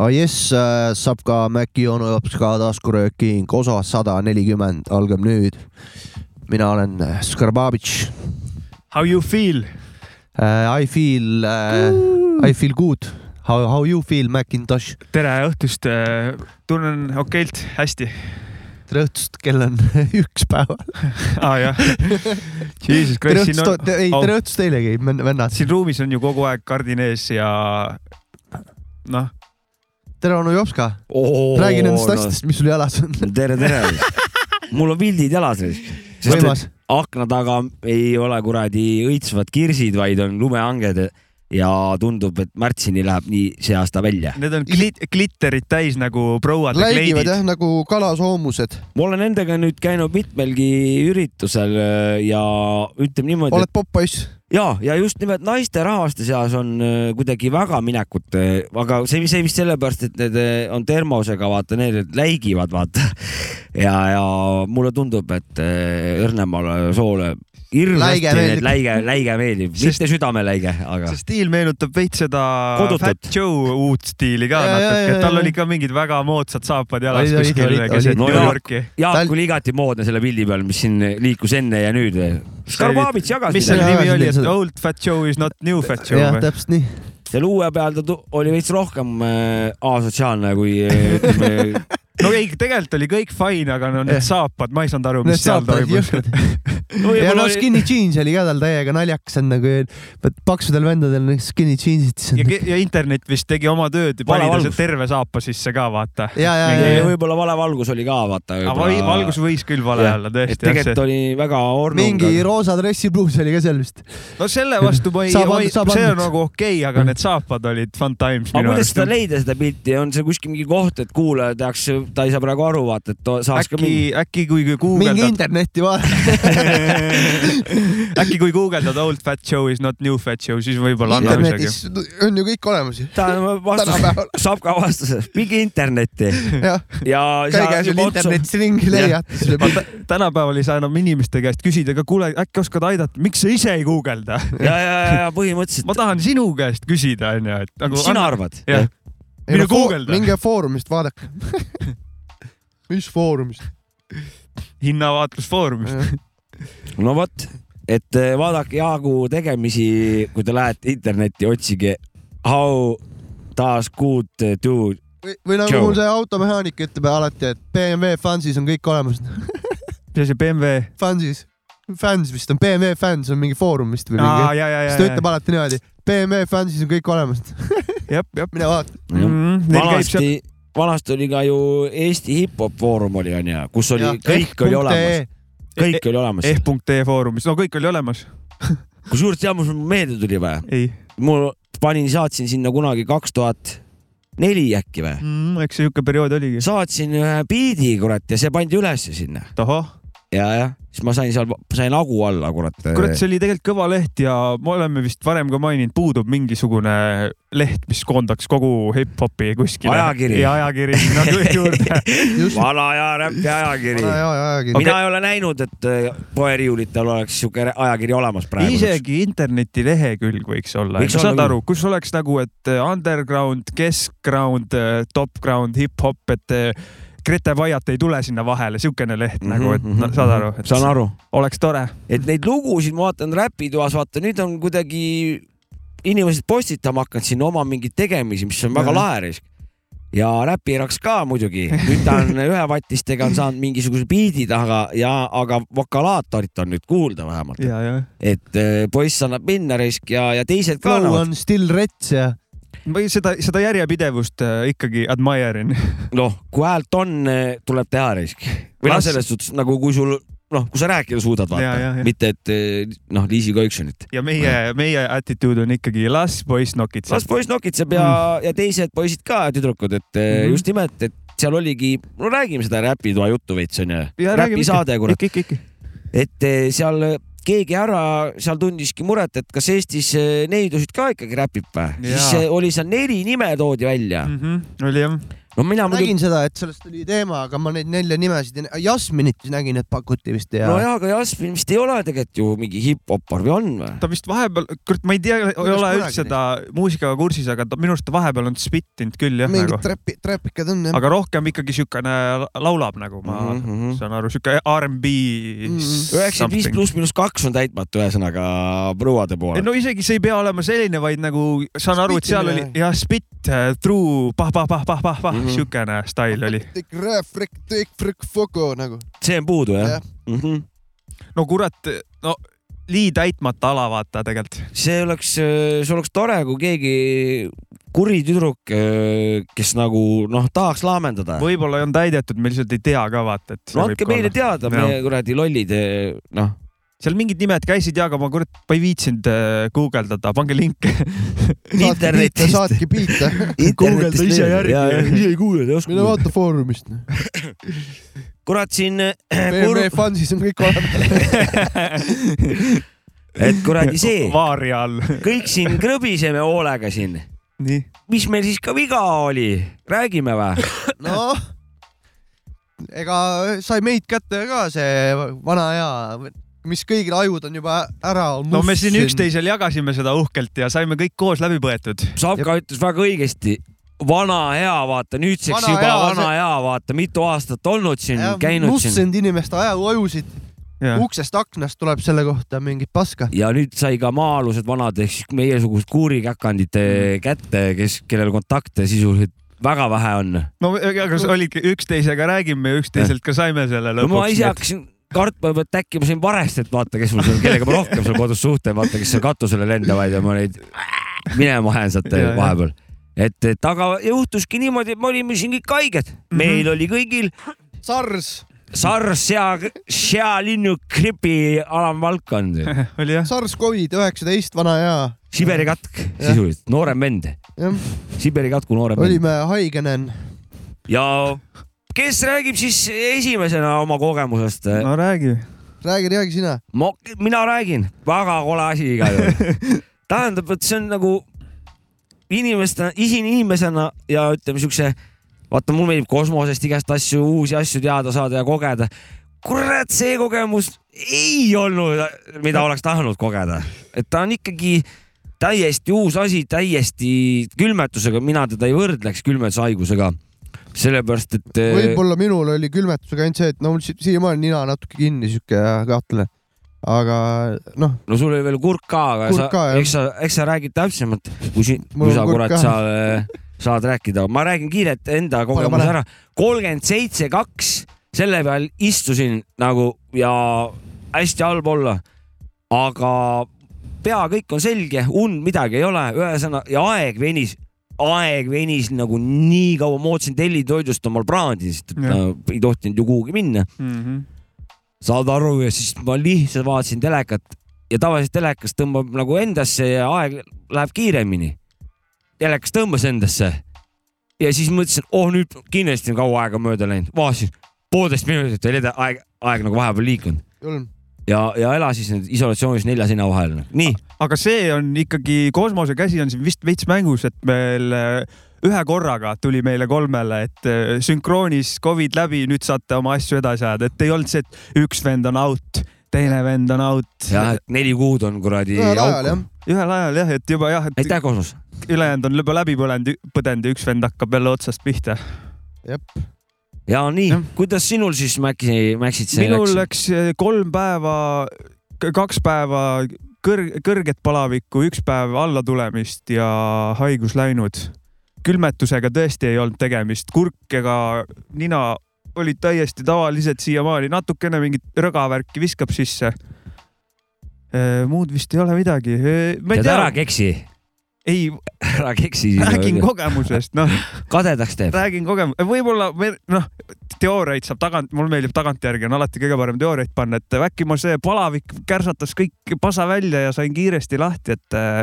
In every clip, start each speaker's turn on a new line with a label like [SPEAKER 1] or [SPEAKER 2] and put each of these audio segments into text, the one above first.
[SPEAKER 1] oh jess , saab ka Maci onu jops ka taskurööking , osa sada nelikümmend algab nüüd . mina olen äh, Skarbabitš
[SPEAKER 2] How you feel ?
[SPEAKER 1] uh, . I feel uh, , I feel good . How , how you feel , Macintosh ?
[SPEAKER 2] tere õhtust , tunnen okeilt , hästi .
[SPEAKER 1] tere õhtust , kell on üks päeval .
[SPEAKER 2] aa jah . Jesus
[SPEAKER 1] Ah, tere
[SPEAKER 2] Christ , siin
[SPEAKER 1] õhtust ,
[SPEAKER 2] on ,
[SPEAKER 1] ei
[SPEAKER 2] au.
[SPEAKER 1] tere õhtust teilegi , vennad .
[SPEAKER 2] siin ruumis on ju kogu aeg kardin ees ja noh .
[SPEAKER 1] tere onu jops ka .
[SPEAKER 3] oh,
[SPEAKER 1] räägi nendest asjadest , mis sul jalas on .
[SPEAKER 3] no, . tere , tere . mul on vildid jalas .
[SPEAKER 1] võimas .
[SPEAKER 3] akna taga ei ole kuradi õitsvad kirsid , vaid on lumehanged ja tundub , et märtsini läheb nii see aasta välja .
[SPEAKER 2] Need on klit- , glitterit täis nagu prouad ja
[SPEAKER 1] läigivad
[SPEAKER 2] kleidid .
[SPEAKER 1] jah nagu kalasoomused .
[SPEAKER 3] ma olen nendega nüüd käinud mitmelgi üritusel äh, ja ütleme niimoodi ,
[SPEAKER 1] oled popp-poiss ?
[SPEAKER 3] et ja , ja just nimelt naiste rahvaste seas on äh, kuidagi väga minekut , aga see , see vist sellepärast , et need äh, on termosega , vaata , need läigivad , vaata . ja , ja mulle tundub , et äh, Õrnemaale soole
[SPEAKER 1] Läige
[SPEAKER 3] hirmsasti
[SPEAKER 1] meeldib.
[SPEAKER 3] need läige , läige meeldib ,
[SPEAKER 2] Sest-
[SPEAKER 3] mitte südameläige , aga
[SPEAKER 2] see stiil meenutab veits seda
[SPEAKER 3] Kodutut.
[SPEAKER 2] Fat Joe uut stiili ka
[SPEAKER 1] Ja, ja,
[SPEAKER 2] natuke ,
[SPEAKER 1] ja,
[SPEAKER 2] et tal
[SPEAKER 1] ja.
[SPEAKER 2] oli ka mingid väga moodsad saapad jalas
[SPEAKER 1] Olid, olid,
[SPEAKER 2] kuskil
[SPEAKER 1] olid,
[SPEAKER 2] keset
[SPEAKER 1] olid.
[SPEAKER 3] No
[SPEAKER 2] New
[SPEAKER 3] jaa.
[SPEAKER 2] Yorki .
[SPEAKER 3] Jaak
[SPEAKER 1] Tal-
[SPEAKER 3] oli igati moodne selle pildi peal , mis siin liikus enne ja nüüd . Skarbabits jagas
[SPEAKER 2] mis
[SPEAKER 1] see
[SPEAKER 2] selle
[SPEAKER 3] midagi .
[SPEAKER 1] oli?
[SPEAKER 2] nimi oli , et
[SPEAKER 1] Seda-
[SPEAKER 2] Old Fat Joe is not new Fat Joe
[SPEAKER 1] jah ,
[SPEAKER 2] või ?
[SPEAKER 1] täpselt nii .
[SPEAKER 3] selle uue peal ta tu- oli veits rohkem äh, asotsiaalne kui äh, ütleme ,
[SPEAKER 2] no ei , tegelikult oli kõik fine , aga no
[SPEAKER 1] Jah.
[SPEAKER 2] need saapad , ma ei saanud aru , mis
[SPEAKER 1] Need
[SPEAKER 2] seal
[SPEAKER 1] saapad
[SPEAKER 2] toimus .
[SPEAKER 1] jõhkrad . ja noh , skinny jeans oli ka tal täiega naljakas , on nagu vaat paksudel vendadel need skinny jeans'id , siis
[SPEAKER 2] ja
[SPEAKER 1] on ,
[SPEAKER 2] ja internet vist tegi oma tööd ja pani
[SPEAKER 3] Vale
[SPEAKER 2] talle
[SPEAKER 3] valgus.
[SPEAKER 2] terve saapa sisse ka , vaata .
[SPEAKER 1] ja , ja , ja , ja
[SPEAKER 3] võib-olla vale valgus oli ka , vaata .
[SPEAKER 2] valgus võis küll vale
[SPEAKER 3] Jah.
[SPEAKER 2] olla ,
[SPEAKER 3] et
[SPEAKER 2] tõesti .
[SPEAKER 3] tegelikult oli väga
[SPEAKER 1] mingi
[SPEAKER 3] ornung .
[SPEAKER 1] roosa dressipluus oli ka seal vist .
[SPEAKER 2] no selle vastu ma ei ,
[SPEAKER 1] Saab and- saab
[SPEAKER 2] see on
[SPEAKER 1] andeks.
[SPEAKER 2] nagu okei , aga need saapad olid fun times
[SPEAKER 3] aga
[SPEAKER 2] minu
[SPEAKER 3] kuidas
[SPEAKER 2] arust
[SPEAKER 3] seda . leida , seda pilti , on see kuskil mingi koht , et kuulaja teaks , ta ei saa praegu aru , vaata , et to- saaks ka
[SPEAKER 2] äkki
[SPEAKER 3] mingi .,
[SPEAKER 2] äkki kui kui
[SPEAKER 1] mingi
[SPEAKER 2] guugeldad ,
[SPEAKER 1] internetti vaadata .
[SPEAKER 2] äkki kui guugeldad old fat show is not new fat show , siis võib-olla annab isegi .
[SPEAKER 1] internetis on ju kõik olemas ju .
[SPEAKER 3] ta vastas ,
[SPEAKER 1] tänapäeval ,
[SPEAKER 3] saab ka vastuse , mingi internetti
[SPEAKER 1] jah .
[SPEAKER 3] ja .
[SPEAKER 1] käige sul internetis ringi , leiate selle pildi .
[SPEAKER 2] tänapäeval ei saa enam inimeste käest küsida , aga kuule , äkki oskad aidata , miks sa ise ei guugelda ?
[SPEAKER 3] ja , ja , ja põhimõtteliselt
[SPEAKER 2] ma tahan sinu käest küsida , onju , et nagu
[SPEAKER 3] Mis sina arvad ?
[SPEAKER 2] jah , Mine guugelda.
[SPEAKER 1] minge Foorumist vaadake . mis Foorumist ?
[SPEAKER 2] hinnavaatlusfoorumist .
[SPEAKER 3] no vot , et eh, vaadake Jaagu tegemisi , kui te lähete internetti , otsige how does good do .
[SPEAKER 1] või , või nagu
[SPEAKER 3] Joe.
[SPEAKER 1] mul see automehaanik ütleb alati , et BMW Fansis on kõik olemas .
[SPEAKER 2] mis asi , BMW ?
[SPEAKER 1] Fansis , Fans vist on , BMW Fans on mingi foorum vist või
[SPEAKER 2] aa ,
[SPEAKER 1] mingi .
[SPEAKER 2] ja , ja , ja
[SPEAKER 1] siis , ta ütleb alati niimoodi , BMW Fansis on kõik olemas .
[SPEAKER 2] jah , jah .
[SPEAKER 1] mine vaata .
[SPEAKER 2] Mm. Mm-hmm. Neil käib seal ,
[SPEAKER 3] Mm. vanasti , vanasti oli ka ju Eesti hip-hop foorum oli onju , kus oli , kõik
[SPEAKER 1] E.
[SPEAKER 3] oli
[SPEAKER 2] E.
[SPEAKER 3] olemas ,. kõik oli olemas .
[SPEAKER 2] eh.ee E foorumis , no kõik oli olemas .
[SPEAKER 3] kusjuures tead , mis mul meelde tuli või ?
[SPEAKER 2] ei ,
[SPEAKER 3] mul panin , saatsin sinna kunagi kaks tuhat neli äkki
[SPEAKER 2] Mm.
[SPEAKER 3] või ?
[SPEAKER 2] Mm-hmm, eks see siuke periood oligi .
[SPEAKER 3] saatsin ühe biidi , kurat , ja see pandi ülesse sinna
[SPEAKER 2] tohoh ,
[SPEAKER 3] ja , jah , siis ma sain seal , sain agu alla , kurat .
[SPEAKER 2] kurat , see oli tegelikult kõva leht ja me oleme vist varem ka maininud , puudub mingisugune leht , mis koondaks kogu hip-hopi kuskile .
[SPEAKER 3] Ajakiri.
[SPEAKER 2] ja ajakiri sinna juurde .
[SPEAKER 1] just ,
[SPEAKER 3] vana hea räpi ajakiri .
[SPEAKER 1] vana hea ajakiri .
[SPEAKER 3] mina ei ole näinud , et äh, poeriiulitel oleks siuke ajakiri olemas praegu .
[SPEAKER 2] isegi interneti lehekülg võiks olla ,
[SPEAKER 3] Võiks
[SPEAKER 2] saad
[SPEAKER 3] olla
[SPEAKER 2] aru , kus oleks nagu , et eh, underground , keskground , topground , hip-hop , et eh, Grete Vaiat ei tule sinna vahele , siukene leht mm -hmm, nagu , et mm -hmm, saad aru , et
[SPEAKER 3] Mhm, saan aru ,
[SPEAKER 2] oleks tore .
[SPEAKER 3] et neid lugusid ma vaatan Räpitoas , vaata nüüd on kuidagi inimesed postitama hakanud sinna oma mingeid tegemisi , mis on väga
[SPEAKER 2] Jah.
[SPEAKER 3] lahe risk . ja Räpiraks ka muidugi , nüüd ta on ühevatistega on saanud mingisuguse biidi taha ja , aga vokalaatorit on nüüd kuulda vähemalt ,
[SPEAKER 2] ja , ja .
[SPEAKER 3] et äh, poiss annab minna risk ja , ja teised ka
[SPEAKER 1] Flow
[SPEAKER 3] annavad .
[SPEAKER 1] on still rets ja
[SPEAKER 2] ma ei- seda , seda järjepidevust eh, ikkagi admire in .
[SPEAKER 3] noh , kui häält on , tuleb teha risk . või noh ,
[SPEAKER 2] Las-
[SPEAKER 3] selles suhtes nagu kui sul noh , kui sa rääkida suudad ,
[SPEAKER 2] Ja, ja,
[SPEAKER 3] vaata
[SPEAKER 2] ja. ,
[SPEAKER 3] mitte et eh, noh , Liisi Kõiksunit .
[SPEAKER 2] ja meie , meie attitude on ikkagi las poiss nokitseb
[SPEAKER 3] las . poiss nokitseb ja mm. , ja teised poisid ka , tüdrukud , et mm
[SPEAKER 2] Mhm.
[SPEAKER 3] -hmm. just nimelt , et seal oligi , no räägime seda räpitoa juttu veits onju
[SPEAKER 2] Ja , räägime
[SPEAKER 3] räpisaade kurat ,
[SPEAKER 2] ikka , ikka , ikka .
[SPEAKER 3] et eh, seal keegi ära seal tundiski muret , et kas Eestis eh, neidusid ka ikkagi räpib või ?
[SPEAKER 2] Jaa. Mm.
[SPEAKER 3] siis eh, oli seal neli nime toodi välja .
[SPEAKER 2] Mhm. oli jah .
[SPEAKER 3] no mina muidugi ,
[SPEAKER 1] nägin seda , et sellest oli teema , aga ma neid nelja nimesid ei nä- , Jasminit nägin , et pakuti vist ja
[SPEAKER 3] nojah , aga Jasmin vist ei ole tegelikult ju mingi hip-hopar või on või ?
[SPEAKER 2] ta vist vahepeal , kurat , ma ei tea , ei ole
[SPEAKER 1] kunagi
[SPEAKER 2] üldse ta muusikaga kursis , aga ta minu arust ta vahepeal on spittinud küll jah
[SPEAKER 1] mingid
[SPEAKER 2] nagu ,
[SPEAKER 1] träpi , träpikad on jah .
[SPEAKER 2] aga rohkem ikkagi siukene laulab nagu ma mm -hmm. saan aru , siuke R&B
[SPEAKER 1] Mhm.
[SPEAKER 3] Mhm, üheksakümmend viis
[SPEAKER 2] something.
[SPEAKER 3] pluss miinus kaks on täitmata , ühesõnaga
[SPEAKER 2] ei
[SPEAKER 3] prouade poole .
[SPEAKER 2] no isegi see ei pea olema selline , vaid nagu saan aru , et seal oli
[SPEAKER 1] Spittimine.
[SPEAKER 2] jah , spitt , true , pah-pah-pah-pah-pah-pah mm
[SPEAKER 3] Mhm.
[SPEAKER 2] -hmm. , siukene stail oli .
[SPEAKER 1] Take rap , frick , take frick , fogo nagu .
[SPEAKER 3] see on puudu jah
[SPEAKER 1] Jah.
[SPEAKER 3] mm ? -hmm.
[SPEAKER 2] no kurat , no lii täitmata ala vaata tegelikult .
[SPEAKER 3] see oleks , see oleks tore , kui keegi kuri tüdruk , kes nagu noh , tahaks laamendada .
[SPEAKER 2] võib-olla ei olnud täidetud , me lihtsalt ei tea ka vaata , et .
[SPEAKER 3] no andke meile teada ,
[SPEAKER 2] Jah.
[SPEAKER 3] meie kuradi lollid , noh ,
[SPEAKER 2] seal mingid nimed käisid ja , aga ma kurat , ma ei viitsinud äh, guugeldada , pange link .
[SPEAKER 3] internetist .
[SPEAKER 1] saatke biite ,
[SPEAKER 2] guugelda ise järgi.
[SPEAKER 3] ise ei guugelda , ei
[SPEAKER 1] mine
[SPEAKER 3] oska .
[SPEAKER 1] vaata Foorumist .
[SPEAKER 3] kurat , siin ,
[SPEAKER 1] BMW Funsis on kõik olemas .
[SPEAKER 3] et kuradi see ,
[SPEAKER 2] vaari all .
[SPEAKER 3] kõik siin krõbiseme hoolega siin .
[SPEAKER 2] nii .
[SPEAKER 3] mis meil siis ka viga oli , räägime või ?
[SPEAKER 1] noh , ega sai meid kätte ka see vana hea , mis kõigil ajud on juba ära .
[SPEAKER 2] no me siin . üksteisel jagasime seda uhkelt ja saime kõik koos läbi põetud .
[SPEAKER 3] Savka ütles väga õigesti vana hea , vaata nüüdseks
[SPEAKER 1] Vana
[SPEAKER 3] vana juba
[SPEAKER 1] hea,
[SPEAKER 3] hea, vana
[SPEAKER 1] see-
[SPEAKER 3] hea , vaata mitu aastat olnud siin , käinud siin
[SPEAKER 1] nussend inimeste aju , ajusid , uksest aknast tuleb selle kohta mingit paska .
[SPEAKER 3] ja nüüd sai ka maa-alused vanad ehk siis meiesugused kuurikäkandid
[SPEAKER 1] Mm.
[SPEAKER 3] eh, kätte , kes , kellel kontakte sisuliselt väga vähe on .
[SPEAKER 2] no aga see olidki üksteisega räägime ja üksteiselt ka saime selle
[SPEAKER 3] no ma ise
[SPEAKER 2] lõpuks .
[SPEAKER 3] hakkasin kartma juba , et äkki ma sain varestelt vaata , kes mul seal , kellega ma rohkem seal kodus suhtlen , vaata , kes seal katusele lendavad ja ma neid minema ajan sealt
[SPEAKER 2] Ja, ja.
[SPEAKER 3] vahepeal . et , et aga juhtuski niimoodi , et me olime siin kõik haiged ,
[SPEAKER 1] Mhm.
[SPEAKER 3] meil oli kõigil
[SPEAKER 1] SARS ,
[SPEAKER 3] SARS ja , ja linnugripi alamvaldkond ,
[SPEAKER 2] oli jah ?
[SPEAKER 1] SARS-Covid üheksateist , vana hea .
[SPEAKER 3] Siberi katk sisuliselt , noorem vend ,
[SPEAKER 1] jah ,
[SPEAKER 3] Siberi katku noorem vend .
[SPEAKER 1] olime haigenen .
[SPEAKER 3] ja kes räägib siis esimesena oma kogemusest ?
[SPEAKER 2] no räägi .
[SPEAKER 1] räägi , räägi sina .
[SPEAKER 3] ma , mina räägin , väga kole asi igal juhul . tähendab , et see on nagu inimeste , isin inimesena ja ütleme siukse , vaata , mulle meeldib kosmosest igast asju , uusi asju teada saada ja kogeda . kurat , see kogemus ei olnud , mida oleks tahtnud kogeda , et ta on ikkagi täiesti uus asi , täiesti külmetusega , mina teda ei võrdleks külmetushaigusega , sellepärast et .
[SPEAKER 1] võib-olla minul oli külmetusega ainult see , et no mul si- siiamaani nina natuke kinni , sihuke kahtlane . aga noh ,
[SPEAKER 3] no sul oli veel kurk ka , aga
[SPEAKER 1] Kurk
[SPEAKER 3] sa
[SPEAKER 1] ka, , jah.
[SPEAKER 3] eks sa , eks sa räägid täpsemalt , kui siin ,
[SPEAKER 1] Mul
[SPEAKER 3] kui
[SPEAKER 1] on
[SPEAKER 3] sa
[SPEAKER 1] kurk
[SPEAKER 3] kurat
[SPEAKER 1] ka.
[SPEAKER 3] sa äh, saad rääkida , ma räägin kiirelt enda kogemuse
[SPEAKER 1] pane.
[SPEAKER 3] ära . kolmkümmend seitse , kaks , selle peal istusin nagu ja hästi halb olla . aga pea kõik on selge , und midagi ei ole , ühesõnaga ja aeg venis , aeg venis nagu nii kaua , ma ootasin tellitoidust omal praadi , sest et
[SPEAKER 2] Jah.
[SPEAKER 3] ma ei tohtinud ju kuhugi minna . Mhm. saad aru ja siis ma lihtsalt vaatasin telekat ja tavaliselt telekas tõmbab nagu endasse ja aeg läheb kiiremini . telekas tõmbas endasse ja siis mõtlesin , oh nüüd kindlasti on kaua aega mööda läinud , vaatasin poolteist minutit oli eda- aeg , aeg nagu vahepeal liikunud
[SPEAKER 1] julm .
[SPEAKER 3] ja , ja elasin siin isolatsioonis nelja seina vahel . nii ,
[SPEAKER 2] aga see on ikkagi , kosmose käsi on siin vist veits mängus , et meil äh, ühe korraga tuli meile kolmele , et äh, sünkroonis Covid läbi , nüüd saate oma asju edasi ajada , et ei olnud see , et üks vend on out , teine vend on out .
[SPEAKER 3] jah , et neli kuud on kuradi
[SPEAKER 1] ühel ajal
[SPEAKER 3] auk
[SPEAKER 1] jah ..
[SPEAKER 2] ühel ajal jah , et juba jah , et
[SPEAKER 3] aitäh , Kosmos .
[SPEAKER 2] ülejäänud on juba läbi põlenud , põdenud ja üks vend hakkab jälle otsast pihta .
[SPEAKER 3] ja nii
[SPEAKER 2] Jah. ,
[SPEAKER 3] kuidas sinul siis Mäkki , Mäksid see
[SPEAKER 2] minul läks äh, kolm päeva , kaks päeva kõrg- , kõrget palavikku , üks päev allatulemist ja haigus läinud . külmetusega tõesti ei olnud tegemist , kurk ega nina olid täiesti tavalised siiamaani , natukene mingit rõgavärki viskab sisse . muud vist ei ole midagi . ma ei
[SPEAKER 3] tead ära
[SPEAKER 2] tea ,
[SPEAKER 3] keksi ,
[SPEAKER 2] ei ,
[SPEAKER 3] ära keksi .
[SPEAKER 2] räägin kogemusest , noh .
[SPEAKER 3] kadedaks teeb .
[SPEAKER 2] räägin kogemus , võib-olla me- noh , teooriaid saab tagant , mulle meeldib tagantjärgi on alati kõige parem teooriaid panna , et äkki mul see palavik kärsatas kõik pasa välja ja sain kiiresti lahti , et äh,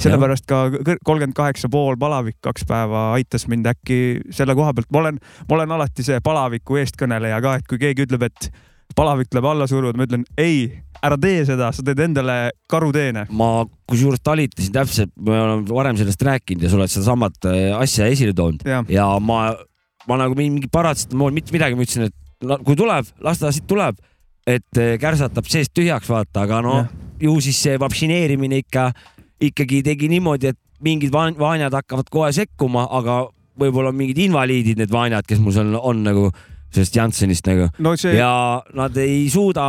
[SPEAKER 2] sellepärast ka kolmkümmend kaheksa pool palavik kaks päeva aitas mind äkki selle koha pealt . ma olen , ma olen alati see palaviku eestkõneleja ka , et kui keegi ütleb , et palavik tuleb alla suruda , ma ütlen ei , ära tee seda , sa teed endale karuteene .
[SPEAKER 3] ma kusjuures talitasin täpselt , me oleme varem sellest rääkinud ja sa oled sedasamat äh, asja esile toonud
[SPEAKER 2] Jah.
[SPEAKER 3] ja ma , ma nagu mingi paratsetud moel mitte midagi , ma ütlesin , et la- kui tuleb , las ta siit tuleb , et äh, kärsatab seest tühjaks , vaata , aga no
[SPEAKER 2] Jah.
[SPEAKER 3] ju siis see vaktsineerimine ikka , ikkagi tegi niimoodi , et mingid vaan- vaanjad hakkavad kohe sekkuma , aga võib-olla on mingid invaliidid , need vaanjad , kes mul seal on nagu sellest Janssenist nagu
[SPEAKER 2] no see ,
[SPEAKER 3] ja nad ei suuda ,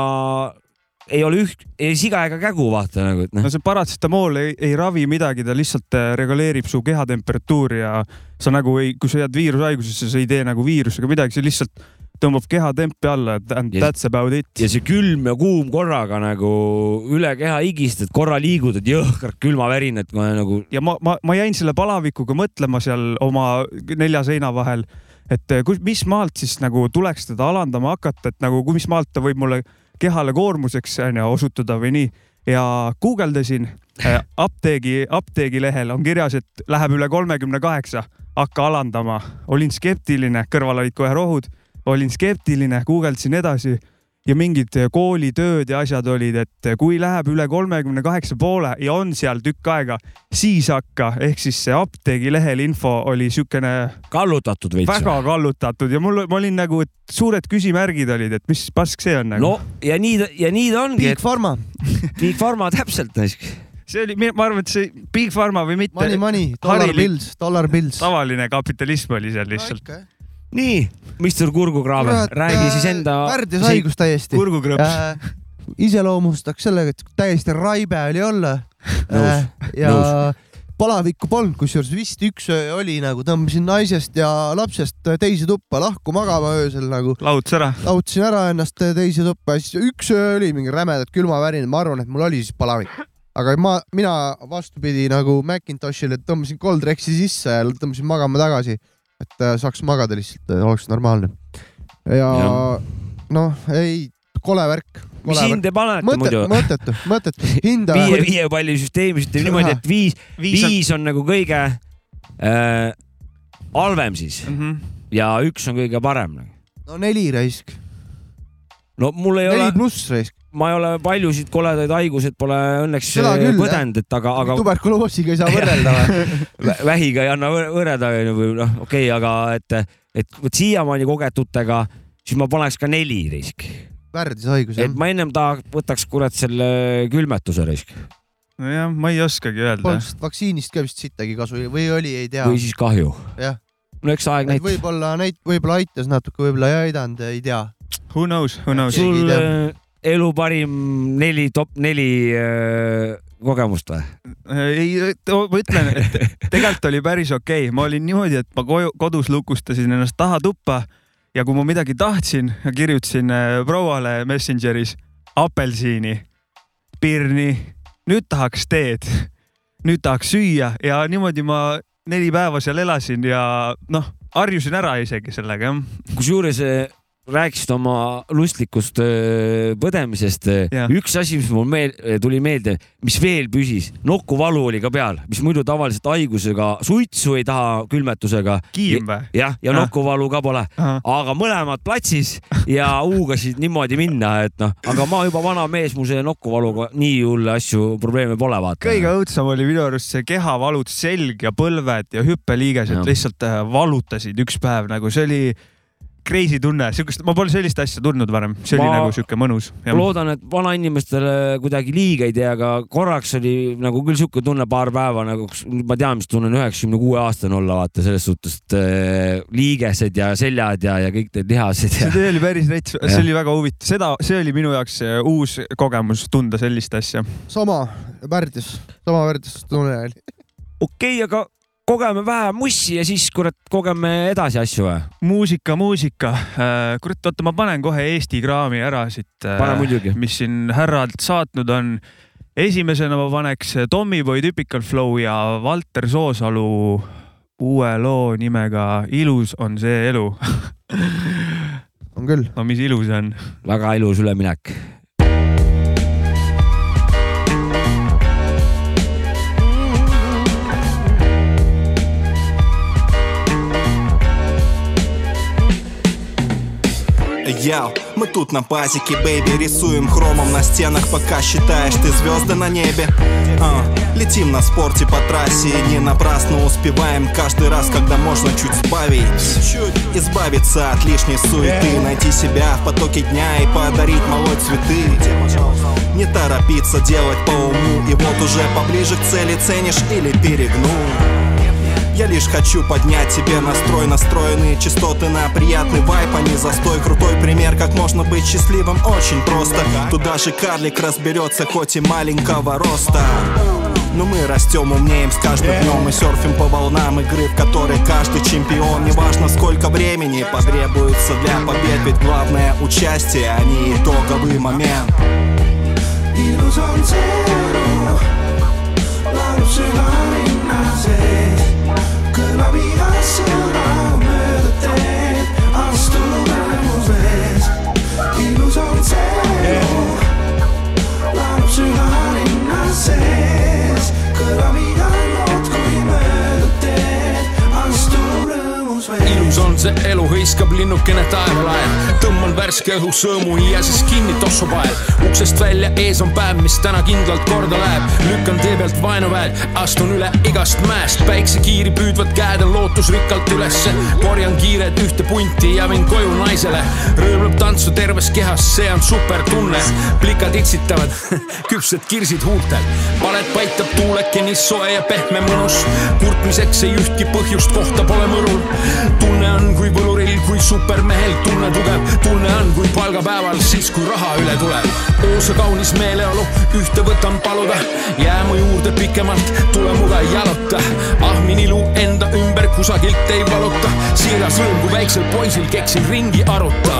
[SPEAKER 3] ei ole üht , ei siga ega kägu , vaata nagu , et noh
[SPEAKER 2] no see paratsetamool ei, ei ravi midagi , ta lihtsalt äh, reguleerib su kehatemperatuuri ja sa nagu ei , kui sa jääd viirushaigusesse , sa ei tee nagu viirusega midagi , see lihtsalt tõmbab kehatempi alla and
[SPEAKER 3] Ja-
[SPEAKER 2] that's about it .
[SPEAKER 3] ja see külm ja kuum korraga nagu üle keha higistad , korra liigutad , jõhkrad külmavärinad kohe nagu .
[SPEAKER 2] ja ma , ma , ma jäin selle palavikuga mõtlema seal oma nelja seina vahel , et eh, kus , mis maalt siis nagu tuleks teda alandama hakata , et nagu kui- mis maalt ta võib mulle kehale koormuseks onju osutuda või nii . ja guugeldasin eh, apteegi , apteegilehel on kirjas , et läheb üle kolmekümne kaheksa , hakka alandama . olin skeptiline , kõrval olid kohe rohud , olin skeptiline , guugeldasin edasi ja mingid eh, koolitööd ja asjad olid , et eh, kui läheb üle kolmekümne kaheksa poole ja on seal tükk aega , siis hakka , ehk siis see apteegilehel info oli siukene
[SPEAKER 3] kallutatud veits .
[SPEAKER 2] väga kallutatud ja mul , ma olin nagu , et suured küsimärgid olid , et mis pask see on nagu
[SPEAKER 3] no . ja nii ta , ja nii ta ongi ,
[SPEAKER 1] Big Pharma ,
[SPEAKER 3] et Big Pharma täpselt raisk .
[SPEAKER 2] see oli , ma arvan , et see Big Pharma või mitte
[SPEAKER 1] money , money , dollar
[SPEAKER 2] Harilik-
[SPEAKER 1] bills , dollar bills .
[SPEAKER 2] tavaline kapitalism oli seal lihtsalt .
[SPEAKER 3] nii , äh, Mr Kurgukraave , räägi siis enda .
[SPEAKER 1] värdjushaigus äh, täiesti .
[SPEAKER 2] kurgukrõps .
[SPEAKER 1] Äh, iseloomustaks sellega , et täiesti raibe oli olla .
[SPEAKER 3] Nõus,
[SPEAKER 1] ja palavikku polnud , kusjuures vist üks öö oli nagu tõmbasin naisest ja lapsest teise tuppa lahku magama öösel nagu .
[SPEAKER 2] lauts ära .
[SPEAKER 1] lahutasin ära ennast teise tuppa ja siis üks öö oli mingi rämedalt külmavärinad , ma arvan , et mul oli siis palavik . aga ma , mina vastupidi nagu Macintoshile tõmbasin Coldrexi sisse ja tõmbasin magama tagasi , et äh, saaks magada lihtsalt , oleks normaalne . ja
[SPEAKER 3] Jah.
[SPEAKER 1] noh , ei , kole värk ,
[SPEAKER 3] mis
[SPEAKER 1] kole
[SPEAKER 3] hinde panete
[SPEAKER 1] mõttetu
[SPEAKER 3] muidu ?,
[SPEAKER 1] mõttetu , mõttetu , hinda
[SPEAKER 3] viie , viie palli süsteemis ütleme niimoodi , et viis , viis on nagu kõige äh, halvem siis
[SPEAKER 2] Mhm.
[SPEAKER 3] ja üks on kõige parem .
[SPEAKER 1] no neli raisk ,
[SPEAKER 3] no mul ei ole
[SPEAKER 1] neli , pluss raisk ,
[SPEAKER 3] ma ei ole paljusid koledaid haiguseid pole õnneks
[SPEAKER 1] Seda
[SPEAKER 3] äh,
[SPEAKER 1] küll, jah.
[SPEAKER 3] põdenud , et aga , aga
[SPEAKER 1] tuberkuloosiga ei saa võrrelda või ?
[SPEAKER 3] vä- vähiga ei anna võr- võrrelda onju, või noh , okei okay, , aga et , et vot siiamaani kogetutega , siis ma paneks ka neli risk ,
[SPEAKER 1] värdishaigus
[SPEAKER 3] et
[SPEAKER 1] jah ,
[SPEAKER 3] ma ennem tahaks , võtaks kurat selle külmetuse risk
[SPEAKER 2] nojah , ma ei oskagi öelda
[SPEAKER 1] polnud . sellest vaktsiinist ka vist sittagi kasu või oli , ei tea
[SPEAKER 3] ja. . või siis kahju .
[SPEAKER 1] Jah.
[SPEAKER 3] no eks aeg
[SPEAKER 1] et
[SPEAKER 3] näitab .
[SPEAKER 1] võib-olla näit- , võib-olla aitas natuke , võib-olla ei aidanud , ei tea .
[SPEAKER 2] Who knows , who knows .
[SPEAKER 1] keegi ei
[SPEAKER 3] sul
[SPEAKER 1] tea.
[SPEAKER 3] äh, elu parim neli , top neli äh, kogemust või ?
[SPEAKER 2] Äh, ei , ma ütlen , et tegelikult oli päris okei okay. , ma olin niimoodi , et ma koju , kodus lukustasin ennast taha tuppa ja kui ma midagi tahtsin , kirjutasin äh, prouale Messengeris apelsini , pirni , nüüd tahaks teed , nüüd tahaks süüa ja niimoodi ma neli päeva seal elasin ja noh , harjusin ära isegi sellega jah .
[SPEAKER 3] kusjuures eh, rääkisid oma lustlikust eh, põdemisest .
[SPEAKER 2] Jah.
[SPEAKER 3] üks asi , mis mul meel, eh, tuli meelde , mis veel püsis , nokkuvalu oli ka peal , mis muidu tavaliselt haigusega , suitsu ei taha külmetusega .
[SPEAKER 2] kiim või ?
[SPEAKER 3] jah , ja
[SPEAKER 2] Ah.
[SPEAKER 3] nokkuvalu ka pole , aga mõlemad platsis ja huugasid niimoodi minna , et noh , aga ma juba vana mees , mul selle nokkuvaluga nii hulle asju , probleeme pole vaata .
[SPEAKER 2] kõige õudsem oli minu arust see kehavalut , selg ja põlved ja hüppeliigesed
[SPEAKER 3] Jah.
[SPEAKER 2] lihtsalt äh, valutasid üks päev nagu see oli crazy tunne , siukest , ma pole sellist asja tundnud varem , see oli
[SPEAKER 3] Ma-
[SPEAKER 2] nagu siuke mõnus .
[SPEAKER 3] ma loodan , et vanainimestele kuidagi liiga ei tee , aga korraks oli nagu küll sihuke tunne paar päeva nagu , ma tean , mis tunne on üheksakümne kuue aastane olla , vaata selles suhtes , et äh, liigesed ja seljad ja , ja kõik need lihased ja
[SPEAKER 2] see . töö oli päris rets , see
[SPEAKER 3] Jah.
[SPEAKER 2] oli väga huvitav , seda , see oli minu jaoks äh, uus kogemus tunda sellist asja .
[SPEAKER 1] sama värdjus , sama värdjustunne oli .
[SPEAKER 3] okei okay, , aga kogeme vähe mussi ja siis kurat , kogeme edasi asju või ?
[SPEAKER 2] muusika , muusika , kurat , oota , ma panen kohe Eesti kraami ära siit . äh,
[SPEAKER 3] pane muidugi .
[SPEAKER 2] mis siin härralt saatnud on . esimesena ma paneks Tommyboy Typical Flow ja Valter Soosalu uue loo nimega Ilus on see elu .
[SPEAKER 1] on küll .
[SPEAKER 2] no mis ilu see on ?
[SPEAKER 3] väga ilus üleminek .
[SPEAKER 4] Яу, мы тут на базике, бейби Рисуем хромом на стенах, пока считаешь ты звезды на небе А, Летим на спорте по трассе и не напрасно успеваем Каждый раз, когда можно чуть сбавить Избавиться от лишней суеты Найти себя в потоке дня и подарить малой цветы Не торопиться делать по уму И вот уже поближе к цели ценишь или перегнул я лишь хочу поднять тебе настрой Настроенные частоты на приятный вайп Они застой, крутой пример Как можно быть счастливым очень просто Тут даже карлик разберется Хоть и маленького роста но мы растем, умнеем с каждым днем Мы серфим по волнам игры, в которой каждый чемпион Неважно сколько времени потребуется для побед Ведь главное участие, а не итоговый момент
[SPEAKER 5] ilus on see elu , hõiskab linnukene taevalaev . tõmban värske õhu sõõmu ja siis kinni tossupael . uksest välja , ees on päev , mis täna kindlalt korda läheb . lükkan tee pealt vaenuväel , astun üle igast mäest . päiksekiiri püüdvad käed on lootusrikkalt ülesse . korjan kiired ühte punti ja viin koju naisele . rööbleb tantsu terves kehas , see on supertunne . plikad itsitavad , küpsed kirsid huultel . palet paitab tuuleke nii soe ja pehme mõnus . kurtmiseks ei ühtki põhjust , kohta pole mõrul . tunne on kui võluril , kui supermehel , tunne tugev . tunne on kui palgapäeval , siis kui raha üle tuleb . ööse kaunis meeleolu , ühte võtan paluda . jääma juurde pikemalt , tule muga jaluta . ahmin ilu enda ümber , kusagilt ei valuta . siiras rõõm , kui väiksel poisil keksin ringi aruta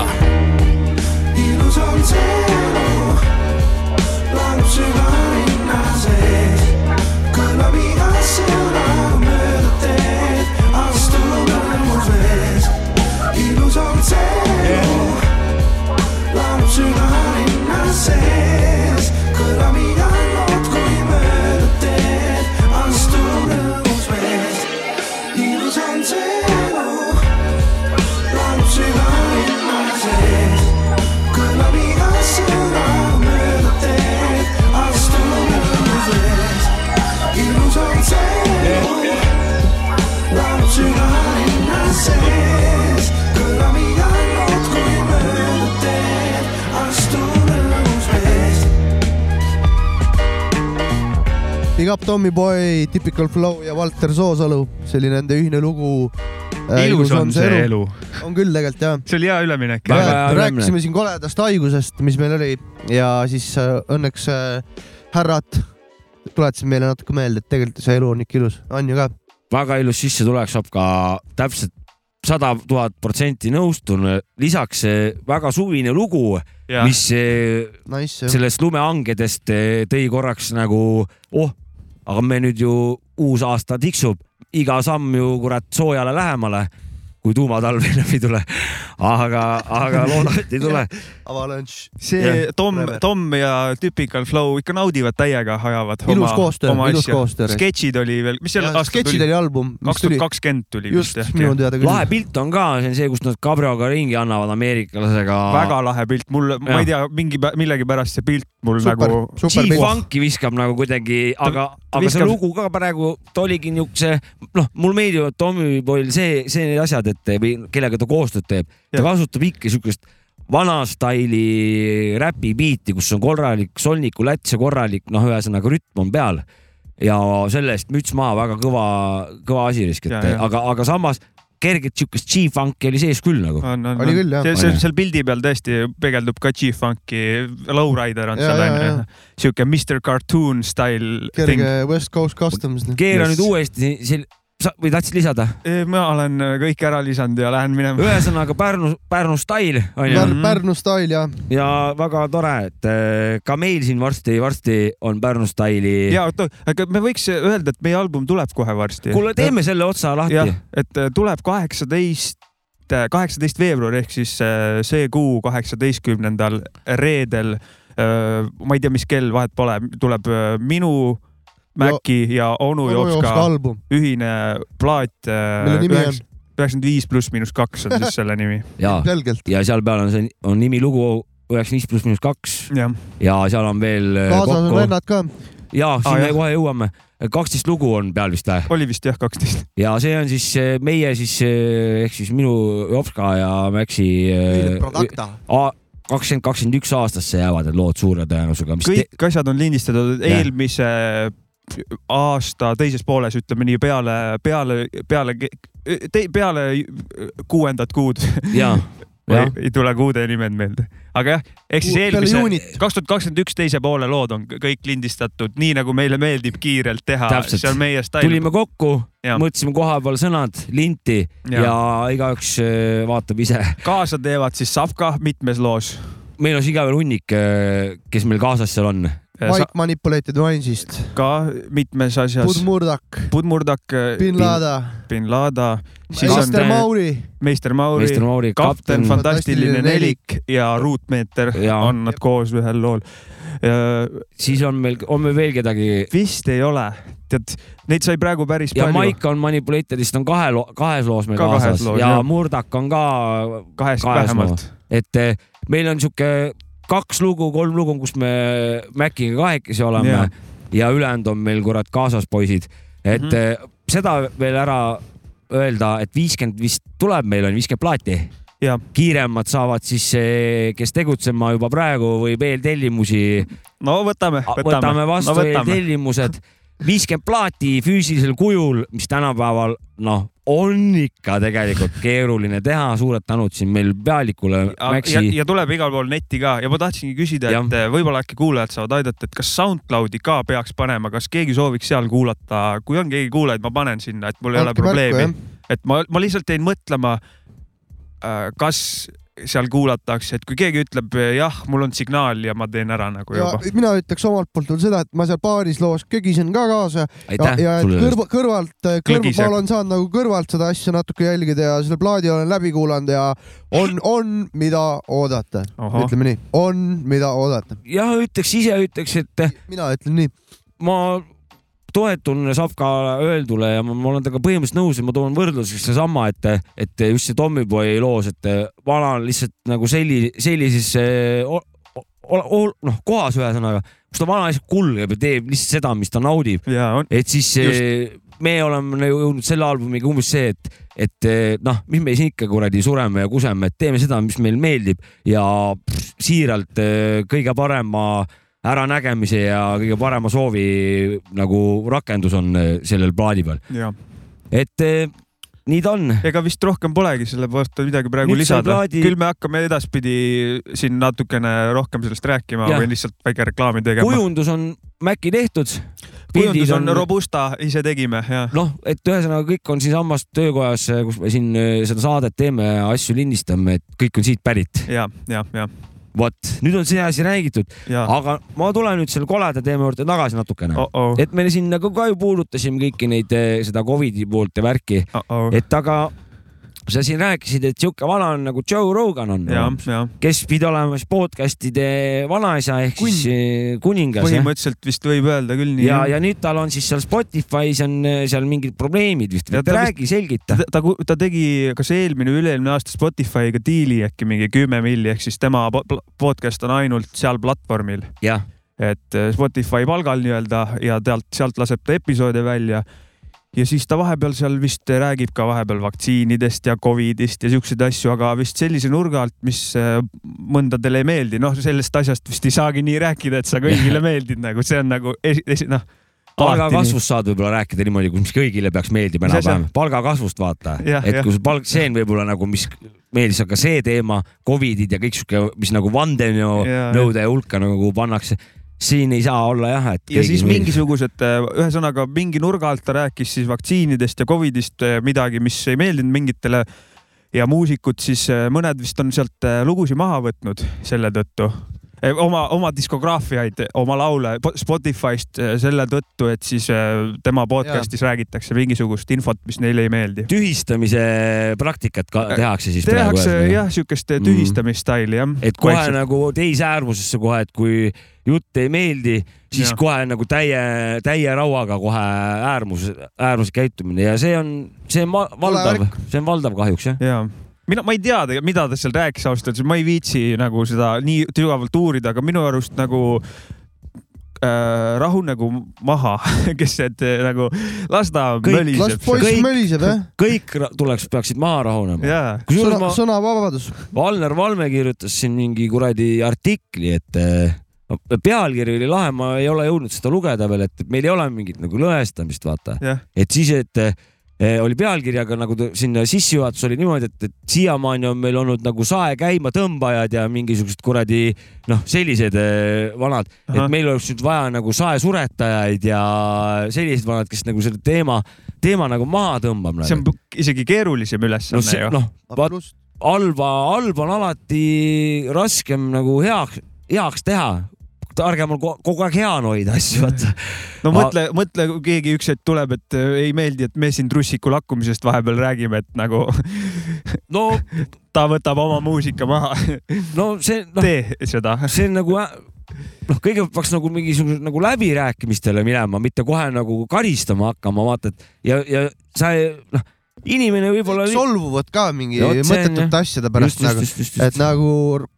[SPEAKER 1] Big up Tommy Boy , Typical Flow ja Walter Soosalu , see oli nende ühine lugu . äh,
[SPEAKER 2] ilus on see . elu .
[SPEAKER 1] on küll tegelikult jah .
[SPEAKER 2] see oli hea üleminek .
[SPEAKER 3] Väga hea
[SPEAKER 1] Rääk-
[SPEAKER 3] üleminek.
[SPEAKER 1] rääkisime siin koledast haigusest , mis meil oli ja siis äh, õnneks äh, härrad tuletasid meile natuke meelde , et tegelikult see elu on ikka ilus , on ju ka .
[SPEAKER 3] väga ilus sissetulek , Sopka , täpselt sada tuhat protsenti nõustun , lisaks eh, väga suvine lugu , mis eh,
[SPEAKER 1] Nice .
[SPEAKER 3] sellest lumehangedest eh, tõi korraks nagu , oh , aga me nüüd ju uus aasta tiksub , iga samm ju kurat soojale lähemale , kui tuumatalv enam ei tule . aga , aga loodame , et ei tule .
[SPEAKER 1] Avalanche .
[SPEAKER 2] see Tom
[SPEAKER 1] Räme. ,
[SPEAKER 2] Tom ja Typical Flow ikka naudivad täiega , ajavad
[SPEAKER 1] Ilus koostöö, ilus koostöö.
[SPEAKER 2] sketšid oli veel , mis seal aastal tuli ?
[SPEAKER 1] sketšid Äh, oli album , mis
[SPEAKER 2] kaks
[SPEAKER 1] tuli
[SPEAKER 2] tuhat kakskümmend tuli
[SPEAKER 1] just
[SPEAKER 2] vist
[SPEAKER 1] minu
[SPEAKER 2] jah .
[SPEAKER 1] teada
[SPEAKER 3] lahe
[SPEAKER 1] küll .
[SPEAKER 3] pilt on ka , see on see , kus nad kabrioga ringi annavad ameeriklasega .
[SPEAKER 2] väga lahe pilt , mul , ma
[SPEAKER 3] Jah.
[SPEAKER 2] ei tea , mingi , millegipärast see pilt mul
[SPEAKER 1] super
[SPEAKER 2] nagu ,,
[SPEAKER 1] super pilt .
[SPEAKER 3] G-Funki viskab nagu kuidagi , aga , aga see
[SPEAKER 2] viskab-
[SPEAKER 3] lugu ka praegu ta oligi niukse , noh , mulle meeldivad Tommy Boy'l see , see need asjad , et või kellega ta koostööd teeb , ta
[SPEAKER 2] Jah.
[SPEAKER 3] kasutab ikka siukest vana staili räpi biiti , kus on korralik solniku läts ja korralik , noh , ühesõnaga rütm on peal . ja selle eest müts maha , väga kõva , kõva asi risk , et
[SPEAKER 2] Ja, ja.
[SPEAKER 3] aga , aga samas kerget siukest G-Funki oli sees küll nagu .
[SPEAKER 2] on , on ,
[SPEAKER 1] Oli küll, jah.
[SPEAKER 2] on . see
[SPEAKER 3] Oli. ,
[SPEAKER 2] seal pildi peal tõesti peegeldub ka G-Funki , Lowrider on
[SPEAKER 1] Ja,
[SPEAKER 2] seal
[SPEAKER 1] ja, ja.
[SPEAKER 2] onju , siuke Mr Cartoon style thing
[SPEAKER 1] kerge . West Coast Customs . noh.
[SPEAKER 3] keera
[SPEAKER 2] Yes.
[SPEAKER 3] nüüd uuesti , või tahtsid lisada ?
[SPEAKER 2] ma olen kõik ära lisanud ja lähen minema .
[SPEAKER 3] ühesõnaga Pärnu , Pärnu stail on ju .
[SPEAKER 1] Pärnu , Pärnu stail ja
[SPEAKER 3] ja väga tore , et äh, ka meil siin varsti-varsti on Pärnu staili .
[SPEAKER 2] ja oota , aga me võiks öelda , et meie album tuleb kohe varsti .
[SPEAKER 3] kuule , teeme selle otsa lahti
[SPEAKER 2] jah ., et äh, tuleb kaheksateist , kaheksateist veebruar ehk siis äh, see kuu kaheksateistkümnendal reedel . ma ei tea , mis kell , vahet pole , tuleb äh, minu , Mäki ja onu
[SPEAKER 1] Onu Jopska
[SPEAKER 2] Jopska
[SPEAKER 1] album ,
[SPEAKER 2] ühine plaat .
[SPEAKER 1] mille nimi on
[SPEAKER 2] üheksakümmend viis pluss miinus kaks on siis selle nimi .
[SPEAKER 3] ja ,
[SPEAKER 1] selgelt .
[SPEAKER 3] ja seal peal on see , on nimi lugu üheksakümmend viis pluss miinus kaks
[SPEAKER 2] jah ,
[SPEAKER 3] ja seal on veel eh,
[SPEAKER 1] kaasas on
[SPEAKER 3] kokku ,
[SPEAKER 1] vennad ka .
[SPEAKER 3] ja
[SPEAKER 2] Aa,
[SPEAKER 3] sinna
[SPEAKER 2] jah.
[SPEAKER 3] kohe jõuame , kaksteist lugu on peal vist või ?
[SPEAKER 2] oli vist jah , kaksteist .
[SPEAKER 3] ja see on siis eh, meie siis eh, ehk siis minu Jopska ja Maxi
[SPEAKER 1] Producta .
[SPEAKER 3] kakskümmend , kakskümmend üks aastasse jäävad need lood suure tõenäosusega , mis te-
[SPEAKER 2] kõik asjad on lindistatud
[SPEAKER 3] Jah.
[SPEAKER 2] eelmise aasta teises pooles , ütleme nii , peale , peale , peale , peale kuuendat kuud .
[SPEAKER 3] ja ,
[SPEAKER 2] ei,
[SPEAKER 3] jah ,
[SPEAKER 2] ei tule kuude nimed meelde , aga jah , ehk siis
[SPEAKER 1] Kuud peale
[SPEAKER 2] eelmise
[SPEAKER 1] juunit.
[SPEAKER 2] kaks tuhat kakskümmend üks teise poole lood on k- kõik lindistatud nii nagu meile meeldib kiirelt teha ,
[SPEAKER 3] Täpselt.
[SPEAKER 2] see on meie stail .
[SPEAKER 3] tulime kokku ,
[SPEAKER 2] Jah.
[SPEAKER 3] mõtlesime koha peal sõnad , linti ja,
[SPEAKER 2] Jah.
[SPEAKER 3] ja igaüks eh, vaatab ise .
[SPEAKER 2] kaasa teevad siis Savka mitmes loos .
[SPEAKER 3] meil on siis igaühel hunnik , kes meil kaasas seal on .
[SPEAKER 1] Mike Manipulated Wines'ist ,
[SPEAKER 2] ka mitmes asjas
[SPEAKER 1] Bud . Murdak ,
[SPEAKER 2] Pudmurdak ,
[SPEAKER 1] Bin Lada ,
[SPEAKER 2] Äh, Bin Lada , siis on
[SPEAKER 1] Meister
[SPEAKER 2] te-
[SPEAKER 1] Mauri ,
[SPEAKER 2] Meister Mauri ,
[SPEAKER 3] meister Mauri ,
[SPEAKER 2] kapten
[SPEAKER 3] kapten
[SPEAKER 2] Fantastiline
[SPEAKER 1] Fantastiline
[SPEAKER 2] Nelik ja Ruutmeeter
[SPEAKER 3] Jaa.
[SPEAKER 2] on nad koos ühel lool .
[SPEAKER 3] siis on meil , on meil veel kedagi
[SPEAKER 2] vist ei ole , tead , neid sai praegu päris
[SPEAKER 3] ja
[SPEAKER 2] palju .
[SPEAKER 3] Maika on Manipulatorist on kahe , kahes loos meil
[SPEAKER 2] Ka kahes
[SPEAKER 3] kaasas
[SPEAKER 2] loos,
[SPEAKER 3] ja
[SPEAKER 2] jah.
[SPEAKER 3] Murdak on ka ,
[SPEAKER 2] kahest
[SPEAKER 3] kahes
[SPEAKER 2] vähemalt .
[SPEAKER 3] et eh, meil on sihuke kaks lugu , kolm lugu , kus me Maciga kahekesi oleme ja,
[SPEAKER 2] Jah.
[SPEAKER 3] ja ülejäänud on meil kurat kaasas poisid , et mm
[SPEAKER 2] Mhm.
[SPEAKER 3] -hmm. seda veel ära öelda , et viiskümmend vist tuleb , meil on viiskümmend plaati .
[SPEAKER 2] Jah.
[SPEAKER 3] kiiremad saavad siis , kes tegutsema juba praegu võib eeltellimusi
[SPEAKER 2] no võtame ,
[SPEAKER 3] võtame, võtame vastu no, tellimused , viiskümmend plaati füüsilisel kujul , mis tänapäeval noh , on ikka tegelikult keeruline teha , suured tänud siin meil pealikule ,
[SPEAKER 2] ja,
[SPEAKER 3] Maxi .
[SPEAKER 2] ja tuleb igal pool netti ka ja ma tahtsingi küsida ,
[SPEAKER 3] Jah.
[SPEAKER 2] et eh, võib-olla äkki kuulajad saavad aidata , et kas SoundCloudi ka peaks panema , kas keegi sooviks seal kuulata , kui on keegi kuulajaid , ma panen sinna , et mul ei ole
[SPEAKER 1] Andke märku,
[SPEAKER 2] probleemi
[SPEAKER 1] jah. ,
[SPEAKER 2] et ma , ma lihtsalt jäin mõtlema , kas seal kuulatakse , et kui keegi ütleb eh, jah , mul on signaal ja ma teen ära nagu
[SPEAKER 1] ja
[SPEAKER 2] juba .
[SPEAKER 1] mina ütleks omalt poolt veel seda , et ma seal baaris loos kögisen ka kaasa ja ,
[SPEAKER 3] aitäh
[SPEAKER 1] ja et
[SPEAKER 3] sulle .
[SPEAKER 1] kõrva , kõrvalt , kõrva ,
[SPEAKER 2] Klõgise.
[SPEAKER 1] ma olen saanud nagu kõrvalt seda asja natuke jälgida ja selle plaadi olen läbi kuulanud ja on , on , mida oodata ,
[SPEAKER 2] Ahah.
[SPEAKER 1] ütleme nii , on , mida oodata .
[SPEAKER 3] jah , ütleks ise , ütleks , et eh,
[SPEAKER 1] mina ütlen nii ,
[SPEAKER 3] ma toetun Savka öeldule ja ma, ma olen temaga põhimõtteliselt nõus ja ma toon võrdluseks seesama , et , et just see Tommyboy loos , et vana on lihtsalt nagu selli- , sellises eh, o- o- o- noh , kohas ühesõnaga , kus ta vana lihtsalt kulgeb ja teeb lihtsalt seda , mis ta naudib ,
[SPEAKER 2] ja on ,
[SPEAKER 3] et siis eh, me oleme nagu jõudnud selle albumiga umbes see , et , et eh, noh , mis me siin ikka kuradi sureme ja kuseme , et teeme seda , mis meil meeldib ja pff, siiralt eh, kõige parema äranägemise ja kõige parema soovi nagu rakendus on eh, sellel plaadi peal ,
[SPEAKER 2] ja
[SPEAKER 3] et eh, nii ta on .
[SPEAKER 2] ega vist rohkem polegi selle kohta midagi praegu
[SPEAKER 3] Nüüd sai
[SPEAKER 2] lisada
[SPEAKER 3] plaadi-
[SPEAKER 2] plaadi... . küll me hakkame edaspidi siin natukene rohkem sellest rääkima
[SPEAKER 3] Jah.
[SPEAKER 2] ja. või lihtsalt väike reklaami tegema .
[SPEAKER 3] kujundus on Maci tehtud .
[SPEAKER 2] kujundus on robusta , ise tegime ja
[SPEAKER 3] noh , et ühesõnaga kõik on siinsamas töökojas , kus me siin eh, seda saadet teeme ja asju lindistame , et kõik on siit pärit .
[SPEAKER 2] ja , ja , ja ,
[SPEAKER 3] vot nüüd on see asi räägitud ,
[SPEAKER 2] ja
[SPEAKER 3] aga ma tulen nüüd selle koleda teema juurde tagasi natukene oh. .
[SPEAKER 2] oh-oh ,
[SPEAKER 3] et me siin nagu ka ju puudutasime kõiki neid , seda Covidi poolt ja värki ,
[SPEAKER 2] oh-oh ,
[SPEAKER 3] et aga sa siin rääkisid , et sihuke vana on nagu Joe Rogan on ,
[SPEAKER 2] ja , ja
[SPEAKER 3] kes pidi olema siis podcast'ide vanaisa ehk Kun. siis eh, kuningas jah
[SPEAKER 2] põhimõtteliselt vist võib öelda küll nii .
[SPEAKER 3] ja , ja nüüd tal on siis seal Spotify's on eh, seal mingid probleemid vist ,
[SPEAKER 2] Ja ta
[SPEAKER 3] räägi , selgita
[SPEAKER 2] ta , ta, ku- ta tegi , kas eelmine või üle-eelmine aasta Spotify'ga diili äkki mingi kümme milli , ehk siis tema po- pl- podcast on ainult seal platvormil ,
[SPEAKER 3] jah ,
[SPEAKER 2] et eh, Spotify palgal nii-öelda ja tealt , sealt laseb ta episoode välja . ja siis ta vahepeal seal vist räägib ka vahepeal vaktsiinidest ja Covidist ja siukseid asju , aga vist sellise nurga alt , mis eh, mõndadele ei meeldi , noh , sellest asjast vist ei saagi nii rääkida , et sa kõigile meeldid nagu , see on nagu esi , esi , noh .
[SPEAKER 3] palgakasvust saad võib-olla rääkida niimoodi , mis kõigile peaks meeldima
[SPEAKER 2] Mis asja?
[SPEAKER 3] enam-vähem , palgakasvust vaata ,
[SPEAKER 2] Jah,
[SPEAKER 3] et
[SPEAKER 2] jah.
[SPEAKER 3] kui see palk , see on võib-olla nagu , mis meeldis , aga see teema , Covidid ja kõik sihuke , mis nagu
[SPEAKER 2] Jaa,
[SPEAKER 3] vandenõude hulka nagu pannakse , siin ei saa olla jah , et .
[SPEAKER 2] ja siis . mingisugused , ühesõnaga mingi nurga alt ta rääkis siis vaktsiinidest ja Covidist eh, midagi , mis ei meeldinud mingitele äh, ja muusikud siis eh, mõned vist on sealt eh, lugusid maha võtnud selle tõttu . oma , oma diskograafiaid , oma laule po- Spotify'st eh, selle tõttu , et siis eh, tema podcast'is räägitakse mingisugust infot , mis neile ei meeldi .
[SPEAKER 3] tühistamise praktikat ka tehakse siis
[SPEAKER 2] Äh, tehakse
[SPEAKER 3] praegu .
[SPEAKER 2] jah , siukest äh,
[SPEAKER 3] Mm.
[SPEAKER 2] tühistamisstaili jah .
[SPEAKER 3] et kohe Vaikselt. nagu teise äärmusesse kohe , et kui jutt ei meeldi ,
[SPEAKER 2] Jah.
[SPEAKER 3] siis ja. kohe nagu täie , täie rauaga kohe äärmus , äärmus käitumine ja see on , see on ma- valdav , see on valdav kahjuks jah .
[SPEAKER 2] ja mina , ma ei tea , mida ta seal rääkis ausalt öeldes , ma ei viitsi nagu seda nii sügavalt uurida , aga minu arust nagu äh, rahunegu maha , kes need äh, nagu , las ta
[SPEAKER 3] Kõik-
[SPEAKER 1] las
[SPEAKER 2] möliseb .
[SPEAKER 1] poiss
[SPEAKER 3] Kõik-
[SPEAKER 1] möliseb jah .
[SPEAKER 3] kõik ra- tuleks , peaksid maha rahunema .
[SPEAKER 2] jaa ,
[SPEAKER 3] kusjuures
[SPEAKER 1] sõna ,
[SPEAKER 3] ma ,
[SPEAKER 1] sõnavabadus .
[SPEAKER 3] Valner Valme kirjutas siin mingi kuradi artikli , et eh, no pealkiri oli lahe , ma ei ole jõudnud seda lugeda veel , et meil ei ole mingit nagu lõhestamist , vaata .
[SPEAKER 2] jah ,
[SPEAKER 3] et siis , et eh, oli pealkiri , aga nagu ta- sinna sissejuhatus oli niimoodi , et , et siiamaani on meil olnud nagu sae käima tõmbajad ja mingisugused kuradi noh , sellised eh, vanad , et
[SPEAKER 2] Ahah.
[SPEAKER 3] meil oleks nüüd vaja nagu sae suretajaid ja sellised vanad , kes nagu selle teema , teema nagu maha tõmbab .
[SPEAKER 2] see on p- isegi keerulisem
[SPEAKER 3] no,
[SPEAKER 2] ülesanne
[SPEAKER 3] see,
[SPEAKER 2] ju .
[SPEAKER 3] noh , vaat halva , halba on alati raskem nagu heaks , heaks teha . targem on ko- kogu aeg hea on hoida asju , vaata .
[SPEAKER 2] no
[SPEAKER 3] ma-
[SPEAKER 2] mõtle , mõtle , kui keegi üks hetk tuleb , et äh, ei meeldi , et me siin trussiku lakkumisest vahepeal räägime , et nagu
[SPEAKER 3] no ,
[SPEAKER 2] ta võtab oma muusika maha .
[SPEAKER 3] no see , noh ,
[SPEAKER 2] tee seda .
[SPEAKER 3] see on nagu ä- noh , kõigepealt peaks nagu mingisuguse nagu läbirääkimistele minema , mitte kohe nagu karistama hakkama , vaata , et ja , ja sa ei- noh , inimene võib-olla .
[SPEAKER 1] solvuvad ka mingi
[SPEAKER 3] No vot, see on,
[SPEAKER 1] mõttetute
[SPEAKER 3] jah.
[SPEAKER 1] asjade pärast nagu . et nagu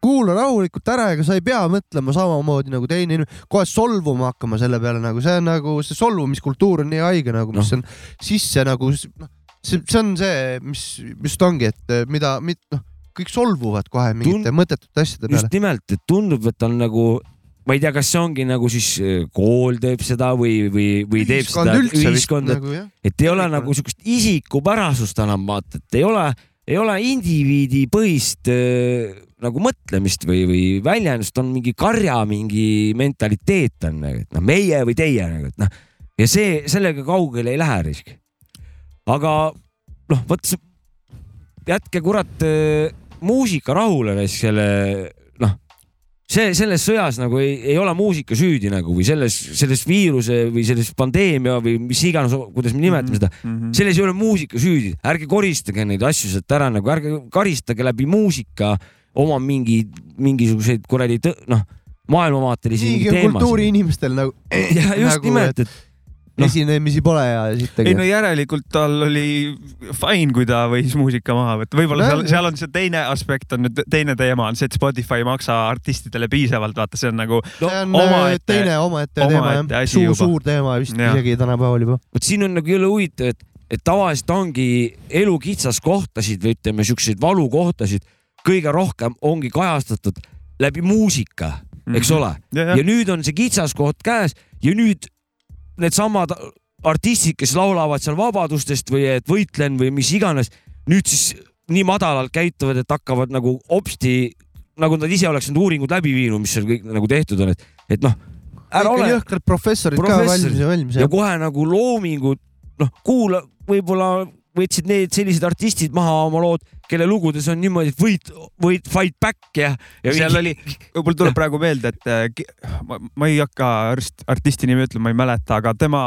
[SPEAKER 1] kuula rahulikult ära , ega sa ei pea mõtlema samamoodi nagu teine inimene , kohe solvuma hakkama selle peale nagu see on nagu see solvumiskultuur on nii haige nagu , mis on sisse nagu s- noh , see , see on see , mis just ongi , et eh, mida , noh , kõik solvuvad kohe mingite mõttetute asjade peale
[SPEAKER 3] just . nimelt , et tundub , et on nagu , ma ei tea , kas see ongi nagu siis eh, kool teeb seda või , või , või teeb seda ühiskond ,
[SPEAKER 1] nagu jah .
[SPEAKER 3] et ei ole nagu sihukest isikupärasust enam vaata , et ei ole , ei ole indiviidipõhist eh, nagu mõtlemist või , või väljendust , on mingi karja mingi mentaliteet on , et noh , meie või teie nagu , et noh ja see , sellega kaugele ei lähe risk . aga noh , vot see- jätke kurat eh, muusika rahule näiteks selle noh , see selles sõjas nagu ei , ei ole muusika süüdi nagu või selles , selles viiruse või selles pandeemia või mis iganes , kuidas me nimetame seda ,
[SPEAKER 2] seda .
[SPEAKER 3] selles ei ole muusika süüdi , ärge koristage neid asju sealt ära nagu , ärge karistage läbi muusika oma mingi , mingisuguseid kuradi tõ- noh , maailmavaatelisi
[SPEAKER 1] niigi on
[SPEAKER 3] teemasid .
[SPEAKER 1] kultuuriinimestel nagu
[SPEAKER 3] ja just
[SPEAKER 1] nagu,
[SPEAKER 3] nagu, nimelt , et
[SPEAKER 1] no. esinemisi pole ja siit
[SPEAKER 2] Noh. ei
[SPEAKER 1] tegi
[SPEAKER 2] no . järelikult tal oli fine , kui ta võis muusika maha võtta , võib-olla seal ,
[SPEAKER 1] Nojah.
[SPEAKER 2] seal on see teine aspekt on nüüd teine teema on see , et Spotify ei maksa artistidele piisavalt , vaata , see on nagu
[SPEAKER 1] see on
[SPEAKER 2] omaette-
[SPEAKER 1] omaette, teine omaette
[SPEAKER 2] omaette
[SPEAKER 1] teema jah ,
[SPEAKER 2] asi
[SPEAKER 1] suur ,
[SPEAKER 2] juba.
[SPEAKER 1] suur teema vist
[SPEAKER 2] Jah.
[SPEAKER 1] ja. isegi tänapäeval juba .
[SPEAKER 3] vot siin on nagu jõle huvitav , et , et tavaliselt ongi elu kitsaskohtasid või ütleme , siukseid valukohtasid kõige rohkem ongi kajastatud läbi muusika , eks ole .
[SPEAKER 2] ja,
[SPEAKER 3] ja nüüd on see kitsaskoht käes ja nüüd needsamad artistid , kes laulavad seal vabadustest või et võitlen või mis iganes , nüüd siis nii madalalt käituvad , et hakkavad nagu hopsti , nagu nad ise oleks need uuringud läbi viinud , mis seal kõik nagu tehtud on , et , et noh , ära ole
[SPEAKER 1] jõhkrad professorid ka
[SPEAKER 3] Professorid.
[SPEAKER 1] valmis ja valmis
[SPEAKER 3] ja
[SPEAKER 1] jah .
[SPEAKER 3] kohe nagu loomingud , noh , kuula , võib-olla võtsid need sellised artistid maha oma lood , kelle lugudes on niimoodi , et võit , võit , fight back ja , ja
[SPEAKER 2] seal oli , mul tuleb
[SPEAKER 3] Jah.
[SPEAKER 2] praegu meelde , et äh, ki- ma, ma ei hakka arst, artisti nimi ütlema , ma ei mäleta , aga tema ,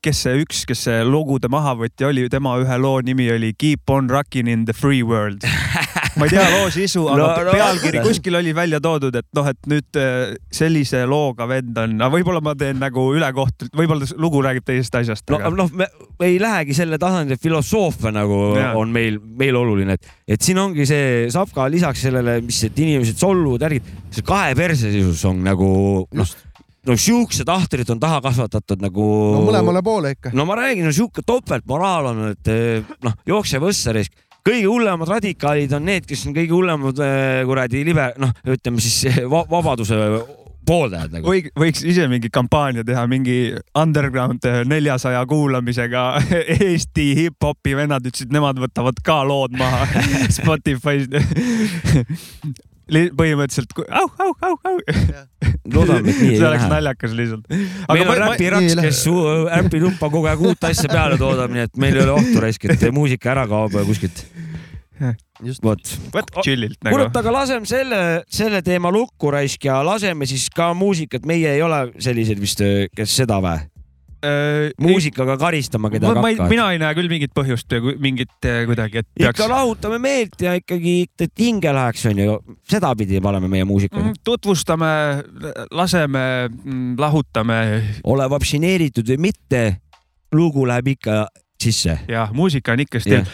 [SPEAKER 2] kes see üks , kes see lugude mahavõtja oli , tema ühe loo nimi oli Keep on rocking in the free world . ma ei tea loo sisu , aga
[SPEAKER 3] No, no.
[SPEAKER 2] no, pealkiri kuskil oli välja toodud , et noh , et nüüd äh, sellise looga vend on , võib-olla ma teen nagu ülekohtult , võib-olla s- lugu räägib teisest asjast
[SPEAKER 3] no,
[SPEAKER 2] no, , aga
[SPEAKER 3] noh , me me ei lähegi selle tasandi , et filosoofia nagu ja.
[SPEAKER 2] Jaa.
[SPEAKER 3] on meil , meil oluline , et , et siin ongi see Sapka lisaks sellele , mis , et inimesed solvuvad , värgid , see kahe perse sisus on nagu noh , no siuksed ahtrid on taha kasvatatud nagu
[SPEAKER 1] no mõlemale poole ikka .
[SPEAKER 3] no ma räägin , on sihuke topeltmoraal on , et eh, noh , jookse võssa risk . kõige hullemad radikaalid on need , kes on kõige hullemad eh, kuradi libe- , noh , ütleme siis eh, va vabaduse pooldajad nagu .
[SPEAKER 2] võiks , võiks ise mingi kampaania teha , mingi underground neljasaja kuulamisega Eesti hip-hopi vennad ütlesid , nemad võtavad ka lood maha Spotify'st . põhimõtteliselt ku- au , au , au , au .
[SPEAKER 3] loodame , et nii ei
[SPEAKER 2] see oleks
[SPEAKER 3] lähe .
[SPEAKER 2] naljakas lihtsalt .
[SPEAKER 3] meil
[SPEAKER 2] aga
[SPEAKER 3] on
[SPEAKER 2] ma ,
[SPEAKER 1] nii
[SPEAKER 3] räpiraks
[SPEAKER 1] ei , lähe.
[SPEAKER 3] kes su-
[SPEAKER 2] äh,
[SPEAKER 3] äpilumpa kogu aeg uut asja peale toodab , nii et meil ei ole ohtu raisk , et muusika ära kaob kuskilt . vot .
[SPEAKER 2] vot chillilt nagu
[SPEAKER 3] kurat ,. aga laseme selle , selle teema lukku raisk ja laseme siis ka muusikat , meie ei ole sellised vist , kes seda vä ? muusikaga karistama kedagi
[SPEAKER 2] Äh, ma ei ,
[SPEAKER 3] hakkavad .
[SPEAKER 2] mina ei näe küll mingit põhjust , mingit eh, kuidagi , et peaks
[SPEAKER 3] ikka lahutame meelt ja ikkagi , et hinge läheks , onju , sedapidi paneme meie muusikat .
[SPEAKER 2] Mm, tutvustame , laseme , lahutame
[SPEAKER 3] ole vaktsineeritud või mitte , lugu läheb ikka sisse .
[SPEAKER 2] ja muusika on ikka stiil .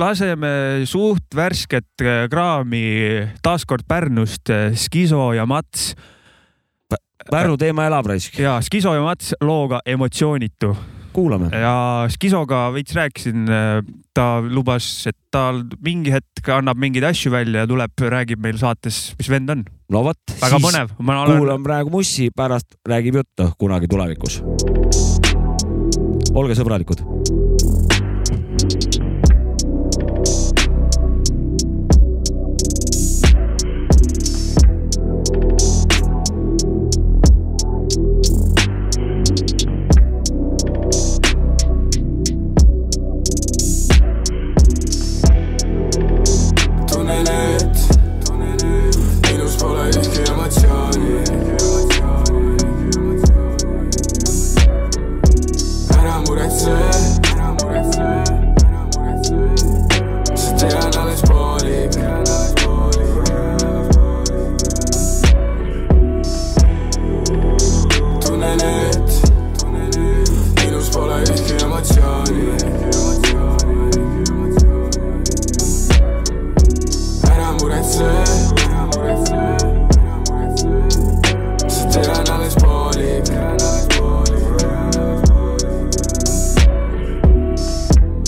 [SPEAKER 2] laseme suht värsket eh, kraami taaskord Pärnust , Skiso ja Mats
[SPEAKER 3] Pärnu teema elab raisk ,
[SPEAKER 2] ja Skiso ja Mats looga Emotsioonitu
[SPEAKER 3] kuulame .
[SPEAKER 2] ja Skisoga veits rääkisin , ta lubas , et ta mingi hetk annab mingeid asju välja ja tuleb , räägib meil saates , mis vend on .
[SPEAKER 3] no vot ,
[SPEAKER 2] väga
[SPEAKER 3] siis
[SPEAKER 2] põnev , ma olen ,
[SPEAKER 3] kuulan praegu Mussi , pärast räägib juttu kunagi tulevikus . olge sõbralikud .
[SPEAKER 6] tunnen , et minus pole ühtki emotsiooni . ära muretse , sa tead alles poolik . tunnen , et minus pole ühtki emotsiooni . Era muretse, era muretse, era muretse. Se te dan alles poolik,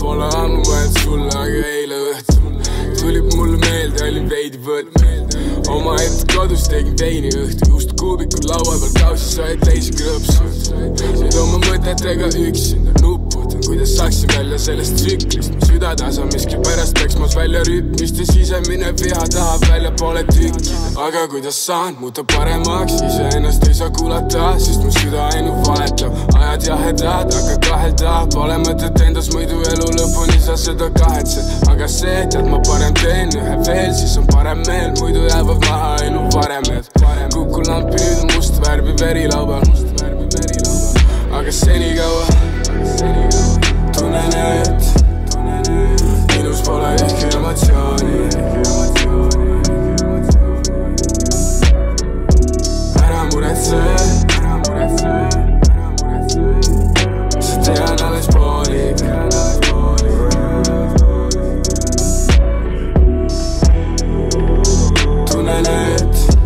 [SPEAKER 6] Pole ammu mõelnud sulle , aga eile õhtul tulid mulle meelde , olin veidi võlg . oma hetk kodus tegin teine õhtu , just kuubikud laua peal kausis , said teisi krõpsu . nüüd oma mõtetega üksinda nuputan , kuidas saaksin välja sellest tsüklist . südatasa miskipärast peaks ma välja rütmist ja sisemine viha tahab väljapoole tükkida . aga kuidas saan muuta paremaks , iseennast ei saa kuulata , sest mu süda ainult valetab . ajad jahedad , aga kahelda pole mõtet endas , muidu elu lõpuni sa seda kahetsed . aga see , tead , ma parem teen ühe veel , siis on parem meel , muidu jäävad maha ainult varemed . kuku lampi nüüd on must värvi verilauba . aga senikaua tunnen , et minus pole ehkki emotsiooni . ära muretse , ära muretse , ära muretse , sa tead alles poolik . tunnen , et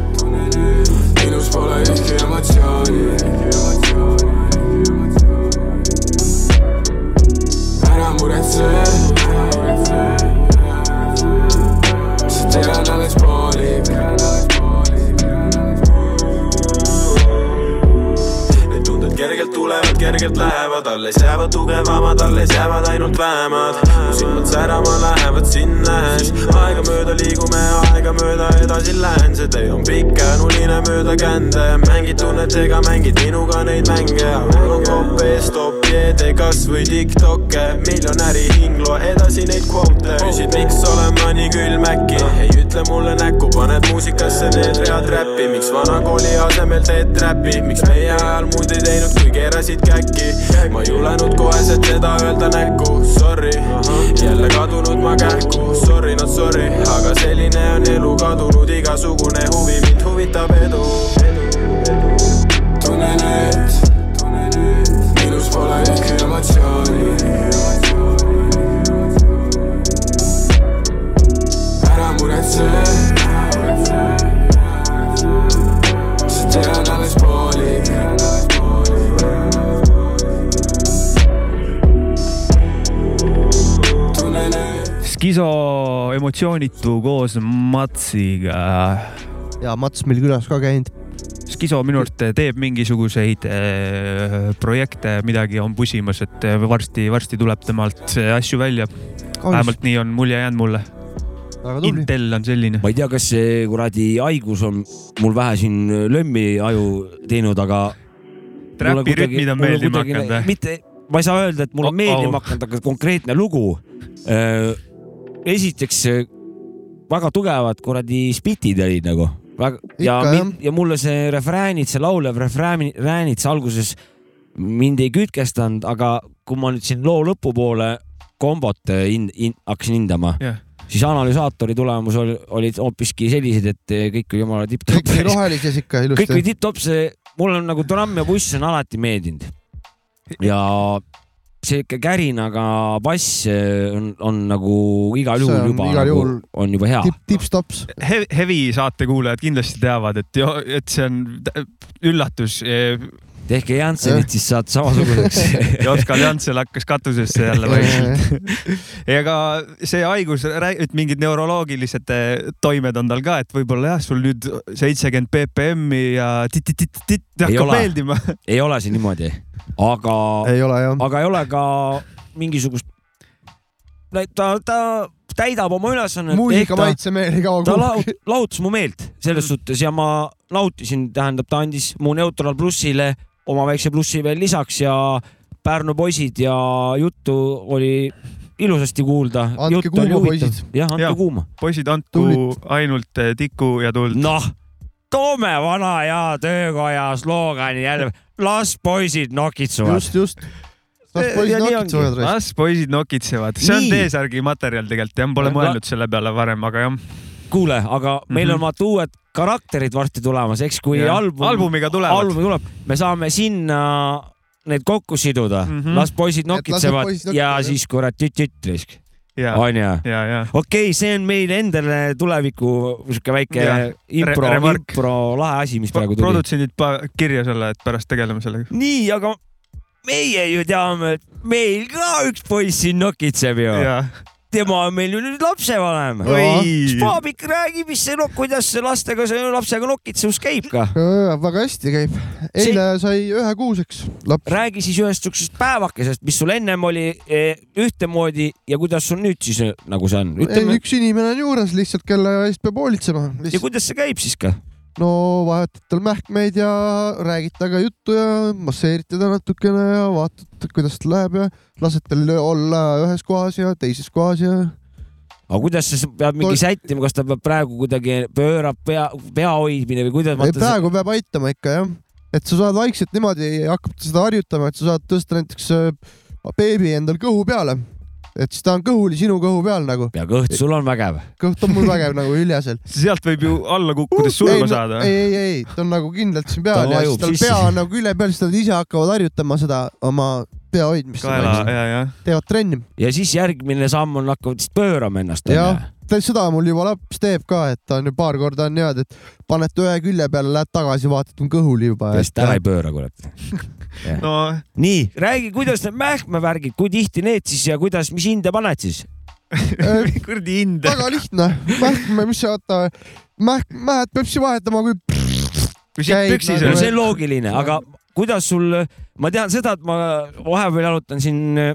[SPEAKER 6] minus pole ühtki emotsiooni . ära muretse , ära muretse , sa tead alles poolik .
[SPEAKER 7] Need tunded kergelt tulevad , kergelt lähevad , alles jäävad tugevamad , alles jäävad ainult vähemad . mu silmad särama lähevad sinna hästi , aegamööda liigume , aegamööda edasi lähen , see tee on pikk ja nuline mööda kände . mängid tunnetega , mängid minuga neid mänge , mul on kopp ees , top jeede kasvõi tiktokke , miljonäri hing , loe edasi neid kvoote . küsid , miks olen ma nii külm äkki , ei ütle mulle näkku , paned muusikasse need read räppi , miks vana kooli asemel teed trappi , miks meie ajal muud ei teinud , kui keerasid käkki . ma ei julenud koheselt seda öelda näkku , sorry , jälle kadunud ma kähku , sorry not sorry , aga selline on elu , kadunud igasugune huvi , mind huvitab edu, edu.
[SPEAKER 6] tunnen , et minus pole ühtki emotsiooni . ära muretse , sa tead alles poolik . tunnen , et
[SPEAKER 2] Skiso emotsioonitu koos Matsiga .
[SPEAKER 1] ja Mats meil külas ka käinud .
[SPEAKER 2] Skiso minu arust teeb mingisuguseid eh, projekte , midagi on pusimas , et varsti-varsti tuleb temalt eh, asju välja . vähemalt nii on mulje jäänud mulle .
[SPEAKER 1] väga tubli .
[SPEAKER 2] Intel on selline .
[SPEAKER 3] ma ei tea , kas see kuradi haigus on mul vähe siin lömmi aju teinud , aga .
[SPEAKER 2] Trapi rütmid on meeldima hakanud Oh-, või ?
[SPEAKER 3] mitte , ma ei saa öelda , et mulle
[SPEAKER 2] Oh-oh.
[SPEAKER 3] on meeldima hakanud , aga konkreetne lugu äh, esiteks äh, väga tugevad kuradi spitid olid nagu . ja
[SPEAKER 1] Ikka, ,
[SPEAKER 3] ja mulle see refräänid , see laulev refräänid , räänid see alguses mind ei kütkestanud , aga kui ma nüüd siin loo lõpupoole kombot äh, hin- , hin- hakkasin hindama ,
[SPEAKER 2] jah .
[SPEAKER 3] siis analüsaatori tulemus oli , olid hoopiski sellised , et äh, kõik oli jumala
[SPEAKER 1] kõik oli
[SPEAKER 3] tipp-topp .
[SPEAKER 1] rohelises ikka
[SPEAKER 3] kõik
[SPEAKER 1] ilusti
[SPEAKER 3] oli . tipp-topp , see , mulle on nagu tramm ja buss on alati meeldinud . ja see ikka kärinaga bass äh, on , on nagu igal
[SPEAKER 1] See
[SPEAKER 3] juhul
[SPEAKER 1] on
[SPEAKER 3] juba ,
[SPEAKER 1] igal
[SPEAKER 3] nagu,
[SPEAKER 1] juhul
[SPEAKER 3] on juba hea .
[SPEAKER 1] tipp , tipp-stops .
[SPEAKER 2] He- , Heavy saate kuulajad kindlasti teavad , et , et see on tä- üllatus .
[SPEAKER 3] tehke Jansenit , siis saate samasuguseks .
[SPEAKER 2] ja Oskar Jantsel hakkas katusesse jälle vaikselt . ega see haigus , et mingid neuroloogilised eh, toimed on tal ka , et võib-olla jah , sul nüüd seitsekümmend BPM-i ja titt-titt-titt
[SPEAKER 3] Ei
[SPEAKER 2] hakkab
[SPEAKER 3] ole.
[SPEAKER 2] meeldima .
[SPEAKER 3] ei ole see niimoodi , aga ,
[SPEAKER 1] ei ole jah .
[SPEAKER 3] aga ei ole ka mingisugust , ta , ta täidab oma ülesannet .
[SPEAKER 1] muusika maitse meil ei kao
[SPEAKER 3] ta
[SPEAKER 1] kuhugi .
[SPEAKER 3] laut- , lahutas mu meelt selles
[SPEAKER 1] Mm.
[SPEAKER 3] suhtes ja ma nautisin , tähendab , ta andis mu Neutral plussile oma väikse plussi veel lisaks ja Pärnu poisid ja juttu oli ilusasti kuulda .
[SPEAKER 1] Andke kuuma, poisid. .
[SPEAKER 3] jah , andke
[SPEAKER 2] Jah.
[SPEAKER 3] ja. kuuma .
[SPEAKER 2] poisid , andku
[SPEAKER 1] Tulid.
[SPEAKER 2] ainult eh, tiku ja tuld .
[SPEAKER 3] noh , toome vana hea töökoja slogani jälle , las poisid nokitsuvad .
[SPEAKER 1] just , just . las
[SPEAKER 2] Ja-
[SPEAKER 3] Eh,
[SPEAKER 2] ja
[SPEAKER 1] poisid
[SPEAKER 2] nii
[SPEAKER 1] nokitsevad raisk .
[SPEAKER 2] las poisid nokitsevad , see on
[SPEAKER 3] Nii.
[SPEAKER 2] T-särgi materjal tegelikult jah , pole
[SPEAKER 3] Ja-
[SPEAKER 2] mõelnud selle peale varem , aga jah .
[SPEAKER 3] kuule , aga meil
[SPEAKER 2] Mhm.
[SPEAKER 3] on vaata uued karakterid varsti tulemas , eks kui
[SPEAKER 2] Jah.
[SPEAKER 3] album ,
[SPEAKER 2] Albumiga tulevad.
[SPEAKER 3] album tuleb , me saame sinna need kokku siduda mm ,
[SPEAKER 2] Mhm.
[SPEAKER 3] -hmm. las poisid
[SPEAKER 1] las need
[SPEAKER 3] nokitsevad
[SPEAKER 1] poisid
[SPEAKER 3] ja
[SPEAKER 1] nokitsevad,
[SPEAKER 3] siis kurat tütt-tütt risk ,
[SPEAKER 2] ja ,
[SPEAKER 3] onju .
[SPEAKER 2] ja , ja
[SPEAKER 3] okei okay, , see on meil endale tuleviku sihuke väike
[SPEAKER 2] Jah.
[SPEAKER 3] impro
[SPEAKER 2] Re- , remark.
[SPEAKER 3] impro lahe asi , mis
[SPEAKER 2] Pro-
[SPEAKER 3] praegu tuli .
[SPEAKER 2] produtsendid pa- kirja selle , et pärast tegeleme sellega .
[SPEAKER 3] nii , aga meie ju teame , et meil ka üks poiss siin nokitseb ju ,
[SPEAKER 2] ja ,
[SPEAKER 3] tema on meil ju nüüd lapsevanem .
[SPEAKER 2] oi ,
[SPEAKER 3] Spaabik räägib , mis see , kuidas see lastega , see lapsega nokitsus käib ka .
[SPEAKER 1] Äh, väga hästi käib . eile sai ühe kuuseks laps .
[SPEAKER 3] räägi siis ühest siuksest päevakesest , mis sul ennem oli eh, ühtemoodi ja kuidas sul nüüd siis eh, nagu see on , ütleme
[SPEAKER 1] üks inimene on juures lihtsalt , kelle eest peab hoolitsema .
[SPEAKER 3] ja kuidas see käib siis ka ?
[SPEAKER 1] no vahetad tal mähkmeid ja räägid temaga juttu ja masseerid teda natukene ja vaatad , kuidas tal läheb ja lased tal olla ühes kohas ja teises kohas ja
[SPEAKER 3] aga kuidas see s- peab
[SPEAKER 1] Tol-
[SPEAKER 3] mingi sättima , kas ta peab praegu kuidagi pöörab pea , pea hoidmine või kuidas ?
[SPEAKER 1] ei , praegu peab aitama ikka jah , et sa saad vaikselt niimoodi , hakkab ta seda harjutama , et sa saad tõsta näiteks äh, beebi endal kõhu peale , et siis ta on kõhuli sinu kõhu peal nagu ,
[SPEAKER 3] ja kõht sul on vägev .
[SPEAKER 1] kõht on mul vägev nagu hüljasel .
[SPEAKER 2] sealt võib ju alla kukkudes surma saada .
[SPEAKER 1] ei , ei , ei , ta on nagu kindlalt siin peal
[SPEAKER 3] Ta
[SPEAKER 1] ja siis
[SPEAKER 3] vajub
[SPEAKER 1] tal
[SPEAKER 3] sisse.
[SPEAKER 1] pea on nagu külje peal , siis nad ise hakkavad harjutama seda oma pea hoidmist ,
[SPEAKER 2] kaela ja , ja ,
[SPEAKER 1] teevad trenni .
[SPEAKER 3] ja siis järgmine samm on , hakkavad siis pöörama ennast .
[SPEAKER 1] jah , seda mul juba laps teeb ka , et ta on ju paar korda on niimoodi , et paned ta ühe külje peale , lähed tagasi , vaatad , on kõhuli juba .
[SPEAKER 3] sest ära ei pööra , kurat .
[SPEAKER 2] no
[SPEAKER 3] nii , räägi , kuidas need mähkmevärgid , kui tihti need siis ja kuidas , mis hinde paned siis ?
[SPEAKER 2] kuradi hind .
[SPEAKER 1] Äh, väga lihtne , mähkme , mis see vaata , mähk , mähed peab siis vahetama , kui
[SPEAKER 2] kui siit
[SPEAKER 1] käib
[SPEAKER 2] püksis
[SPEAKER 1] nagu-
[SPEAKER 3] no
[SPEAKER 2] on
[SPEAKER 3] see on loogiline , aga kuidas sul , ma tean seda , et ma vahepeal jalutan siin äh,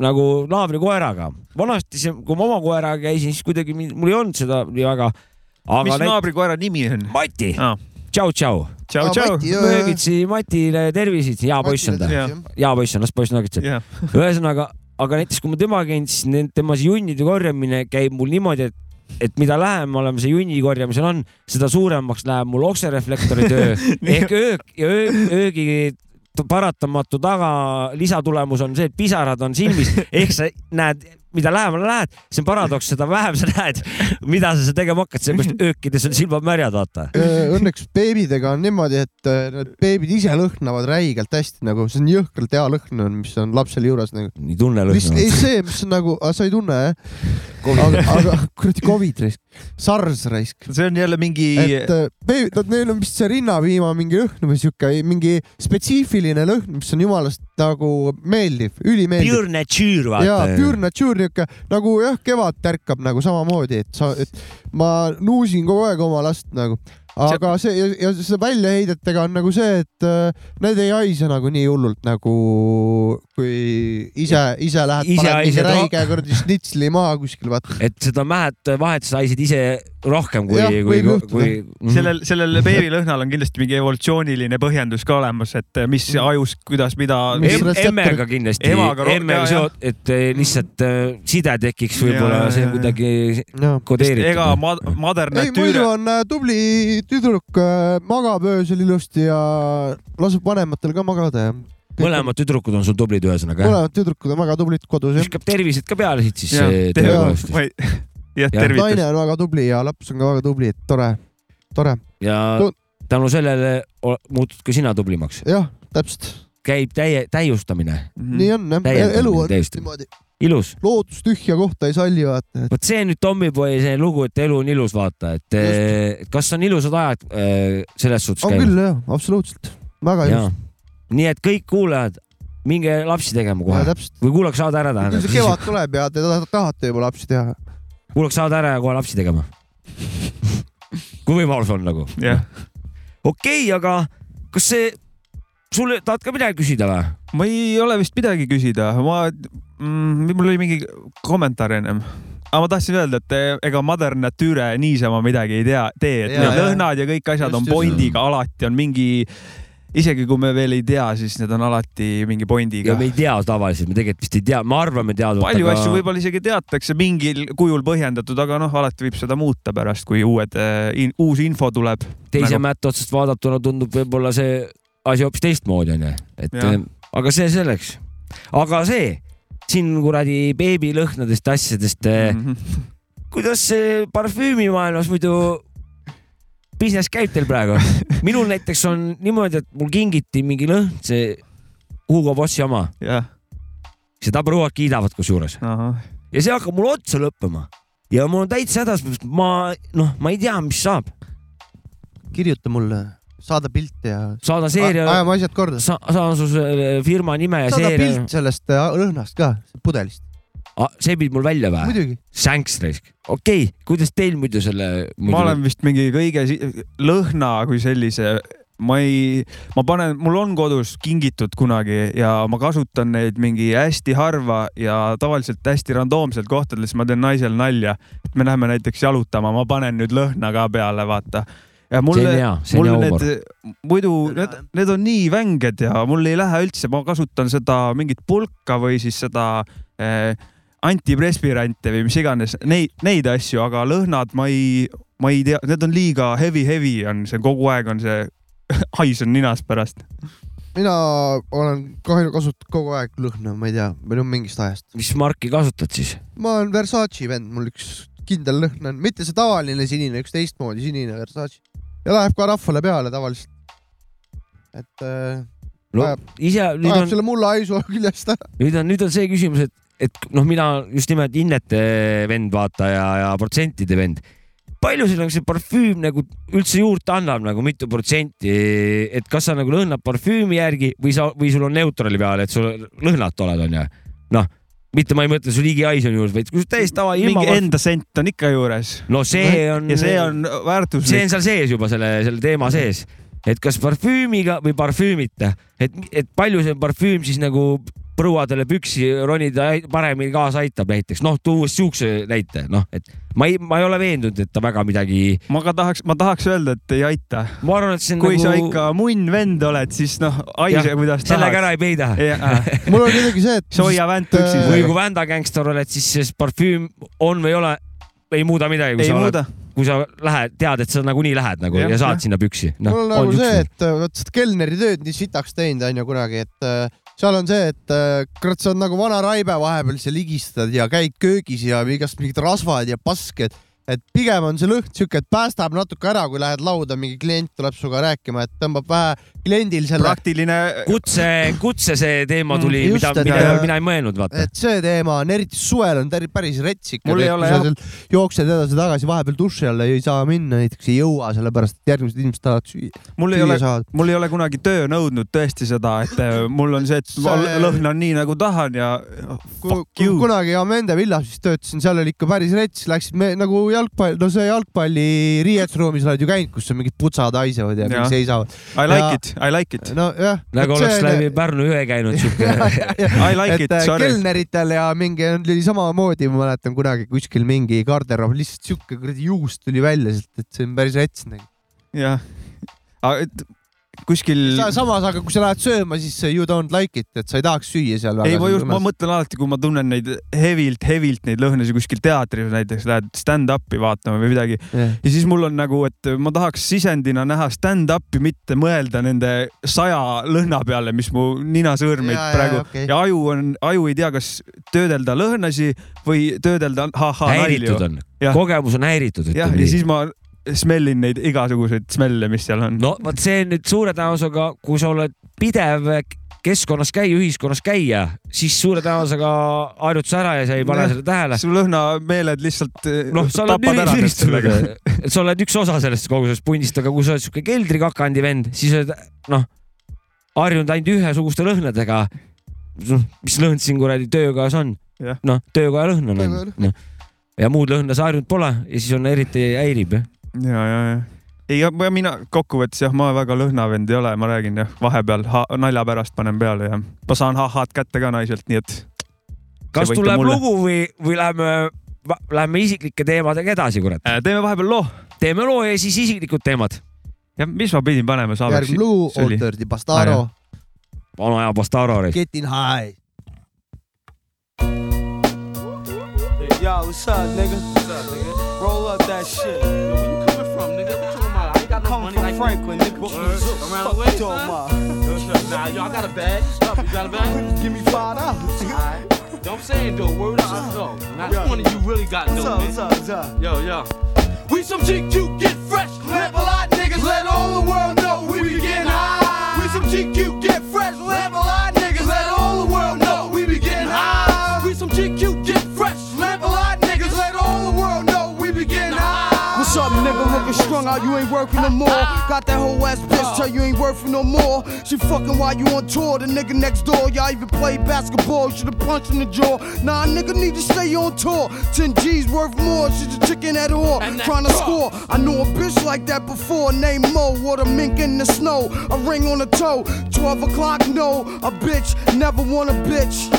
[SPEAKER 3] nagu naabrikoeraga . vanasti see , kui ma oma koeraga käisin , siis kuidagi mind- mul ei olnud seda nii väga .
[SPEAKER 2] mis
[SPEAKER 3] aga näiteks
[SPEAKER 2] naabrikoera nimi on ?
[SPEAKER 3] Mati
[SPEAKER 2] Aa. ,
[SPEAKER 3] tšau-tšau ,
[SPEAKER 2] tšau , tšau .
[SPEAKER 3] möögitsi Matile terviseid , hea poiss on ta ,
[SPEAKER 2] Jah.
[SPEAKER 3] hea poiss on , las poiss nokitseb .
[SPEAKER 2] jah ,
[SPEAKER 3] ühesõnaga , aga näiteks kui ma temaga käin , siis need- tema see junnide korjamine käib mul niimoodi , et et mida lähemal ma see junni korjamisel on , seda suuremaks läheb mul oksereflektori töö ehk öök ja öö, öögi t- paratamatu taga lisatulemus on see , et pisarad on silmis , ehk sa näed , mida lähemale lähed , see on paradoks , seda vähem sa näed , mida sa seal tegema hakkad , seepärast öökides on silmad märjad , vaata .
[SPEAKER 1] Äh, Õnneks beebidega on niimoodi , et äh, need beebid ise lõhnavad räigelt hästi nagu , see on jõhkralt hea lõhn on , mis on lapsel juures nagu .
[SPEAKER 3] nii tunne
[SPEAKER 1] lihtsalt ei
[SPEAKER 3] lõhnab .
[SPEAKER 1] see , mis on nagu , sa ei tunne jah ? aga , aga kuradi Covid raisk , SARS raisk .
[SPEAKER 2] see on jälle mingi ,
[SPEAKER 1] et
[SPEAKER 3] eh,
[SPEAKER 1] äh, beebid , neil on vist see rinnapiima mingi lõhn või siuke mingi spetsiifiline lõhn , mis on jumalast nagu meeldiv , ülimeeldiv .
[SPEAKER 3] Pure nature ,
[SPEAKER 1] ja
[SPEAKER 3] vaata .
[SPEAKER 1] Pure Nature niuke nagu jah , kevad tärkab nagu samamoodi , et sa , et ma nuusin kogu aeg oma last nagu , aga see ja, ja seda väljaheidetega on nagu see , et äh, need ei haise nagu nii hullult nagu kui ise , ise lähed ,
[SPEAKER 3] Ise
[SPEAKER 1] paned mingi
[SPEAKER 3] haised ro-
[SPEAKER 1] räige kuradi snitsli maha kuskil , vaata .
[SPEAKER 3] et seda mähet äh, vahetust saisid ise rohkem kui
[SPEAKER 1] Jah, ,
[SPEAKER 3] kui
[SPEAKER 1] võib , juhtuda.
[SPEAKER 3] kui . Mhm.
[SPEAKER 2] sellel , sellel beebilõhnal on kindlasti mingi evolutsiooniline põhjendus ka olemas , et eh, mis ajus , kuidas , mida .
[SPEAKER 1] Mhm. Mis retseptor-
[SPEAKER 3] emmega kindlasti ,
[SPEAKER 2] Emaga ro-
[SPEAKER 3] emmega
[SPEAKER 2] jaa,
[SPEAKER 3] seot- , et eh, lihtsalt eh, side tekiks võib-olla
[SPEAKER 2] Jaa, ,
[SPEAKER 3] see
[SPEAKER 2] jaa,
[SPEAKER 3] kuidagi
[SPEAKER 1] jaa .
[SPEAKER 3] kodeeritud .
[SPEAKER 2] ega ma- Mother
[SPEAKER 1] ei , muidu
[SPEAKER 2] Nature ,
[SPEAKER 1] on äh, tubli tüdruk , magab öösel ilusti ja laseb vanematel ka magada ja .
[SPEAKER 3] mõlemad tüdrukud on sul tublid , ühesõnaga jah ?
[SPEAKER 1] mõlemad tüdrukud on väga tublid kodus jah .
[SPEAKER 3] viskab tervised ka peale siit siis
[SPEAKER 2] Jah,
[SPEAKER 3] eh,
[SPEAKER 2] terve-
[SPEAKER 3] töökohast .
[SPEAKER 2] ma ei , jah ,
[SPEAKER 3] Jah.
[SPEAKER 2] tervitus
[SPEAKER 1] naine . on väga tubli ja laps on ka väga tubli , et tore , tore ,
[SPEAKER 3] ja
[SPEAKER 1] Tu-
[SPEAKER 3] tänu sellele o- muutud ka sina tublimaks .
[SPEAKER 1] jah , täpselt
[SPEAKER 3] käib täie , täiustamine ,
[SPEAKER 2] Mhm,
[SPEAKER 1] nii on jah ,
[SPEAKER 3] Täiendamine
[SPEAKER 1] elu on
[SPEAKER 3] täiesti.
[SPEAKER 1] niimoodi ,
[SPEAKER 3] ilus .
[SPEAKER 1] loodus tühja kohta ei salli vaata ,
[SPEAKER 3] vot see on nüüd Tommyboy see lugu , et elu on ilus , vaata , et eh, kas on ilusad ajad eh, selles suhtes
[SPEAKER 1] on küll jah , absoluutselt , väga ilus ,
[SPEAKER 3] Jaa. nii et kõik kuulajad , minge lapsi tegema kohe
[SPEAKER 1] täpselt .
[SPEAKER 3] või kuulake saade ära
[SPEAKER 1] küll see
[SPEAKER 3] tähendab ,
[SPEAKER 1] kevad tuleb ja te ta- tahate juba lapsi teha ,
[SPEAKER 3] kuulake saade ära ja kohe lapsi tegema . kui võimalus on nagu .
[SPEAKER 2] jah ,
[SPEAKER 3] okei okay, , aga kas see , sul , tahad ka midagi küsida või ?
[SPEAKER 2] ma ei ole vist midagi küsida , ma mm, , mul oli mingi kommentaar ennem . aga ma tahtsin öelda , et eh, ega Mother Nature niisama midagi ei tea , tee , et
[SPEAKER 1] Jaa,
[SPEAKER 2] need
[SPEAKER 1] jaa.
[SPEAKER 2] lõhnad ja kõik asjad
[SPEAKER 1] Just,
[SPEAKER 2] on
[SPEAKER 1] just.
[SPEAKER 2] poindiga , alati on mingi , isegi kui me veel ei tea , siis need on alati mingi
[SPEAKER 3] ja
[SPEAKER 2] poindiga
[SPEAKER 3] me . ei tea tavaliselt , me tegelikult vist ei tea , me arvame teadvat .
[SPEAKER 2] palju asju võib-olla isegi teatakse mingil kujul põhjendatud , aga noh , alati võib seda muuta pärast , kui uued eh, in, , uus info tuleb .
[SPEAKER 3] teise
[SPEAKER 2] nagu-
[SPEAKER 3] nagu... mätta otsast vaadatuna tundub võib-olla see asi hoopis teistmoodi onju , et
[SPEAKER 2] Jah.
[SPEAKER 3] ja. aga see selleks . aga see siin kuradi beebilõhnadest asjadest mm ,
[SPEAKER 2] Mhm.
[SPEAKER 3] -hmm. kuidas see parfüümimaailmas muidu business käib teil praegu ? minul näiteks on niimoodi , et mul kingiti mingi lõhn , see Hugo Bossi oma ,
[SPEAKER 2] jah ,
[SPEAKER 3] seda prouad kiidavad kusjuures
[SPEAKER 2] ahah ,
[SPEAKER 3] ja see hakkab mul otsa lõppema ja mul on täitsa hädas , ma noh , ma ei tea , mis saab ,
[SPEAKER 1] kirjuta mulle , saada pilte ja
[SPEAKER 3] saada seeria
[SPEAKER 1] ajame asjad korda ,
[SPEAKER 3] sa- , saan su selle firma nime ja
[SPEAKER 1] saada
[SPEAKER 3] seeria
[SPEAKER 1] pilt , sellest äh, lõhnast ka , pudelist ,
[SPEAKER 3] see pidi mul välja või ?
[SPEAKER 1] muidugi .
[SPEAKER 3] Sänks raisk , okei okay. , kuidas teil muidu selle ?
[SPEAKER 2] ma olen vist mingi kõige si- lõhna kui sellise , ma ei , ma panen , mul on kodus kingitud kunagi ja ma kasutan neid mingi hästi harva ja tavaliselt hästi randoomselt kohtades , ma teen naisel nalja , et me läheme näiteks jalutama , ma panen nüüd lõhna ka peale , vaata . ja
[SPEAKER 3] see on
[SPEAKER 2] mulle ,
[SPEAKER 3] hea , see on
[SPEAKER 2] mul
[SPEAKER 3] hea
[SPEAKER 2] need
[SPEAKER 3] huumor .
[SPEAKER 2] muidu need , need on nii vänged ja mul ei lähe üldse , ma kasutan seda mingit pulka või siis seda eh, antiprespirante või mis iganes neid , neid asju , aga lõhnad ma ei , ma ei tea , need on liiga heavy , heavy on see kogu aeg on see hais on ninas pärast .
[SPEAKER 1] mina olen kahju kasutanud kogu aeg lõhna , ma ei tea , meil on mingist ajast .
[SPEAKER 3] mis marki kasutad siis ?
[SPEAKER 1] ma olen Versace vend , mul üks kindel lõhn on , mitte see tavaline sinine , üks teistmoodi sinine Versace ja läheb ka rahvale peale tavaliselt . et äh,
[SPEAKER 3] no
[SPEAKER 1] Ajab-
[SPEAKER 3] ise , nüüd
[SPEAKER 1] ajab
[SPEAKER 3] on ,
[SPEAKER 1] selle mulla haisu küljest ära .
[SPEAKER 3] nüüd on , nüüd on see küsimus , et , et noh , mina just nimelt hinnete vend vaata ja , ja protsentide vend . palju sul nagu see parfüüm nagu üldse juurde annab nagu mitu protsenti , et kas sa nagu lõhnad parfüümi järgi või sa , või sul on neutrali peal , et sul lõhnatu oled , onju . noh , mitte ma ei mõtle su ligihais on juures , vaid kui sul täiesti tava ilma
[SPEAKER 2] mingi . enda sent on ikka juures .
[SPEAKER 3] no see on ,
[SPEAKER 2] ja see on
[SPEAKER 3] see
[SPEAKER 2] väärtuslik .
[SPEAKER 3] on seal sees juba selle , selle
[SPEAKER 2] Mhm.
[SPEAKER 3] teema sees , et kas parfüümiga või parfüümita , et , et palju see parfüüm siis nagu prouadele püksi ronida ai- paremini kaasa aitab näiteks , noh , tuues siukse näite , noh , et ma ei , ma ei ole veendunud , et ta väga midagi ,
[SPEAKER 2] ma ka tahaks , ma tahaks öelda , et ei aita .
[SPEAKER 3] ma arvan , et see on
[SPEAKER 2] kui
[SPEAKER 3] nagu
[SPEAKER 2] sa ikka munn vend oled , siis noh , haise
[SPEAKER 3] Jah,
[SPEAKER 2] kuidas
[SPEAKER 3] sellega
[SPEAKER 2] tahad .
[SPEAKER 3] ära ei peida .
[SPEAKER 1] mul on kuidagi see , et
[SPEAKER 2] soia vänt üksis .
[SPEAKER 3] või kui vändagängstar oled , siis see parfüüm on või ei ole , ei muuda midagi , kui
[SPEAKER 2] ei
[SPEAKER 3] sa oled ,
[SPEAKER 2] muuda .
[SPEAKER 3] kui sa lähed , tead , et sa nagunii lähed nagu ja,
[SPEAKER 2] Jah,
[SPEAKER 3] ja saad
[SPEAKER 2] jah.
[SPEAKER 3] sinna püksi . Noh,
[SPEAKER 2] Noh,
[SPEAKER 1] mul on nagu see , et äh, vot seda kelneri tööd nii sitaks teinud onju kunagi , et äh, seal on see , et äh, kurat , sa oled nagu vana raibe vahepeal , sa ligistad ja käid köögis ja igast mingid rasvad ja pasked , et pigem on see lõhn siuke , et päästab natuke ära , kui lähed lauda , mingi klient tuleb sinuga rääkima , et tõmbab vähe kliendil selle ,
[SPEAKER 2] praktiline .
[SPEAKER 3] kutse , kutse see teema tuli
[SPEAKER 1] Mm, ,
[SPEAKER 3] mida
[SPEAKER 1] just, , et-
[SPEAKER 3] mida ja. mina ei mõelnud , vaata .
[SPEAKER 1] et see teema on eriti suvel on täri- päris retsik .
[SPEAKER 2] Mul ei ole jah.
[SPEAKER 1] jooksed edasi-tagasi , vahepeal duši alla ei saa minna , näiteks ei jõua , sellepärast et järgmised inimesed tahavad süüa ,
[SPEAKER 2] mul ei ole
[SPEAKER 1] süüa , saada .
[SPEAKER 2] mul ei ole kunagi töö nõudnud tõesti seda , et eh, mul on see , et ma
[SPEAKER 1] See-
[SPEAKER 2] lõhn on nii nagu tahan ja
[SPEAKER 1] kui,
[SPEAKER 2] fuck
[SPEAKER 1] kui
[SPEAKER 2] you .
[SPEAKER 1] kunagi Amende villas siis töötasin , seal oli ikka päris rets , läksid me nagu jalgpall , no see jalgpalli riietusruumis oled ju käinud , kus on mingid putsad haisevad ja, ja.
[SPEAKER 2] Jah.
[SPEAKER 1] kõik seisavad .
[SPEAKER 2] I like
[SPEAKER 1] Ja-
[SPEAKER 2] it , I like it ,
[SPEAKER 1] nojah .
[SPEAKER 3] nagu oleks läbi Pärnu jõe käinud siuke .
[SPEAKER 2] I like
[SPEAKER 1] et
[SPEAKER 2] it ,
[SPEAKER 1] äh,
[SPEAKER 2] sorry .
[SPEAKER 1] kelneritel ja mingi oli samamoodi , ma mäletan kunagi kuskil mingi garderoob , lihtsalt siuke kuradi juust tuli välja sealt , et see on päris rets nagu .
[SPEAKER 2] jah . kuskil ,
[SPEAKER 1] samas , aga kui sa lähed sööma , siis see you don't like it , et sa ei tahaks süüa seal .
[SPEAKER 2] ei ma just , ma mõtlen alati , kui ma tunnen neid hevilt , hevilt neid lõhnasid kuskil teatris näiteks lähed stand-up'i vaatama või midagi
[SPEAKER 1] mõtlen .
[SPEAKER 2] ja siis mul on nagu , et ma tahaks sisendina näha stand-up'i , mitte mõelda nende saja lõhna peale , mis mu ninasõõrmeid
[SPEAKER 1] Ja, ja,
[SPEAKER 2] praegu ja,
[SPEAKER 1] okei.
[SPEAKER 2] okay. ja aju on , aju ei tea , kas töödelda lõhnasi või töödelda ha-ha nalju
[SPEAKER 3] häiritud . on ,
[SPEAKER 2] Jah.
[SPEAKER 3] kogemus on häiritud ,
[SPEAKER 2] jah ,
[SPEAKER 3] ütleme
[SPEAKER 2] ja
[SPEAKER 3] nii .
[SPEAKER 2] siis ma smellin neid igasuguseid smelle , mis seal on .
[SPEAKER 3] no vot see on nüüd suure tõenäosusega , kui sa oled pidev keskkonnas käia , ühiskonnas käia , siis suure tõenäosusega harjud sa ära ja sa ei pane
[SPEAKER 2] Nojah.
[SPEAKER 3] seda tähele .
[SPEAKER 2] su lõhnameeled lihtsalt äh,
[SPEAKER 3] noh , sa oled
[SPEAKER 2] tapad ära nüüd sellega .
[SPEAKER 3] ülistunud , sa oled üks osa sellest kogu sellest pundist , aga kui sa oled siuke keldrikakandi vend , siis oled noh , harjunud ainult ühesuguste lõhnadega . mis lõhn siin kuradi töökojas on
[SPEAKER 2] Jah. ?
[SPEAKER 3] noh , töökoja lõhn on
[SPEAKER 1] Töökoja
[SPEAKER 3] ainult , noh . ja muud lõhna sa harjunud pole ja siis on eriti häirib jah .
[SPEAKER 2] ja , ja , ja ei , ma mina kokkuvõttes jah , ma väga lõhnavend ei ole , ma räägin jah , vahepeal ha, nalja pärast panen peale ja ma saan ha-ha-d kätte ka naiselt , nii et
[SPEAKER 3] kas
[SPEAKER 2] võite
[SPEAKER 3] tuleb
[SPEAKER 2] mulle.
[SPEAKER 3] lugu või , või läheme , läheme isiklike teemadega edasi , kurat .
[SPEAKER 2] äh, teeme vahepeal loo .
[SPEAKER 3] teeme loo ja siis isiklikud teemad .
[SPEAKER 2] ja mis ma pidin panema saabeks
[SPEAKER 1] järgmine ? lugu ,
[SPEAKER 2] see oli- Ah,
[SPEAKER 1] Old Dirty Bastardo ,
[SPEAKER 3] vana aja Bastaro .
[SPEAKER 1] Getting High .
[SPEAKER 8] Yo, what's up, nigga? What's up, nigga? Roll up that shit. Yo, where you coming from, nigga? What you talking about? I ain't got no Coming from Franklin, nigga. Word. Around the way, son. Nah, y'all got a bag. Stop, you got a bag? Give me five dollars. Alright. Don't say it, though. Word up, though. Not one of you really got no, up, what's up, what's up? Yo, yo. We some GQ, get fresh. Live a lot, niggas. Let all the world know we be getting high. We some GQ, get fresh. Live a lot, niggas. Let all the world know we be getting high. We some GQ, get fresh. Live a lot, niggas. Let all the world know we be getting high.
[SPEAKER 9] What's up, nigga? Looking strung out, you ain't working no more. Got that whole ass bitch, tell you ain't working no more. She fucking while you on tour, the nigga next door. Y'all even play basketball, should've punched in the jaw. Nah, nigga need to stay on tour. 10 G's worth more, she's a chicken at all. Trying to score. I knew a bitch like that before, named Mo. What a mink in the snow, a ring on the toe. 12 o'clock, no, a bitch, never want a bitch.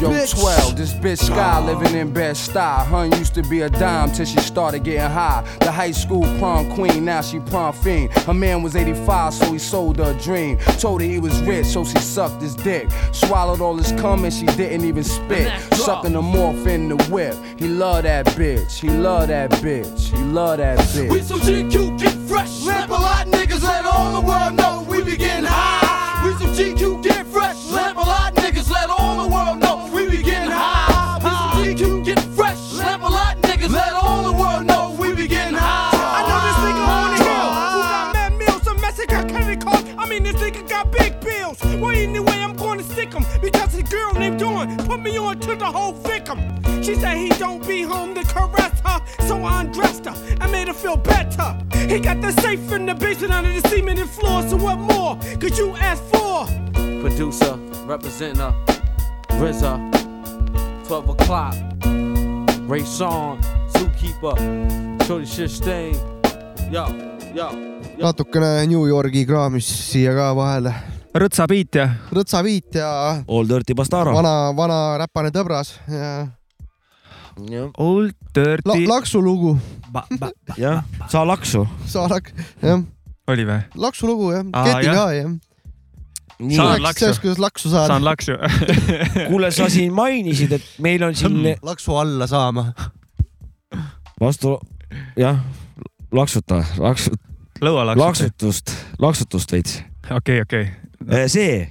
[SPEAKER 8] Yo,
[SPEAKER 9] Bitch.
[SPEAKER 8] 12, this bitch Sky living in bed style. Hun used to be a dime till she started getting high. The high school prom queen, now she prom fiend. Her man was 85, so he sold her a dream. Told her he was rich, so she sucked his dick. Swallowed all his cum and she didn't even spit. Sucking the morph in the whip. He love that bitch, he love that bitch, he love that bitch.
[SPEAKER 9] We some GQ, get fresh. Let a lot niggas let all the world know we be getting high. We some GQ, get fresh. Let a lot niggas let all the world know we be getting high. We some GQ, get fresh. Let a lot niggas let all the world know we be getting high. I know this nigga on the hill who got mad meals, some Mexican credit card. I mean this nigga got big bills. Well anyway I'm going to stick him because the girl named Dawn put me on to the whole victim. She said he don't be home to caress her, so I undressed her and made her feel better. He got the safe in the basement under the cemented floor, so what more could you ask for?
[SPEAKER 8] producer, representing her, RZA, 12 o'clock, Ray Song, Zookeeper, Shorty Shit Stain, yo, yo.
[SPEAKER 1] natukene New Yorgi kraamis siia ka vahele .
[SPEAKER 2] rõtsa biit ja
[SPEAKER 1] rõtsaviit ja
[SPEAKER 2] Ah.
[SPEAKER 3] Old Dirty Bastaro .
[SPEAKER 1] vana , vana räpane tõbras ja
[SPEAKER 2] Old
[SPEAKER 1] La,
[SPEAKER 2] Dirty .
[SPEAKER 1] laksu lugu ,
[SPEAKER 3] jah , saa laksu .
[SPEAKER 1] sa lak- , jah ,
[SPEAKER 2] oli või ?
[SPEAKER 1] laksu lugu jah ,
[SPEAKER 2] Aa,
[SPEAKER 1] Getting
[SPEAKER 2] Ah, jah.
[SPEAKER 1] High jah .
[SPEAKER 3] nii
[SPEAKER 2] Saan
[SPEAKER 1] rääkis
[SPEAKER 2] laksu.
[SPEAKER 1] sellest , kuidas laksu saada
[SPEAKER 2] saan . laksu .
[SPEAKER 3] kuule , sa siin mainisid , et meil on siin
[SPEAKER 1] laksu alla saama .
[SPEAKER 3] vastu , jah , laksuta , laksu ,
[SPEAKER 2] lõualaksu .
[SPEAKER 3] laksutust , laksutust veits .
[SPEAKER 2] okei , okei .
[SPEAKER 3] see ,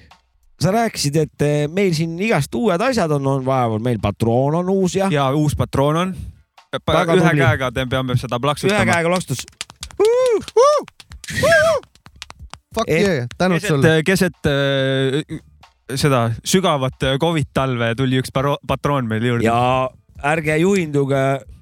[SPEAKER 3] sa rääkisid , et eh, meil siin igast uued asjad on , on vaja , meil patroon on uus ja,
[SPEAKER 2] ja
[SPEAKER 3] ja
[SPEAKER 2] uus patroon on .
[SPEAKER 3] Väga
[SPEAKER 2] ühe
[SPEAKER 3] tubli.
[SPEAKER 2] käega te peame seda
[SPEAKER 3] ühe
[SPEAKER 2] plaksutama .
[SPEAKER 3] käega lakstus .
[SPEAKER 1] Fuck
[SPEAKER 3] Et-
[SPEAKER 1] yeah , tänud sulle .
[SPEAKER 2] Eh, keset , keset äh, seda sügavat äh, Covid talve tuli üks paro- patroon meil juurde .
[SPEAKER 3] ja ärge juhinduge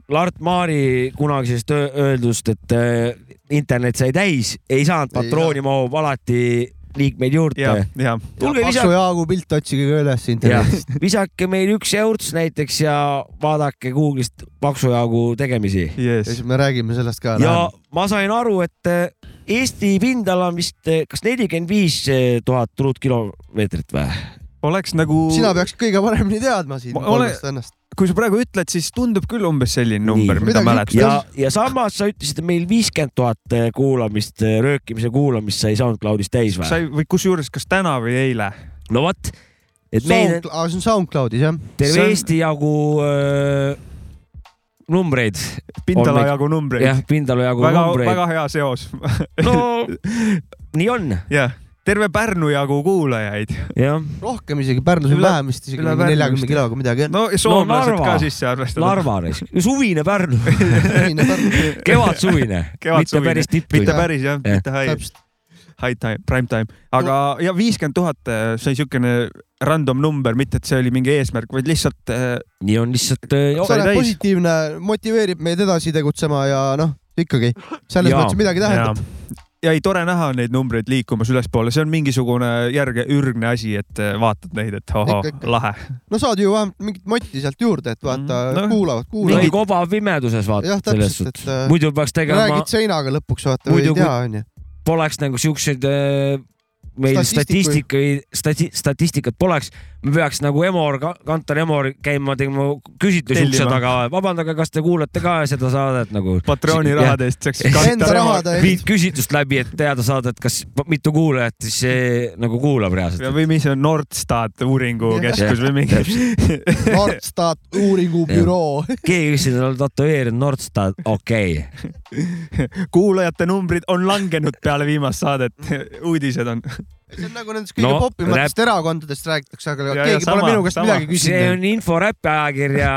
[SPEAKER 3] Lart Maari kunagisest öö- öeldust , et eh, internet sai täis , ei saanud
[SPEAKER 1] Ei
[SPEAKER 3] patrooni , mahub alati liikmeid
[SPEAKER 2] ja
[SPEAKER 3] juurde ,.
[SPEAKER 2] ja
[SPEAKER 3] tulge
[SPEAKER 1] Paksu
[SPEAKER 3] lisaks
[SPEAKER 1] Jaagu pilt otsige ka üles
[SPEAKER 3] jah
[SPEAKER 1] internetist .,
[SPEAKER 3] visake meil üks eurts näiteks ja vaadake Google'ist paksu jagu tegemisi .
[SPEAKER 1] ja
[SPEAKER 2] yes.
[SPEAKER 1] siis . me räägime sellest ka .
[SPEAKER 3] ja ma sain aru , et eh, Eesti pindala on vist eh, kas nelikümmend viis eh, tuhat ruutkilomeetrit või ?
[SPEAKER 2] oleks nagu ,
[SPEAKER 1] sina peaksid kõige paremini teadma siin
[SPEAKER 2] Ma- ole-
[SPEAKER 1] kolmest ennast .
[SPEAKER 2] kui sa praegu ütled , siis tundub küll umbes selline
[SPEAKER 3] Nii.
[SPEAKER 2] number , mida
[SPEAKER 1] Midagi
[SPEAKER 2] mäletad .
[SPEAKER 3] ja , ja samas sa ütlesid , et meil viiskümmend tuhat eh, kuulamist , röökimise kuulamist sai SoundCloudis täis või ?
[SPEAKER 2] sai või kusjuures , kas täna või eile ?
[SPEAKER 3] no vot , et meil on
[SPEAKER 1] Sound , aa see on SoundCloudis jah ?
[SPEAKER 3] terve
[SPEAKER 2] see on-
[SPEAKER 3] on... Eesti jagu äh, numbreid ,
[SPEAKER 2] pindala
[SPEAKER 3] On meil-
[SPEAKER 2] jagu numbreid .
[SPEAKER 3] jah , pindala jagu
[SPEAKER 2] väga ,
[SPEAKER 3] numbreid .
[SPEAKER 2] väga hea seos .
[SPEAKER 3] no nii on ,
[SPEAKER 2] jah , terve Pärnu jagu kuulajaid .
[SPEAKER 3] jah .
[SPEAKER 1] rohkem isegi , Pärnus on
[SPEAKER 2] Üle-
[SPEAKER 1] vähem vist isegi
[SPEAKER 2] üle
[SPEAKER 1] mingi neljakümne
[SPEAKER 2] Pärnust,
[SPEAKER 1] kiloga midagi on .
[SPEAKER 2] no ja soomlased
[SPEAKER 3] Narva.
[SPEAKER 2] ka sisse arvestada .
[SPEAKER 3] Narva , suvine Pärnu , kevadsuvine , mitte
[SPEAKER 2] Kevadsuvine.
[SPEAKER 3] päris tipptund
[SPEAKER 2] mitte . päris jah ,
[SPEAKER 3] Jah.
[SPEAKER 2] mitte high ,
[SPEAKER 1] täpselt ,
[SPEAKER 2] high time , prime time , aga ja viiskümmend tuhat , see oli siukene random number , mitte et see oli mingi eesmärk , vaid lihtsalt äh,
[SPEAKER 3] nii on lihtsalt äh,
[SPEAKER 2] sai
[SPEAKER 1] see
[SPEAKER 2] täis.
[SPEAKER 1] on noh, positiivne , motiveerib meid edasi tegutsema ja noh , ikkagi selles
[SPEAKER 3] Jaa.
[SPEAKER 1] mõttes midagi
[SPEAKER 2] ja,
[SPEAKER 1] tähendab .
[SPEAKER 2] ja ei tore näha neid numbreid liikumas ülespoole , see on mingisugune järge , ürgne asi , et äh, vaatad neid , et ohoh
[SPEAKER 1] Ikka, , ikka.
[SPEAKER 2] lahe .
[SPEAKER 1] no saad ju vähemalt mingit motti sealt juurde , et vaata
[SPEAKER 2] Mm, no.
[SPEAKER 1] kuulavad ,
[SPEAKER 3] noh. mingi
[SPEAKER 1] kuulavad .
[SPEAKER 3] koba pimeduses vaata
[SPEAKER 1] jah ,
[SPEAKER 3] selles
[SPEAKER 1] täpselt ,
[SPEAKER 3] suhtes
[SPEAKER 1] et . äh,
[SPEAKER 3] muidu peaks tegema
[SPEAKER 1] räägid , seinaga lõpuks vaata või
[SPEAKER 3] Muidu
[SPEAKER 1] ei tea onju .
[SPEAKER 3] poleks nagu siukseid äh, meil
[SPEAKER 1] Statistiku-
[SPEAKER 3] statistikaid , stati- , statistikat poleks , me peaks nagu Emor , Kantar Emor käima tegema küsitlusi ukse
[SPEAKER 2] Tellima.
[SPEAKER 3] taga , vabandage , kas te kuulate ka seda saadet nagu ?
[SPEAKER 2] Patrooni
[SPEAKER 3] Jah.
[SPEAKER 2] rahade eest saaks
[SPEAKER 1] Enda rahade
[SPEAKER 3] viid
[SPEAKER 1] eest ,
[SPEAKER 3] küsitlust läbi , et teada saada , et kas mitu kuulajat siis eh, nagu kuulab reaalselt .
[SPEAKER 2] või mis see on , Nordstat uuringukeskus või mingi .
[SPEAKER 1] Nordstat uuringubüroo .
[SPEAKER 3] keegi , kes on tätoveerinud Nordstat , okei okay. ,
[SPEAKER 2] kuulajate numbrid on langenud peale viimast saadet , uudised on .
[SPEAKER 1] see on nagu nendest kõige
[SPEAKER 3] No,
[SPEAKER 1] popimatest erakondadest räägitakse , aga
[SPEAKER 2] Ja- ja
[SPEAKER 1] keegi pole
[SPEAKER 2] sama-
[SPEAKER 1] minu käest
[SPEAKER 2] sama.
[SPEAKER 1] midagi
[SPEAKER 3] see
[SPEAKER 1] küsinud .
[SPEAKER 3] on info räpiajakirja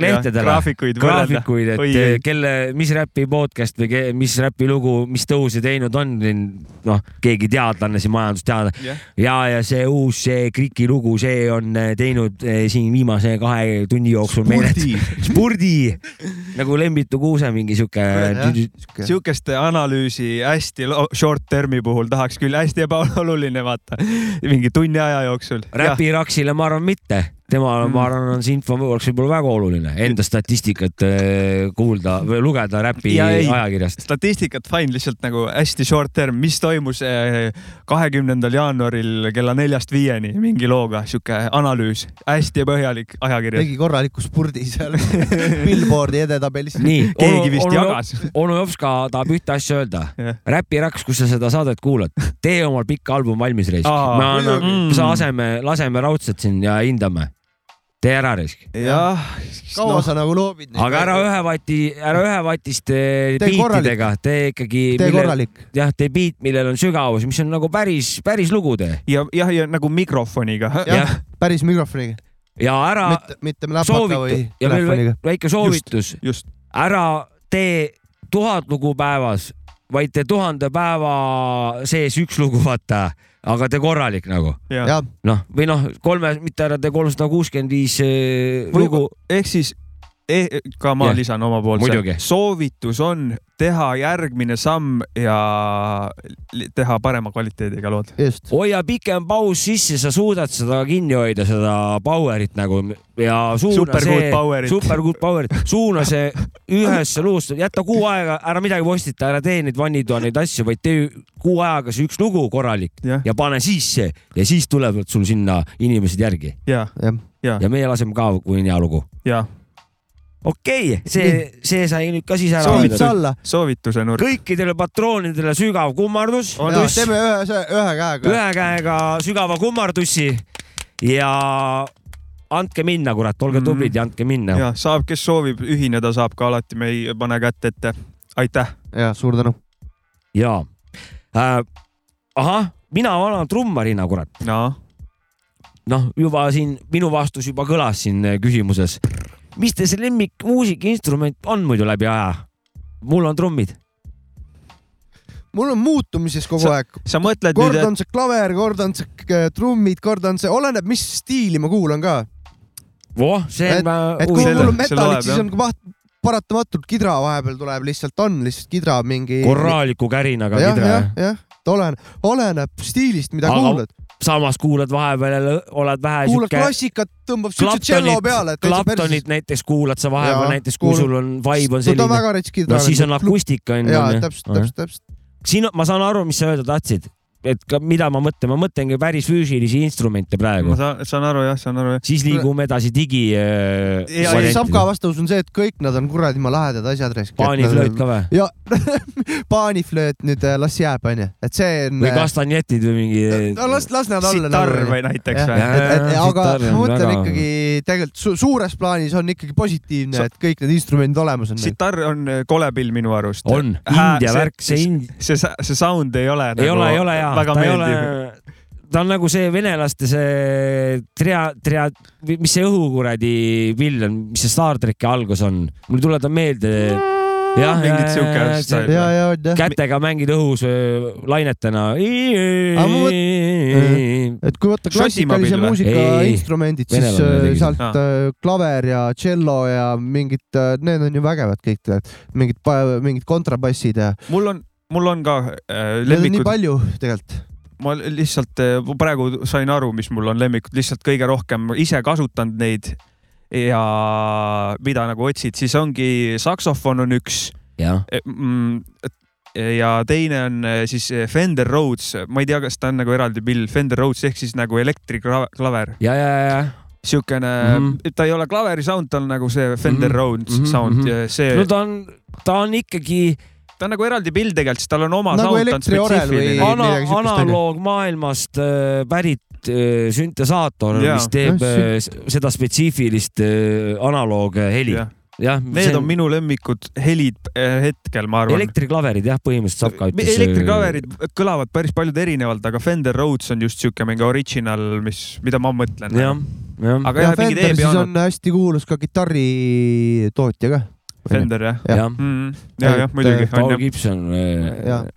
[SPEAKER 3] lehtedele .
[SPEAKER 2] graafikuid võrrelda .
[SPEAKER 3] graafikuid , et
[SPEAKER 2] Oi,
[SPEAKER 3] eh,
[SPEAKER 2] ei.
[SPEAKER 3] kelle , mis räpi podcast või ke, mis räpi lugu , mis tõuse teinud on , noh , keegi teadlane siin , majandusteadlane
[SPEAKER 2] Jah.
[SPEAKER 3] ja , ja see uus , see Kriki lugu , see on eh, teinud eh, siin viimase kahe tunni jooksul meile spordi nagu Lembitu Kuuse mingi siuke
[SPEAKER 2] sihukest analüüsi hästi lo- short term'i puhul tahaks küll , hästi ebaoluline , vaata mingi tunni aja jooksul .
[SPEAKER 3] räpi Raksile , ma arvan , mitte temal ,
[SPEAKER 2] Mm.
[SPEAKER 3] ma arvan , on see info oleks võib-olla väga oluline enda statistikat eh, kuulda või lugeda räpi
[SPEAKER 2] Ja ei.
[SPEAKER 3] ajakirjast .
[SPEAKER 2] statistikat fine , lihtsalt nagu hästi short term , mis toimus eh, kahekümnendal jaanuaril kella neljast viieni mingi looga , sihuke analüüs , hästi põhjalik ajakirjas .
[SPEAKER 1] tegi korraliku spurdi seal Billboardi edetabelis .
[SPEAKER 3] nii ,
[SPEAKER 2] keegi vist jagas .
[SPEAKER 3] onu Jopska tahab üte asja öelda . Räpi Raks , kus sa seda saadet kuulad , tee omal pikk album valmis , Reisk .
[SPEAKER 2] Aa,
[SPEAKER 3] me anname
[SPEAKER 2] muidugi. ,
[SPEAKER 3] sa aseme , laseme raudselt siin ja hindame . tee ära , Reisk .
[SPEAKER 2] jah ,
[SPEAKER 1] kaua no. sa nagu loobid neid ?
[SPEAKER 3] noh. aga ära ühe vati , ära ühe vatist eh,
[SPEAKER 1] Tee
[SPEAKER 3] biitidega , tee ikkagi .
[SPEAKER 1] tee korralik .
[SPEAKER 3] jah , tee biit , millel on sügavus , mis on nagu päris , päris lugu tee .
[SPEAKER 2] ja jah , ja nagu mikrofoniga .
[SPEAKER 1] jah , päris mikrofoniga ,
[SPEAKER 3] ja ära
[SPEAKER 1] mitte , mitte läpaka või
[SPEAKER 3] soovitu- ja veel
[SPEAKER 1] telefoniga
[SPEAKER 3] väike- . väike soovitus ,
[SPEAKER 2] just ,
[SPEAKER 3] ära tee tuhat lugu päevas , vaid tee tuhande päeva sees üks lugu , vaata , aga tee korralik nagu
[SPEAKER 2] jah .
[SPEAKER 1] jah ,
[SPEAKER 3] noh , või noh , kolme , mitte ära tee kolmsada kuuskümmend viis eh, lugu ,
[SPEAKER 2] ehk siis eh, ka ma
[SPEAKER 3] Jah.
[SPEAKER 2] yeah. lisan oma poolt
[SPEAKER 3] Muidugi. .
[SPEAKER 2] soovitus on teha järgmine samm ja li- teha parema kvaliteediga lood .
[SPEAKER 1] just .
[SPEAKER 3] hoia pikem paus sisse , sa suudad seda kinni hoida , seda power'it nagu ja suuna
[SPEAKER 2] Super good
[SPEAKER 3] see ,
[SPEAKER 2] power'it.
[SPEAKER 3] super good power'it , suuna see ühesse luusse , jäta kuu aega , ära midagi postita , ära tee neid vannitoa neid asju , vaid tee kuu ajaga see üks lugu korralik
[SPEAKER 2] jah ,
[SPEAKER 3] ja pane sisse ja siis tulevad sul sinna inimesed järgi
[SPEAKER 2] ja ,
[SPEAKER 1] jah ,
[SPEAKER 3] ja meie laseme ka , kui on hea lugu .
[SPEAKER 2] ja
[SPEAKER 3] okei okay, , see , see sai nüüd ka siis ära
[SPEAKER 1] soovituse
[SPEAKER 3] öeldud .
[SPEAKER 1] alla .
[SPEAKER 2] soovituse nurk .
[SPEAKER 3] kõikidele patroonidele sügav kummardus .
[SPEAKER 1] teeme ühe , ühe käega .
[SPEAKER 3] ühe käega sügava kummardussi ja andke minna , kurat , olge
[SPEAKER 2] Mhm.
[SPEAKER 3] tublid ja andke minna .
[SPEAKER 2] ja saab , kes soovib ühineda , saab ka alati , me ei pane kätt ette . aitäh ,
[SPEAKER 1] ja suur tänu .
[SPEAKER 3] ja äh, ahah , mina vana trummarina , kurat ,
[SPEAKER 2] no
[SPEAKER 3] noh , juba siin minu vastus juba kõlas siin äh, küsimuses . mis teie see lemmik muusikainstrument on muidu läbi aja ? mul on trummid .
[SPEAKER 1] mul on muutumises kogu
[SPEAKER 2] Sa-
[SPEAKER 1] sa, aeg ,
[SPEAKER 2] sa mõtled
[SPEAKER 1] kord
[SPEAKER 2] nüüd ,
[SPEAKER 1] on see klaver , kord on see k- trummid , kord on see , oleneb , mis stiili ma kuulan ka .
[SPEAKER 3] voh , see on
[SPEAKER 1] et
[SPEAKER 3] äh,
[SPEAKER 1] kui
[SPEAKER 2] selle-
[SPEAKER 1] mul on
[SPEAKER 2] see
[SPEAKER 1] metallit
[SPEAKER 2] loeb, ,
[SPEAKER 1] siis
[SPEAKER 2] jah.
[SPEAKER 1] on vaht- , paratamatult kidra vahepeal tuleb , lihtsalt on lihtsalt kidra mingi .
[SPEAKER 3] korraliku kärinaga
[SPEAKER 1] jah ,
[SPEAKER 3] kidra
[SPEAKER 1] jah , jah , oleneb , oleneb stiilist , mida
[SPEAKER 3] Aga
[SPEAKER 1] kuulad .
[SPEAKER 3] samas kuulad vahepeal jälle , oled vähe
[SPEAKER 1] kuulad
[SPEAKER 3] siuke .
[SPEAKER 1] klassikat , tõmbab siukse tšello peale , et täitsa perses .
[SPEAKER 3] Claptonit näiteks kuulad sa vahepeal
[SPEAKER 1] Jaa,
[SPEAKER 3] näiteks , kui
[SPEAKER 1] kuulan.
[SPEAKER 3] sul on vibe on
[SPEAKER 1] ta on
[SPEAKER 3] selline .
[SPEAKER 1] väga rets
[SPEAKER 3] no
[SPEAKER 1] kitarr .
[SPEAKER 3] siis on nagu akustika on
[SPEAKER 1] jaa ,
[SPEAKER 3] ju .
[SPEAKER 1] täpselt , täpselt , täpselt .
[SPEAKER 3] siin on- ma saan aru , mis sa öelda tahtsid , et ka- mida ma mõtlen , ma mõtlengi päris füüsilisi instrumente praegu
[SPEAKER 2] ma , saan , saan aru jah , saan aru jah .
[SPEAKER 3] siis liigume edasi digi äh, .
[SPEAKER 2] Ja
[SPEAKER 1] ja ei , Sapka vastus on see , et kõik nad on kuradi ma lahedad asjad .
[SPEAKER 3] paaniflööt ka või ?
[SPEAKER 1] ja paaniflööt nüüd äh, las jääb , onju , et see on .
[SPEAKER 3] või kastanjetid või mingi .
[SPEAKER 1] no las , las nad olla .
[SPEAKER 2] sitarr
[SPEAKER 3] nagu-
[SPEAKER 2] või näiteks
[SPEAKER 1] Jah,
[SPEAKER 2] või ?
[SPEAKER 1] et , et
[SPEAKER 3] Jaa,
[SPEAKER 1] aga
[SPEAKER 3] Äh, sitarr
[SPEAKER 1] ma
[SPEAKER 3] on
[SPEAKER 1] mõtlen
[SPEAKER 3] väga-
[SPEAKER 1] ikkagi tegelikult su suures plaanis on ikkagi positiivne ,
[SPEAKER 2] Sa-
[SPEAKER 1] et kõik need instrumendid olemas on .
[SPEAKER 2] sitarr on kolepill minu arust .
[SPEAKER 3] on , India värk , see ind- ,
[SPEAKER 2] see , see sound ei ole .
[SPEAKER 3] ei ole , ei ole hea ,
[SPEAKER 2] väga
[SPEAKER 3] ta ei ole
[SPEAKER 2] meeldiv .,
[SPEAKER 3] ta on nagu see venelaste see tria , tria , mis see õhukuradi pill on , mis see Star tracki algus on , mul ei tule ta meelde . jah ,
[SPEAKER 2] Mingit siuke
[SPEAKER 3] see-
[SPEAKER 2] staili.
[SPEAKER 1] ja , ja on jah ,
[SPEAKER 3] kätega mängid õhus öö, lainetena .
[SPEAKER 1] Aga ma et kui võtta
[SPEAKER 2] Šotimaa
[SPEAKER 1] klassikalise
[SPEAKER 2] pill või?
[SPEAKER 1] muusika
[SPEAKER 3] Ei,
[SPEAKER 1] instrumendid , siis
[SPEAKER 3] venelane
[SPEAKER 1] äh,
[SPEAKER 3] tegi seda.
[SPEAKER 1] sealt äh, klaver ja tšello ja mingid , need on ju vägevad kõik tead , mingid , mingid kontrabassid ja .
[SPEAKER 2] mul on , mul on ka äh,
[SPEAKER 1] Neid on nii
[SPEAKER 2] lemmikud ,
[SPEAKER 1] palju tegelikult .
[SPEAKER 2] ma lihtsalt äh, praegu sain aru , mis mul on lemmikud , lihtsalt kõige rohkem ise kasutanud neid ja mida nagu otsid , siis ongi saksofon on üks
[SPEAKER 3] jah ,
[SPEAKER 2] mm, et- ja teine on eh, siis eh, Fender Rhodes , ma ei tea , kas ta on nagu eraldi pill , Fender Rhodes ehk siis nagu elektriklaver ,
[SPEAKER 3] ja , ja , ja ,
[SPEAKER 2] siukene mm ,
[SPEAKER 3] Mhm.
[SPEAKER 2] -hmm. ta ei ole klaveri sound , ta on nagu see Fender mm -hmm.
[SPEAKER 3] Mhm.
[SPEAKER 2] Rhodes mm
[SPEAKER 3] Mhm,
[SPEAKER 2] -hmm. sound
[SPEAKER 3] mhm.
[SPEAKER 2] ja see
[SPEAKER 3] no
[SPEAKER 2] no, , ta...
[SPEAKER 3] ta on , ta on ikkagi
[SPEAKER 2] ta on nagu eraldi pill tegelikult , sest tal on oma
[SPEAKER 1] Nagu
[SPEAKER 2] sound , ta on
[SPEAKER 1] elektriorel
[SPEAKER 2] spetsiifiline
[SPEAKER 1] või-
[SPEAKER 2] või... .
[SPEAKER 3] ana
[SPEAKER 1] midagi , siukest, onju.
[SPEAKER 3] analoogmaailmast äh, pärit äh, süntesaator ,
[SPEAKER 2] Jaa.
[SPEAKER 3] mis teeb
[SPEAKER 1] Jah,
[SPEAKER 3] äh, s- seda spetsiifilist äh, analoogheli .
[SPEAKER 2] Jah.
[SPEAKER 3] jah ,
[SPEAKER 2] Need on minu lemmikud helid eh, hetkel , ma arvan .
[SPEAKER 3] elektriklaverid jah , põhimõtteliselt Sapka ütles . äh,
[SPEAKER 2] elektrikaverid kõlavad päris paljud erinevalt , aga Fender Rhodes on just siuke mingi original , mis , mida ma mõtlen .
[SPEAKER 3] jah , jah ,
[SPEAKER 2] nagu- aga
[SPEAKER 1] ja
[SPEAKER 2] jah , E mingid
[SPEAKER 1] Fender siis
[SPEAKER 2] e-pianod ,
[SPEAKER 1] on hästi kuulus ka kitarritootja ka .
[SPEAKER 2] Fender jah
[SPEAKER 1] jah.
[SPEAKER 3] jah .
[SPEAKER 2] mm, . ja , jah , muidugi .
[SPEAKER 3] Paul Gibson
[SPEAKER 1] Jah.
[SPEAKER 3] äh,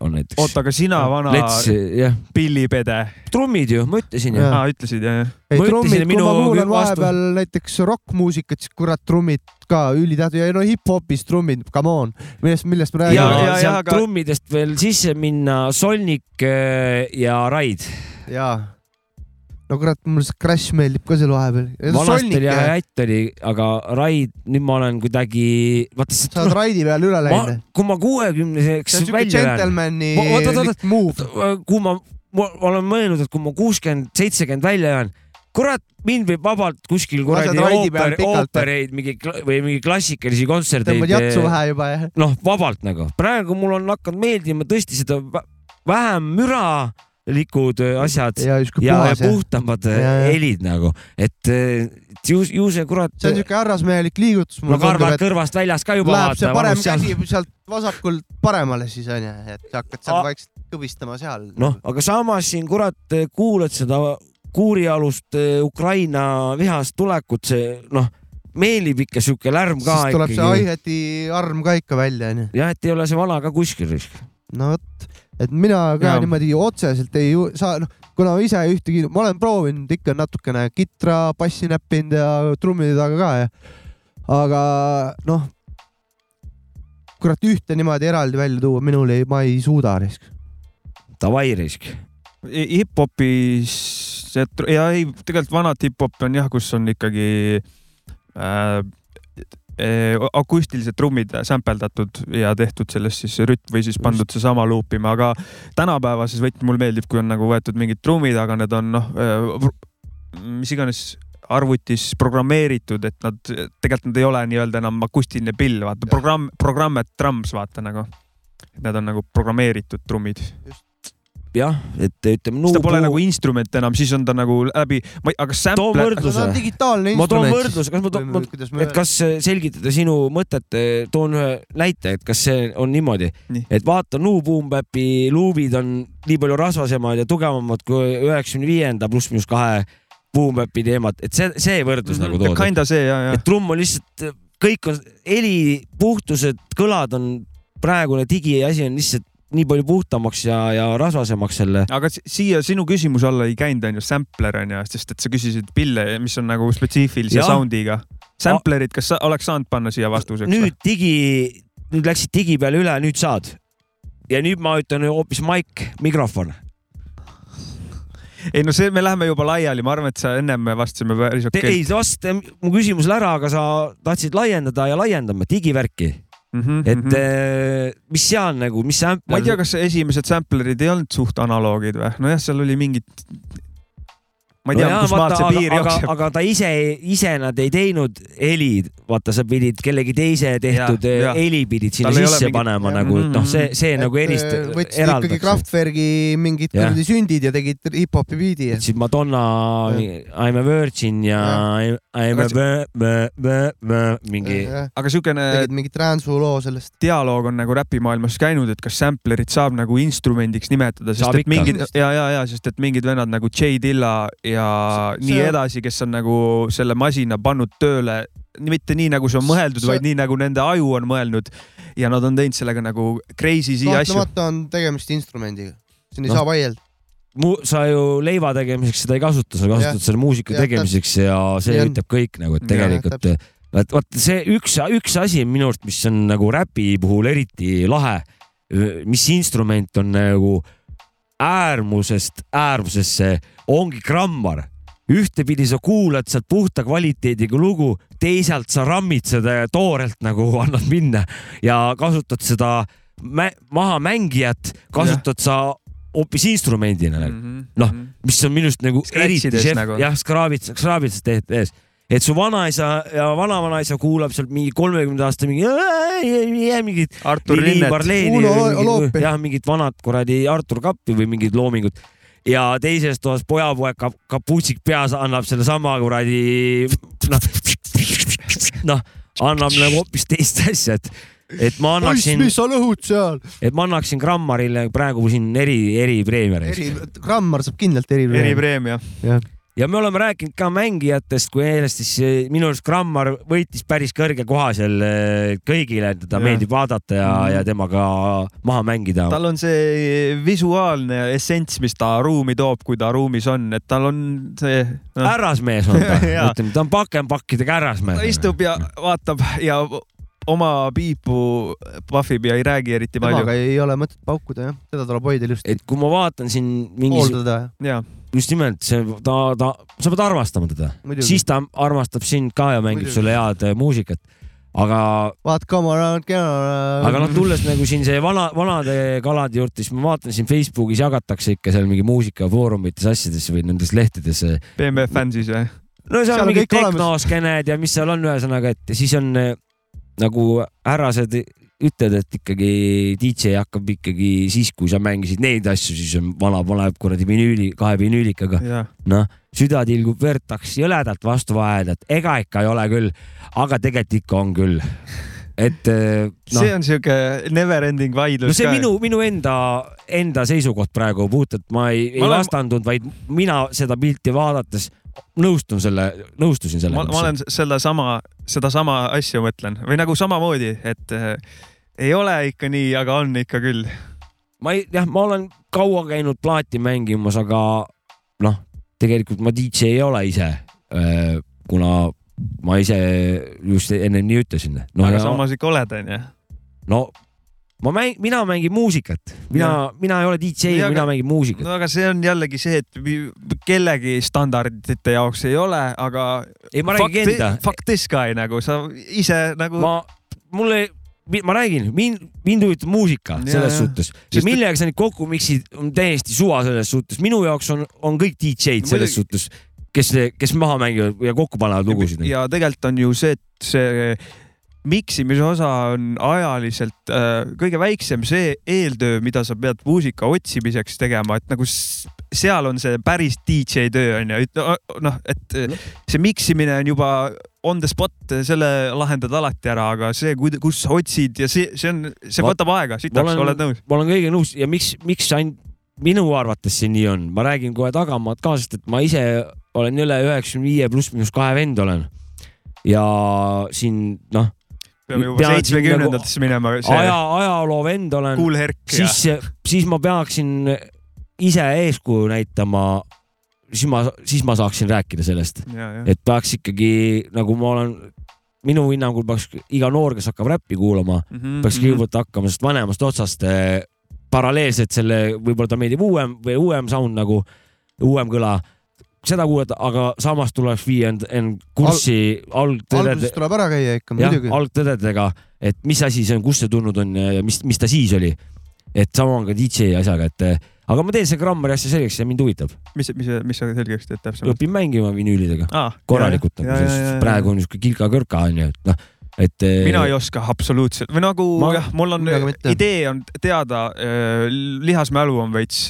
[SPEAKER 3] on näiteks .
[SPEAKER 2] oota , aga sina , vana
[SPEAKER 3] Lets , jah ,
[SPEAKER 2] pillipede ,
[SPEAKER 3] trummid ju , ma ütlesin ju
[SPEAKER 1] Jah. .
[SPEAKER 2] ah, ütlesid jah , jah ?
[SPEAKER 1] ei
[SPEAKER 3] Ma ütlesin,
[SPEAKER 1] trummid ,
[SPEAKER 3] et
[SPEAKER 1] kui
[SPEAKER 3] minu
[SPEAKER 1] ma kuulan
[SPEAKER 3] vastu-
[SPEAKER 1] vahepeal näiteks rokkmuusikat , siis kurat trummid ka ülitähtsad ja no hip-hopis trummid , come on , millest , millest me
[SPEAKER 3] ja
[SPEAKER 2] Jaa,
[SPEAKER 1] räägime .
[SPEAKER 2] jaa, ,
[SPEAKER 3] sealt
[SPEAKER 2] aga-
[SPEAKER 3] trummidest veel sisse minna , Solnik äh, ja Raid .
[SPEAKER 1] jaa . no kurat , mulle see Crash meeldib ka seal vahepeal .
[SPEAKER 3] vanasti oli jah , ätt oli , aga Raid , nüüd ma olen kuidagi , vaata
[SPEAKER 1] sa oled
[SPEAKER 3] see ,
[SPEAKER 1] raidi peal üle
[SPEAKER 3] ma
[SPEAKER 1] läinud .,
[SPEAKER 3] kui ma kuuekümneseks
[SPEAKER 1] see on siuke
[SPEAKER 3] välja lähen ,
[SPEAKER 1] džentelmeni
[SPEAKER 3] Ma- oot, oot, oot,
[SPEAKER 1] lik- move .
[SPEAKER 3] kui ma , ma olen mõelnud , et kui ma kuuskümmend , seitsekümmend välja lähen , kurat , mind võib vabalt kuskil
[SPEAKER 1] Lased
[SPEAKER 3] kuradi
[SPEAKER 1] Raidi peal
[SPEAKER 3] ooper ,
[SPEAKER 1] pikalt.
[SPEAKER 3] oopereid mingi kla- või mingi klassikalisi kontserteid
[SPEAKER 1] tõmbad jatsu vähe juba ja .
[SPEAKER 3] noh , vabalt nagu . praegu mul on hakanud meeldima tõesti seda vä- vähem müralikud äh, asjad ja,
[SPEAKER 1] ja siuke
[SPEAKER 3] ja, ja
[SPEAKER 1] puhas ja .
[SPEAKER 3] puhtamad äh,
[SPEAKER 1] Ja, ja.
[SPEAKER 3] helid nagu , et äh, et ju , ju see kurat ,
[SPEAKER 1] see on siuke härrasmehelik liigutus ,
[SPEAKER 3] no
[SPEAKER 1] mulle tundub ,
[SPEAKER 3] karvad
[SPEAKER 1] et
[SPEAKER 3] kõrvast väljas ka juba
[SPEAKER 1] läheb see
[SPEAKER 3] vaata ,
[SPEAKER 1] parem
[SPEAKER 3] vanus seal .
[SPEAKER 1] käsi sealt vasakult paremale siis onju , et sa hakkad seal
[SPEAKER 3] A-
[SPEAKER 1] vaikselt kõvistama seal .
[SPEAKER 3] noh , aga samas siin kurat äh, kuulad seda kuurialust äh, Ukraina vihast tulekut , see noh , meeldib ikka siuke lärm ka
[SPEAKER 1] siis tuleb see
[SPEAKER 3] ikkagi .
[SPEAKER 1] hi-hati arm ka ikka välja onju .
[SPEAKER 3] jah , et ei ole see vana ka kuskil risk .
[SPEAKER 1] no vot , et mina ka
[SPEAKER 2] Jaa.
[SPEAKER 1] ja. niimoodi otseselt ei ju- saa , noh , kuna ma ise ühtegi , ma olen proovinud ikka natukene kitra , bassi näppinud ja trummide taga ka ja , aga noh , kurat , ühte niimoodi eraldi välja tuua minul ei , ma ei suuda risk .
[SPEAKER 3] Davai risk .
[SPEAKER 2] hip-hopis , see tr- ja ei , tegelikult vanad hip-hop on jah , kus on ikkagi äh, eh, akustilised trummid sämpeldatud ja tehtud sellest siis rütm või siis pandud seesama luupima , aga tänapäevases võtmes mulle meeldib , kui on nagu võetud mingid trummid , aga need on noh , mis iganes arvutis programmeeritud , et nad tegelikult nad ei ole nii-öelda enam akustiline pill , vaata programm , programm , et trams , vaata nagu . Need on nagu programmeeritud trummid
[SPEAKER 3] jah , et ütleme .
[SPEAKER 2] siis ta pole nagu instrument enam , siis on ta nagu läbi , ma ei , aga
[SPEAKER 3] too
[SPEAKER 2] sample ,
[SPEAKER 1] see
[SPEAKER 3] võrdluse
[SPEAKER 1] on , digitaalne
[SPEAKER 3] ma toon
[SPEAKER 1] instrument siis
[SPEAKER 3] võrdluse , kas ma
[SPEAKER 1] või
[SPEAKER 3] toon ,
[SPEAKER 1] või kuidas me
[SPEAKER 3] et , kas eh, selgitada sinu mõtet , toon ühe näite , et kas see on niimoodi
[SPEAKER 2] Nii.
[SPEAKER 3] nii. , et vaata New Boom Bapi luubid on nii palju rasvasemad ja tugevamad kui üheksakümne viienda pluss miinus kahe Boom Bapi teemat , et see , see võrdlus mm -hmm. nagu toodud .
[SPEAKER 2] kinda see Mhm. ja , ja
[SPEAKER 3] et trumm on lihtsalt , kõik on heli puhtused , kõlad on , praegune digiasi on lihtsalt nii palju puhtamaks ja , ja rasvasemaks selle .
[SPEAKER 2] aga si- siia sinu küsimuse alla ei käinud , on ju , sampler on ju , sest et sa küsisid pille , mis on nagu spetsiifilise
[SPEAKER 3] Jah.
[SPEAKER 2] sound'iga . Samplerid , kas sa oleks saanud panna siia vastuseks ?
[SPEAKER 3] nüüd digi , nüüd läksid digi peale üle , nüüd saad . ja nüüd ma ütlen hoopis maik , mikrofon .
[SPEAKER 2] ei no see , me läheme juba laiali , ma arvan , et sa ennem vastasime päris okei
[SPEAKER 3] ei , vasta mu küsimusele ära , aga sa tahtsid laiendada ja laiendame digivärki .
[SPEAKER 2] mm . -hmm,
[SPEAKER 3] et eh, mis seal nagu , mis ämp- .
[SPEAKER 2] ma ei tea , kas esimesed samplerid ei olnud suht analoogid või ? nojah , seal oli mingid , ma ei tea no , kus maalt see piir
[SPEAKER 3] aga,
[SPEAKER 2] jookseb .
[SPEAKER 3] aga ta ise , ise nad ei teinud heli , vaata , sa pidid kellegi teise tehtud
[SPEAKER 2] Jah, jah.
[SPEAKER 3] ja, heli pidid sinna
[SPEAKER 2] Tal ei ole
[SPEAKER 3] sisse
[SPEAKER 2] mingit-
[SPEAKER 3] mingit... panema
[SPEAKER 1] jah.
[SPEAKER 3] ja, nagu , et noh , see , see et, nagu erist- ,
[SPEAKER 1] Mm-hmm. eh, äh, võtsid ikkagi
[SPEAKER 3] eraldaks .
[SPEAKER 1] Kraftwerki mingid
[SPEAKER 3] Jah.
[SPEAKER 1] kuradi sündid ja tegid hip-hopi biidi ja
[SPEAKER 3] siis Madonna
[SPEAKER 1] Jah.
[SPEAKER 3] I m a virgin ja I I m a
[SPEAKER 2] Aga
[SPEAKER 3] võ- võ- võ- võ- mingi .
[SPEAKER 1] jah,
[SPEAKER 2] aga siukene
[SPEAKER 1] tegid mingi transu loo sellest .
[SPEAKER 2] dialoog on nagu räpimaailmas käinud , et kas samplerit saab nagu instrumendiks nimetada , sest
[SPEAKER 3] Saab
[SPEAKER 2] et
[SPEAKER 3] ikka.
[SPEAKER 2] mingid ja , ja , ja sest et mingid vennad nagu J Dilla ja
[SPEAKER 1] See-
[SPEAKER 2] nii
[SPEAKER 1] see-
[SPEAKER 2] edasi , kes on nagu selle masina pannud tööle , mitte nii , nagu see on mõeldud ,
[SPEAKER 1] See-
[SPEAKER 2] vaid nii , nagu nende aju on mõelnud ja nad on teinud sellega nagu crazy si asju .
[SPEAKER 1] kahtlemata on tegemist instrumendiga , siin ei
[SPEAKER 3] Noh,
[SPEAKER 1] saa vaielda .
[SPEAKER 3] mu , sa ju leiva tegemiseks seda ei kasuta , sa kasutad selle muusika
[SPEAKER 1] Jah,
[SPEAKER 3] tegemiseks ja see
[SPEAKER 1] Jah.
[SPEAKER 3] ütleb kõik nagu , et
[SPEAKER 2] Jah,
[SPEAKER 3] tegelikult , et vot see üks , üks asi minu arust , mis on nagu räpi puhul eriti lahe , mis instrument on nagu äärmusest äärmusesse , ongi grammar . ühtepidi sa kuulad sealt puhta kvaliteediga lugu , teisalt sa rammid seda toorelt nagu annad minna ja kasutad seda mä- mahamängijat , kasutad sa hoopis instrumendina nagu
[SPEAKER 2] Mhm.
[SPEAKER 3] Noh, mis on minu arust nagu
[SPEAKER 2] Scratchides
[SPEAKER 3] eriti šef
[SPEAKER 2] nagu.
[SPEAKER 3] nagu. , jah , skraabits , skraabits tehes . et su vanaisa ja vanavanaisa kuulab sealt mingi kolmekümne aasta mingi , mingit .
[SPEAKER 2] Artur Linnet .
[SPEAKER 1] Uno Oloopi.
[SPEAKER 3] jah , mingit vanat kuradi Artur Kappi või mingit loomingut ja teises toas pojapoeg kap- , kapuutsik peas annab sellesama kuradi noh , noh , annab nagu hoopis teist asja , et , et ma annaksin ,
[SPEAKER 1] mis sa lõhud seal ?
[SPEAKER 3] et ma annaksin Grammarile praegu siin eri , eripreemia .
[SPEAKER 1] eri , grammar saab kindlalt eri .
[SPEAKER 2] eripreemia .
[SPEAKER 3] ja me oleme rääkinud ka mängijatest , kui eelest , siis eh, minu arust Grammar võitis päris kõrge koha seal eh, kõigile , teda
[SPEAKER 2] Jah.
[SPEAKER 3] ja. meeldib vaadata ja
[SPEAKER 2] Mhm.
[SPEAKER 3] mm. , ja temaga maha mängida .
[SPEAKER 2] tal on see visuaalne essents , mis ta ruumi toob , kui ta ruumis on , et tal on see noh, no, .
[SPEAKER 3] härrasmees on ta ,
[SPEAKER 2] Jaa.
[SPEAKER 3] ütleme , ta on pakenpakkidega härrasmees .
[SPEAKER 2] ta istub ja vaatab ja oma piipu pahvib ja ei räägi eriti palju .
[SPEAKER 1] temaga ei ole mõtet paukuda jah , teda tuleb hoida ilusti ,
[SPEAKER 3] et kui ma vaatan siin mingi ,
[SPEAKER 1] hooldada
[SPEAKER 2] ja ,
[SPEAKER 3] just nimelt see , ta , ta , sa pead armastama teda ,
[SPEAKER 1] muidugi .
[SPEAKER 3] siis ta armastab sind ka ja mängib
[SPEAKER 1] Muidugi.
[SPEAKER 3] sulle head eh, muusikat . aga
[SPEAKER 1] Vaat come around , come
[SPEAKER 3] aga
[SPEAKER 1] around .
[SPEAKER 3] noh , tulles nagu siin see vana , vanade kalade juurde , siis ma vaatan siin Facebookis jagatakse ikka seal mingi muusikafoorumites asjades või nendes lehtedes .
[SPEAKER 2] BMF fänn siis või ?
[SPEAKER 3] no seal
[SPEAKER 1] Seal on
[SPEAKER 3] on mingid
[SPEAKER 1] kõik olemas.
[SPEAKER 3] tehnoskened ja mis seal on , ühesõnaga , et siis on eh, nagu härrased ütlevad , et ikkagi DJ hakkab ikkagi siis , kui sa mängisid neid asju , siis on vana paneb kuradi vinüüli , kahe vinüülikaga ,
[SPEAKER 2] jah ,
[SPEAKER 3] noh , süda tilgub verd , tahaks jõledalt vastu vaielda , et ega ikka ei ole küll , aga tegelikult ikka on küll . et eh, noh
[SPEAKER 2] see on siuke never ending
[SPEAKER 3] no
[SPEAKER 2] vaidlus
[SPEAKER 3] see
[SPEAKER 2] ka .
[SPEAKER 3] minu , minu enda , enda seisukoht praegu puhtalt , ma ei , ei
[SPEAKER 2] Ma olen-
[SPEAKER 3] olen... vastandunud , vaid mina seda pilti vaadates nõustun selle , nõustusin
[SPEAKER 2] ma, ma
[SPEAKER 3] sellega .
[SPEAKER 2] olen sellesama , sedasama asja mõtlen või nagu samamoodi , et eh, ei ole ikka nii , aga on ikka küll .
[SPEAKER 3] ma ei , jah , ma olen kaua käinud plaati mängimas , aga noh , tegelikult ma DJ ei ole ise , kuna ma ise just ennem nii ütlesin . no
[SPEAKER 2] aga
[SPEAKER 3] ja-
[SPEAKER 2] samas ikka oled , onju .
[SPEAKER 3] no ma mäng- , mina mängin muusikat , mina , mina ei ole DJ ,
[SPEAKER 2] Nii, aga-
[SPEAKER 3] mina mängin muusikat .
[SPEAKER 2] no aga see on jällegi see , et mi- kellegi standardite jaoks ei ole , aga .
[SPEAKER 3] ei , ma räägin enda .
[SPEAKER 2] Fuck this guy nagu sa ise nagu .
[SPEAKER 3] ma , mulle , ma räägin , mind , mind huvitab muusika
[SPEAKER 2] Jaa,
[SPEAKER 3] ja, selles
[SPEAKER 2] jah.
[SPEAKER 3] suhtes
[SPEAKER 2] Sest-
[SPEAKER 3] ja millega sa neid kokku miksid , on täiesti suva selles suhtes , minu jaoks on , on kõik DJ-d
[SPEAKER 2] No
[SPEAKER 3] selles suhtes , kes , kes maha mängivad ja kokku panevad lugusid .
[SPEAKER 2] ja tegelikult on ju see , et see miksimise osa on ajaliselt äh, kõige väiksem see eeltöö , mida sa pead muusika otsimiseks tegema , et nagu s- seal on see päris DJ töö on ju , et noh , et äh, see miksimine on juba on the spot , selle lahendad alati ära , aga see , kus sa otsid ja see , see on , see
[SPEAKER 3] Ma-
[SPEAKER 2] võtab aega ,
[SPEAKER 3] ma
[SPEAKER 2] sitaks ,
[SPEAKER 3] olen-
[SPEAKER 2] oled nõus ?
[SPEAKER 3] ma olen kõige nõus ja miks , miks ainult minu arvates see nii on , ma räägin kohe tagamaad ka , sest et ma ise olen üle üheksakümne viie pluss miinus kahe vend olen . ja siin noh ,
[SPEAKER 2] peame juba
[SPEAKER 3] pean siin nagu
[SPEAKER 2] seitsmekümnendatesse minema , see
[SPEAKER 3] aja , ajaloo vend olen .
[SPEAKER 2] Kuul Herk ja
[SPEAKER 3] siis , siis ma peaksin ise eeskuju näitama , siis ma , siis ma saaksin rääkida sellest ,
[SPEAKER 2] ja , ja ,
[SPEAKER 3] et peaks ikkagi nagu ma olen , minu
[SPEAKER 2] Mhm,
[SPEAKER 3] hinnangul peaks iga noor , kes hakkab räppi kuulama , peaks kõigepealt hakkama sellest vanemast otsast äh, paralleelselt selle , võib-olla ta meeldib uuem või uuem sound nagu , uuem kõla , seda kuulata , aga samas tuleks viia end , end kurssi
[SPEAKER 1] alguses
[SPEAKER 3] algtõdede ,
[SPEAKER 1] tuleb ära käia ikka
[SPEAKER 3] jah ,
[SPEAKER 1] muidugi .
[SPEAKER 3] algtõdedega , et mis asi see on , kust see tulnud on ja ja mis , mis ta siis oli . et sama on ka DJ asjaga , et eh, aga ma teen selle grammari asja selgeks ja mind huvitab ,
[SPEAKER 2] mis , mis , mis sa selgeks teed täpsemalt ?
[SPEAKER 3] õpin mängima vinüülidega korralikult , praegu on niisugune kilka-kõrka onju , et noh , et .
[SPEAKER 2] mina ei oska absoluutselt või nagu
[SPEAKER 3] Ma-
[SPEAKER 2] jah , mul on
[SPEAKER 1] Midagi mitte.
[SPEAKER 2] idee on teada , lihasmälu on veits ,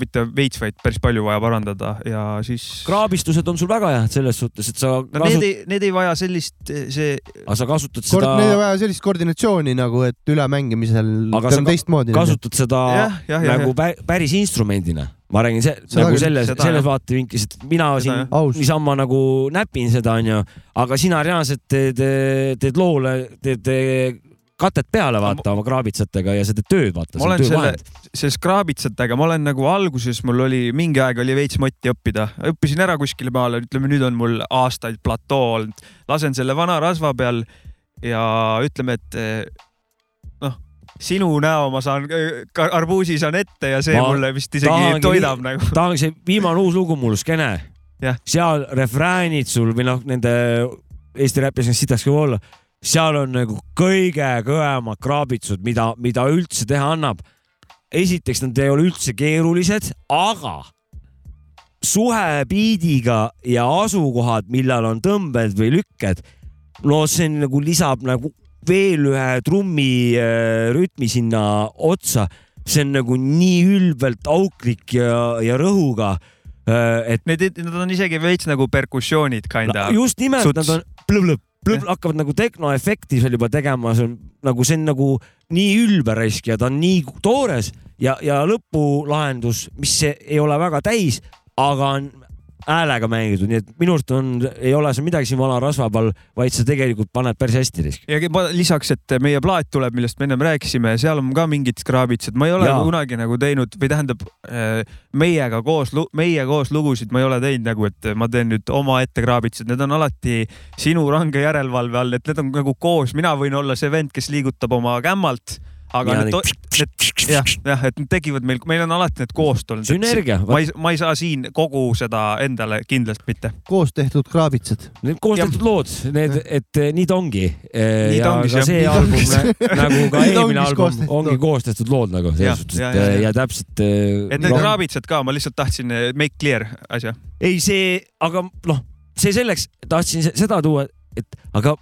[SPEAKER 2] mitte veits , vaid päris palju vaja parandada ja siis .
[SPEAKER 3] kraabistused on sul väga head selles suhtes , et sa
[SPEAKER 2] no need
[SPEAKER 3] kasutad ,
[SPEAKER 2] ei , need ei vaja sellist , see ,
[SPEAKER 3] aga sa kasutad
[SPEAKER 1] kord
[SPEAKER 3] seda ,
[SPEAKER 1] neil on vaja sellist koordinatsiooni nagu , et ülemängimisel
[SPEAKER 3] Aga
[SPEAKER 1] ta
[SPEAKER 3] sa
[SPEAKER 1] on
[SPEAKER 3] ka-
[SPEAKER 1] teistmoodi . nagu.
[SPEAKER 3] kasutad seda
[SPEAKER 2] jah , jah , jah ,
[SPEAKER 3] nagu pä- päris instrumendina . ma räägin se
[SPEAKER 1] Seda
[SPEAKER 3] nagu
[SPEAKER 1] küll,
[SPEAKER 3] selles ,
[SPEAKER 2] seda
[SPEAKER 3] selles
[SPEAKER 2] jah.
[SPEAKER 3] vaatevinklis , et mina
[SPEAKER 2] Seda
[SPEAKER 3] siin
[SPEAKER 2] jah.
[SPEAKER 1] aus ,
[SPEAKER 3] niisama nagu näpin seda , onju , aga sina reaalselt teed , teed loole , teed eh, katet peale , vaata oma kraabitsatega ja sa teed tööd , vaata .
[SPEAKER 2] ma olen selle , selle kraabitsatega , ma olen nagu alguses , mul oli mingi aeg oli veits moti õppida , õppisin ära kuskile maale , ütleme nüüd on mul aastaid platoo olnud , lasen selle vana rasva peal ja ütleme , et eh, noh , sinu näo ma saan , arbuusi saan ette ja see
[SPEAKER 3] Ma
[SPEAKER 2] ma mulle vist
[SPEAKER 3] tahangi-
[SPEAKER 2] isegi toidab nagu .
[SPEAKER 3] ta on see viimane uus lugu mul , Skene
[SPEAKER 2] Jah. .
[SPEAKER 3] seal refräänid sul või noh , nende Eesti räpis on sitaks ka olla , seal on nagu kõige kõvemad kraabitsud , mida , mida üldse teha annab . esiteks , nad ei ole üldse keerulised , aga suhe biidiga ja asukohad , millal on tõmbed või lükked , no see on nagu lisab nagu veel ühe trummi äh, rütmi sinna otsa , see on nagu nii ülbelt auklik ja , ja rõhuga , et
[SPEAKER 2] Need , nad on isegi veits nagu perkussioonid kinda
[SPEAKER 3] no, . just nimelt
[SPEAKER 2] suts.
[SPEAKER 3] Suts. nad on plõblõp , plõblõp
[SPEAKER 2] Jah.
[SPEAKER 3] hakkavad nagu tehnoefekti seal juba tegema , see on nagu see on nagu nii ülbe raisk ja ta on nii toores ja , ja lõpulahendus , mis see- ei ole väga täis , aga on häälega mängitud , nii et minu arust on , ei ole seal midagi siin vana rasva peal , vaid sa tegelikult paned päris hästi risk .
[SPEAKER 2] ja ke- ma- lisaks , et meie plaat tuleb , millest me ennem rääkisime , seal on ka mingid kraabitsad , ma ei ole
[SPEAKER 3] Jaa.
[SPEAKER 2] Jaa. kunagi nagu teinud või tähendab eh, meiega koos , meie koos lugusid ma ei ole teinud nagu , et ma teen nüüd omaette kraabitsad , need on alati sinu range järelevalve all , et need on nagu koos , mina võin olla see vend , kes liigutab oma kämmalt , aga need, to- need jah , jah , et need tekivad meil , meil on alati need koost olnud .
[SPEAKER 3] Sünergia,
[SPEAKER 2] ma ei , ma ei saa siin kogu seda endale kindlasti mitte .
[SPEAKER 1] koos tehtud kraabitsad .
[SPEAKER 3] Need koostatud lood , need , et eh, nii ta ongi .
[SPEAKER 2] Nii
[SPEAKER 3] ja
[SPEAKER 2] ta ongi,
[SPEAKER 3] ka
[SPEAKER 2] jah.
[SPEAKER 3] see
[SPEAKER 2] Nii ta
[SPEAKER 3] album
[SPEAKER 1] ongi. ,
[SPEAKER 3] nagu ka
[SPEAKER 1] Nii ta ongi
[SPEAKER 3] eelmine album
[SPEAKER 1] koostatud
[SPEAKER 3] ongi
[SPEAKER 1] lood.
[SPEAKER 3] koostatud lood nagu
[SPEAKER 2] Jah,
[SPEAKER 3] selles suhtes ,
[SPEAKER 2] jah,
[SPEAKER 3] et
[SPEAKER 2] jah,
[SPEAKER 3] eh,
[SPEAKER 2] jah.
[SPEAKER 3] ja täpselt . eh, et
[SPEAKER 2] et need kraabitsad ka , ma lihtsalt tahtsin eh, make clear asja .
[SPEAKER 3] ei , see , aga noh , see selleks , tahtsin se- seda tuua , et aga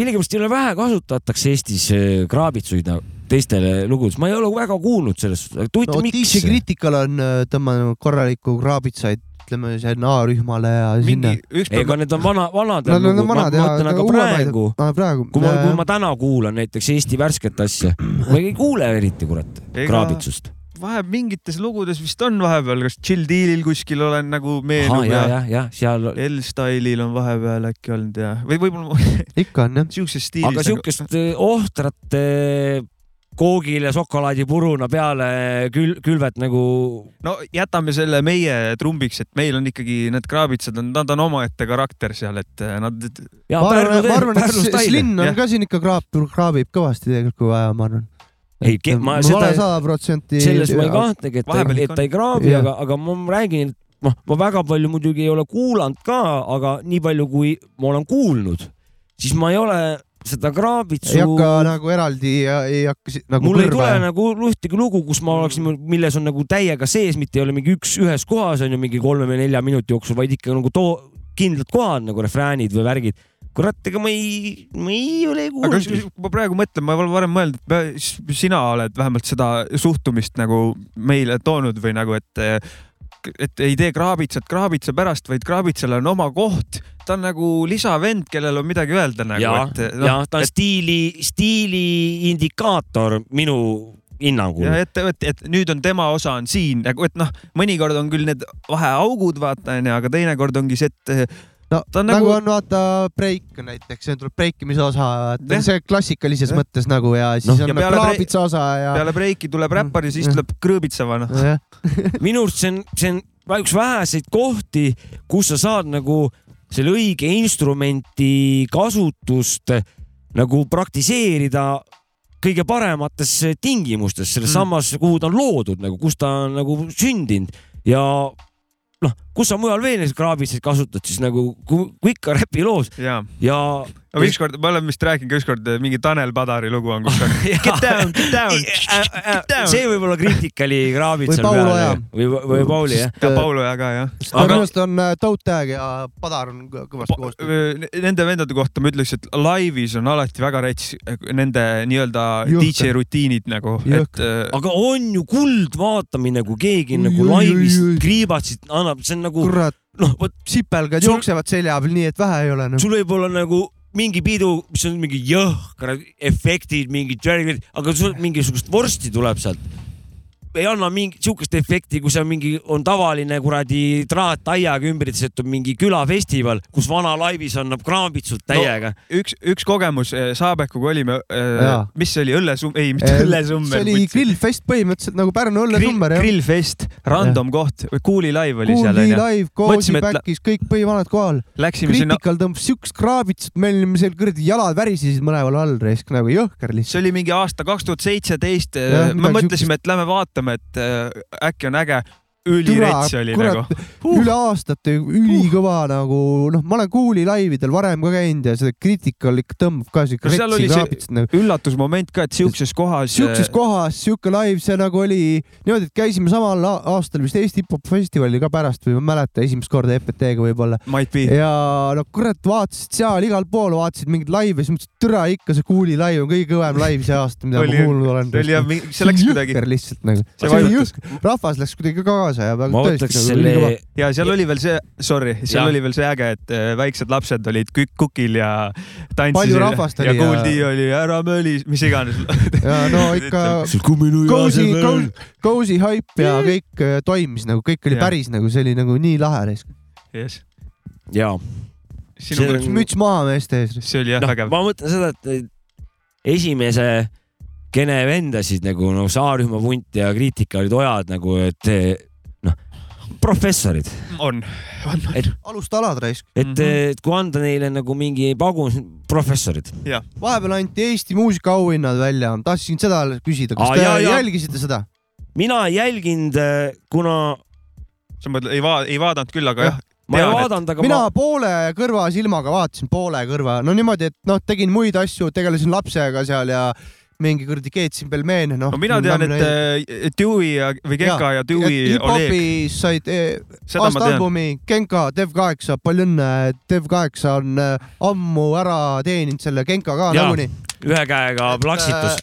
[SPEAKER 3] millegipärast ei ole vähe kasutatakse Eestis eh, kraabitsuid nagu teistele lugudes , ma ei ole väga kuulnud sellest , et
[SPEAKER 1] no
[SPEAKER 3] huvitav no, ,
[SPEAKER 1] Dixi
[SPEAKER 3] miks .
[SPEAKER 1] Critical on äh, tõmmanud korralikku kraabitsaid , ütleme sinna A-rühmale ja sinna
[SPEAKER 2] mingi . üks päev
[SPEAKER 3] ega need on vana , vanad .
[SPEAKER 1] Nad on
[SPEAKER 3] nagu,
[SPEAKER 1] vanad
[SPEAKER 3] ma
[SPEAKER 1] ja
[SPEAKER 3] mõtlen , aga praegu ,
[SPEAKER 1] praegu . äh,
[SPEAKER 3] kui ma , kui ma täna kuulan näiteks Eesti värsket asja , ma ei kuule eriti , kurat ,
[SPEAKER 2] Ega-
[SPEAKER 3] kraabitsust .
[SPEAKER 2] vahe mingites lugudes vist on vahepeal , kas Chill Dealil kuskil olen nagu
[SPEAKER 3] ahah ,
[SPEAKER 2] meenub
[SPEAKER 3] ja ,
[SPEAKER 2] ja
[SPEAKER 3] ja , jah , seal ,
[SPEAKER 2] L-Style'il on vahepeal äkki olnud ja , või võib-olla
[SPEAKER 1] ikka on jah .
[SPEAKER 2] siukses stiilis . nagu-
[SPEAKER 3] aga siukest eh, ohtrat eh, koogile šokolaadipuruna peale kül- , külvet nagu
[SPEAKER 2] no jätame selle meie trumbiks , et meil on ikkagi need kraabitsad , nad on omaette karakter seal , et eh, nad ,
[SPEAKER 3] ja
[SPEAKER 1] ma
[SPEAKER 3] Pärnu
[SPEAKER 1] arvan , ma arvan ,
[SPEAKER 3] Pärnu
[SPEAKER 1] et
[SPEAKER 3] stail .
[SPEAKER 1] Slinn on
[SPEAKER 2] jah.
[SPEAKER 1] ka siin ikka kraab , kraabib kõvasti tegelikult , kui vaja , ma arvan .
[SPEAKER 3] Ei, ke- ma seda-
[SPEAKER 1] olen sada protsenti .
[SPEAKER 3] selles ma ei kahtlegi , et ta
[SPEAKER 2] Vahepeal ,
[SPEAKER 3] et
[SPEAKER 2] ikka
[SPEAKER 3] ta ei kraabi ,
[SPEAKER 1] Jah.
[SPEAKER 3] aga , aga ma räägin , et noh , ma väga palju muidugi ei ole kuulanud ka , aga nii palju , kui ma olen kuulnud , siis ma ei ole seda
[SPEAKER 1] ei
[SPEAKER 3] kraabitsu ,
[SPEAKER 1] hakka nagu eraldi ja ei hakka si- nagu
[SPEAKER 3] mul ei
[SPEAKER 1] kõrva
[SPEAKER 3] tule . nagu ühtegi lugu , kus ma oleks , milles on nagu täiega sees , mitte ei ole mingi üks ühes kohas on ju mingi kolme või nelja minuti jooksul , vaid ikka nagu too kindlad kohad nagu refräänid või värgid . kurat , ega ma ei , ma ei ole
[SPEAKER 2] aga
[SPEAKER 3] kuulnud .
[SPEAKER 2] kui ma praegu mõtlen , ma pole varem mõelnud , et ma- s- sina oled vähemalt seda suhtumist nagu meile toonud või nagu , et et ei tee kraabitsat kraabitsa pärast , vaid kraabitsal on oma koht , ta on nagu lisavend , kellel on midagi öelda nagu ,
[SPEAKER 3] ja ,
[SPEAKER 2] et
[SPEAKER 3] no, ja ta on et... stiili , stiili indikaator minu hinnangul .
[SPEAKER 2] ja et , et , et nüüd on tema osa on siin nagu , et noh , mõnikord on küll need vaheaugud , vaata onju , aga teinekord ongi see , et eh,
[SPEAKER 1] no
[SPEAKER 2] ta on
[SPEAKER 1] nagu...
[SPEAKER 2] nagu-
[SPEAKER 1] nagu on vaata breik näiteks , see tuleb breikimise osa , et
[SPEAKER 2] Jah.
[SPEAKER 1] see klassikalises
[SPEAKER 2] Jah.
[SPEAKER 1] mõttes nagu ja siis
[SPEAKER 3] Noh,
[SPEAKER 2] ja
[SPEAKER 1] on
[SPEAKER 2] peale brei-
[SPEAKER 1] kraabitsa osa ja .
[SPEAKER 2] peale breiki tuleb räppar ja siis
[SPEAKER 1] jah.
[SPEAKER 2] tuleb krõõbitseva noh .
[SPEAKER 1] jah ,
[SPEAKER 3] minu arust see on , see on vä- üks väheseid kohti , kus sa saad nagu selle õige instrumenti kasutust nagu eh, praktiseerida kõige paremates eh, tingimustes selles mm. sammas , kuhu ta on loodud nagu , kus ta on nagu sündinud ja noh , kus sa mujal veel neid kraabiseid kasutad siis nagu kui, kui ikka räpiloos
[SPEAKER 2] jaa .
[SPEAKER 3] ja .
[SPEAKER 2] aga ükskord , ma olen vist rääkinud ka ükskord , mingi Tanel Padari lugu on , kus on get down , get down , get down .
[SPEAKER 3] Äh, see võib olla Criticali kraabid
[SPEAKER 1] Või
[SPEAKER 3] seal
[SPEAKER 1] Paulo Oja.
[SPEAKER 3] peal eh, või , või
[SPEAKER 1] äh,
[SPEAKER 3] Pauli jah .
[SPEAKER 2] ja Paulo ja ka jah .
[SPEAKER 1] aga
[SPEAKER 3] Aga-
[SPEAKER 1] minu arust on äh, Toe Tag ja Padar on kõ- kõvasti koostöös .
[SPEAKER 2] Äh, Nende vendade kohta ma ütleks , et laivis on alati väga rets eh, nende nii-öelda
[SPEAKER 1] Jõhker. Ah,
[SPEAKER 2] DJ rutiinid nagu , et äh,
[SPEAKER 3] aga on ju kuldvaatamine , kui keegi
[SPEAKER 1] Oi,
[SPEAKER 3] nagu
[SPEAKER 1] oi, oi,
[SPEAKER 3] laivis
[SPEAKER 1] oi.
[SPEAKER 3] kriibatsit annab , see on
[SPEAKER 2] uh.
[SPEAKER 3] nagu
[SPEAKER 1] kurat ,
[SPEAKER 3] noh , vot
[SPEAKER 1] sipelgad
[SPEAKER 3] Sul-
[SPEAKER 1] jooksevad selja peal , nii et vähe ei ole . noh.
[SPEAKER 3] sul võib olla nagu mingi pidu , mis on mingi jõhkrad efektid , mingid järgmine , aga sul mingisugust vorsti tuleb sealt . ei anna mingit sihukest efekti , kui seal mingi on tavaline kuradi traataiaga ümbritsetud mingi külafestival , kus vana laivis annab kraambitsut täiega no. .
[SPEAKER 2] üks , üks kogemus eh, Saabekuga olime eh,
[SPEAKER 1] Jaa. ,
[SPEAKER 2] mis see oli , õllesumm , ei , mitte
[SPEAKER 1] see
[SPEAKER 2] õllesummer .
[SPEAKER 1] oli grillfest põhimõtteliselt nagu Pärnu õllesummer jah .
[SPEAKER 2] grillfest , random koht , Kuuli live oli seal
[SPEAKER 1] Kuuli
[SPEAKER 2] onju .
[SPEAKER 1] live ,
[SPEAKER 2] Mõtlesime, et la-
[SPEAKER 1] Koosipäkis , kõik põhivanad kohal .
[SPEAKER 2] Läksime sinna ,
[SPEAKER 1] kriitikal tõmbas siukest kraabitsat , me olime seal kuradi jalad värisesid mõlemal all raisk nagu jõhker lihtsalt .
[SPEAKER 2] see oli mingi aasta kaks tuhat seitseteist äh,
[SPEAKER 1] Jah, ,
[SPEAKER 2] me
[SPEAKER 1] midagi
[SPEAKER 2] mõtlesime , et lähme vaatame , et eh, äkki on äge . ülirets oli nagu .
[SPEAKER 1] uh. üle aastate ülikõva uh. nagu noh , ma olen Kuuli laividel varem ka käinud ja see Critical ikka tõmbab ka siuke
[SPEAKER 2] No seal
[SPEAKER 1] retsi
[SPEAKER 2] oli see-
[SPEAKER 1] kraabits nagu .
[SPEAKER 2] üllatusmoment ka , et siukses kohas . äh,
[SPEAKER 1] siukses kohas siuke live , see nagu oli niimoodi , et käisime samal a- aastal vist Eesti hip-hop festivalil ka pärast või ma ei mäleta , esimest korda EPT-ga võib-olla .
[SPEAKER 2] Might be .
[SPEAKER 1] ja no kurat , vaatasid seal igal pool , vaatasid mingeid laive , siis mõtlesin , et türa ikka see Kuuli live on kõige kõvem live see aasta , mida
[SPEAKER 2] Oli-
[SPEAKER 1] ma kuulnud olen .
[SPEAKER 2] oli jah , see läks kuidagi
[SPEAKER 1] jõhker lihtsalt nagu .
[SPEAKER 2] See
[SPEAKER 1] see oli
[SPEAKER 2] vajutas.
[SPEAKER 1] jõhker , rahvas läks kuidagi kaasa ja
[SPEAKER 3] ma
[SPEAKER 1] väga
[SPEAKER 3] võtaks
[SPEAKER 1] tõesti nagu
[SPEAKER 3] selle
[SPEAKER 1] ülikõva .
[SPEAKER 2] ja seal oli veel see , sorry , seal
[SPEAKER 3] Jah.
[SPEAKER 2] oli veel see äge , et äh, väiksed lapsed olid kõik kukil ja tantsisid .
[SPEAKER 1] Palju rahvast
[SPEAKER 2] ja
[SPEAKER 1] oli ja-
[SPEAKER 2] kuuldi ja... oli ära möli , mis iganes .
[SPEAKER 1] ja no ikka Cozy ,
[SPEAKER 3] kumminuja .
[SPEAKER 1] Cozy hype ja kõik äh, toimis nagu , kõik oli
[SPEAKER 2] Jah.
[SPEAKER 1] päris nagu , see oli nagu nii lahe .
[SPEAKER 2] Yes.
[SPEAKER 3] jaa ,
[SPEAKER 2] sinu
[SPEAKER 3] See-
[SPEAKER 2] see... ,
[SPEAKER 1] müts maha meeste ees .
[SPEAKER 2] see oli jah no,
[SPEAKER 3] noh ,
[SPEAKER 2] vägev .
[SPEAKER 3] ma mõtlen seda , et esimese kene vendasid nagu noh , A-rühma vunt ja kriitika olid ojad nagu , et noh , professorid ,
[SPEAKER 2] on , on ,
[SPEAKER 1] alustalad raisk .
[SPEAKER 3] et mm ,
[SPEAKER 2] Mhm.
[SPEAKER 3] -hmm. et kui anda neile nagu mingi pagun , professorid .
[SPEAKER 1] vahepeal anti Eesti muusikaauhinnad välja , tahtsin seda küsida , kas
[SPEAKER 3] Aa,
[SPEAKER 1] te
[SPEAKER 3] jaa, jaa.
[SPEAKER 1] jälgisite seda ?
[SPEAKER 3] mina ei jälginud , kuna
[SPEAKER 2] sa mõtled , ei va- , ei vaadanud küll , aga jah ,
[SPEAKER 3] ma ei
[SPEAKER 2] Tean, et-
[SPEAKER 3] vaadanud , aga
[SPEAKER 1] mina
[SPEAKER 3] mina...
[SPEAKER 1] ma... poole kõrva silmaga vaatasin , poole kõrva , no niimoodi , et noh , tegin muid asju , tegelesin lapsega seal ja mingi kuradi keetsin pelmeene , noh .
[SPEAKER 2] no mina tean , et äh, Dewey ja , või Genka ja, ja Dewey Oleg ,
[SPEAKER 1] hip-hopi said eh,
[SPEAKER 2] seda ma
[SPEAKER 1] aasta
[SPEAKER 2] tean .
[SPEAKER 1] albumi Genka Dev8 , palju õnne , Dev8 on eh, ammu ära teeninud selle Genka ka
[SPEAKER 3] Jaa,
[SPEAKER 1] nagunii .
[SPEAKER 3] ühe käega
[SPEAKER 1] et, äh,
[SPEAKER 3] plaksitus .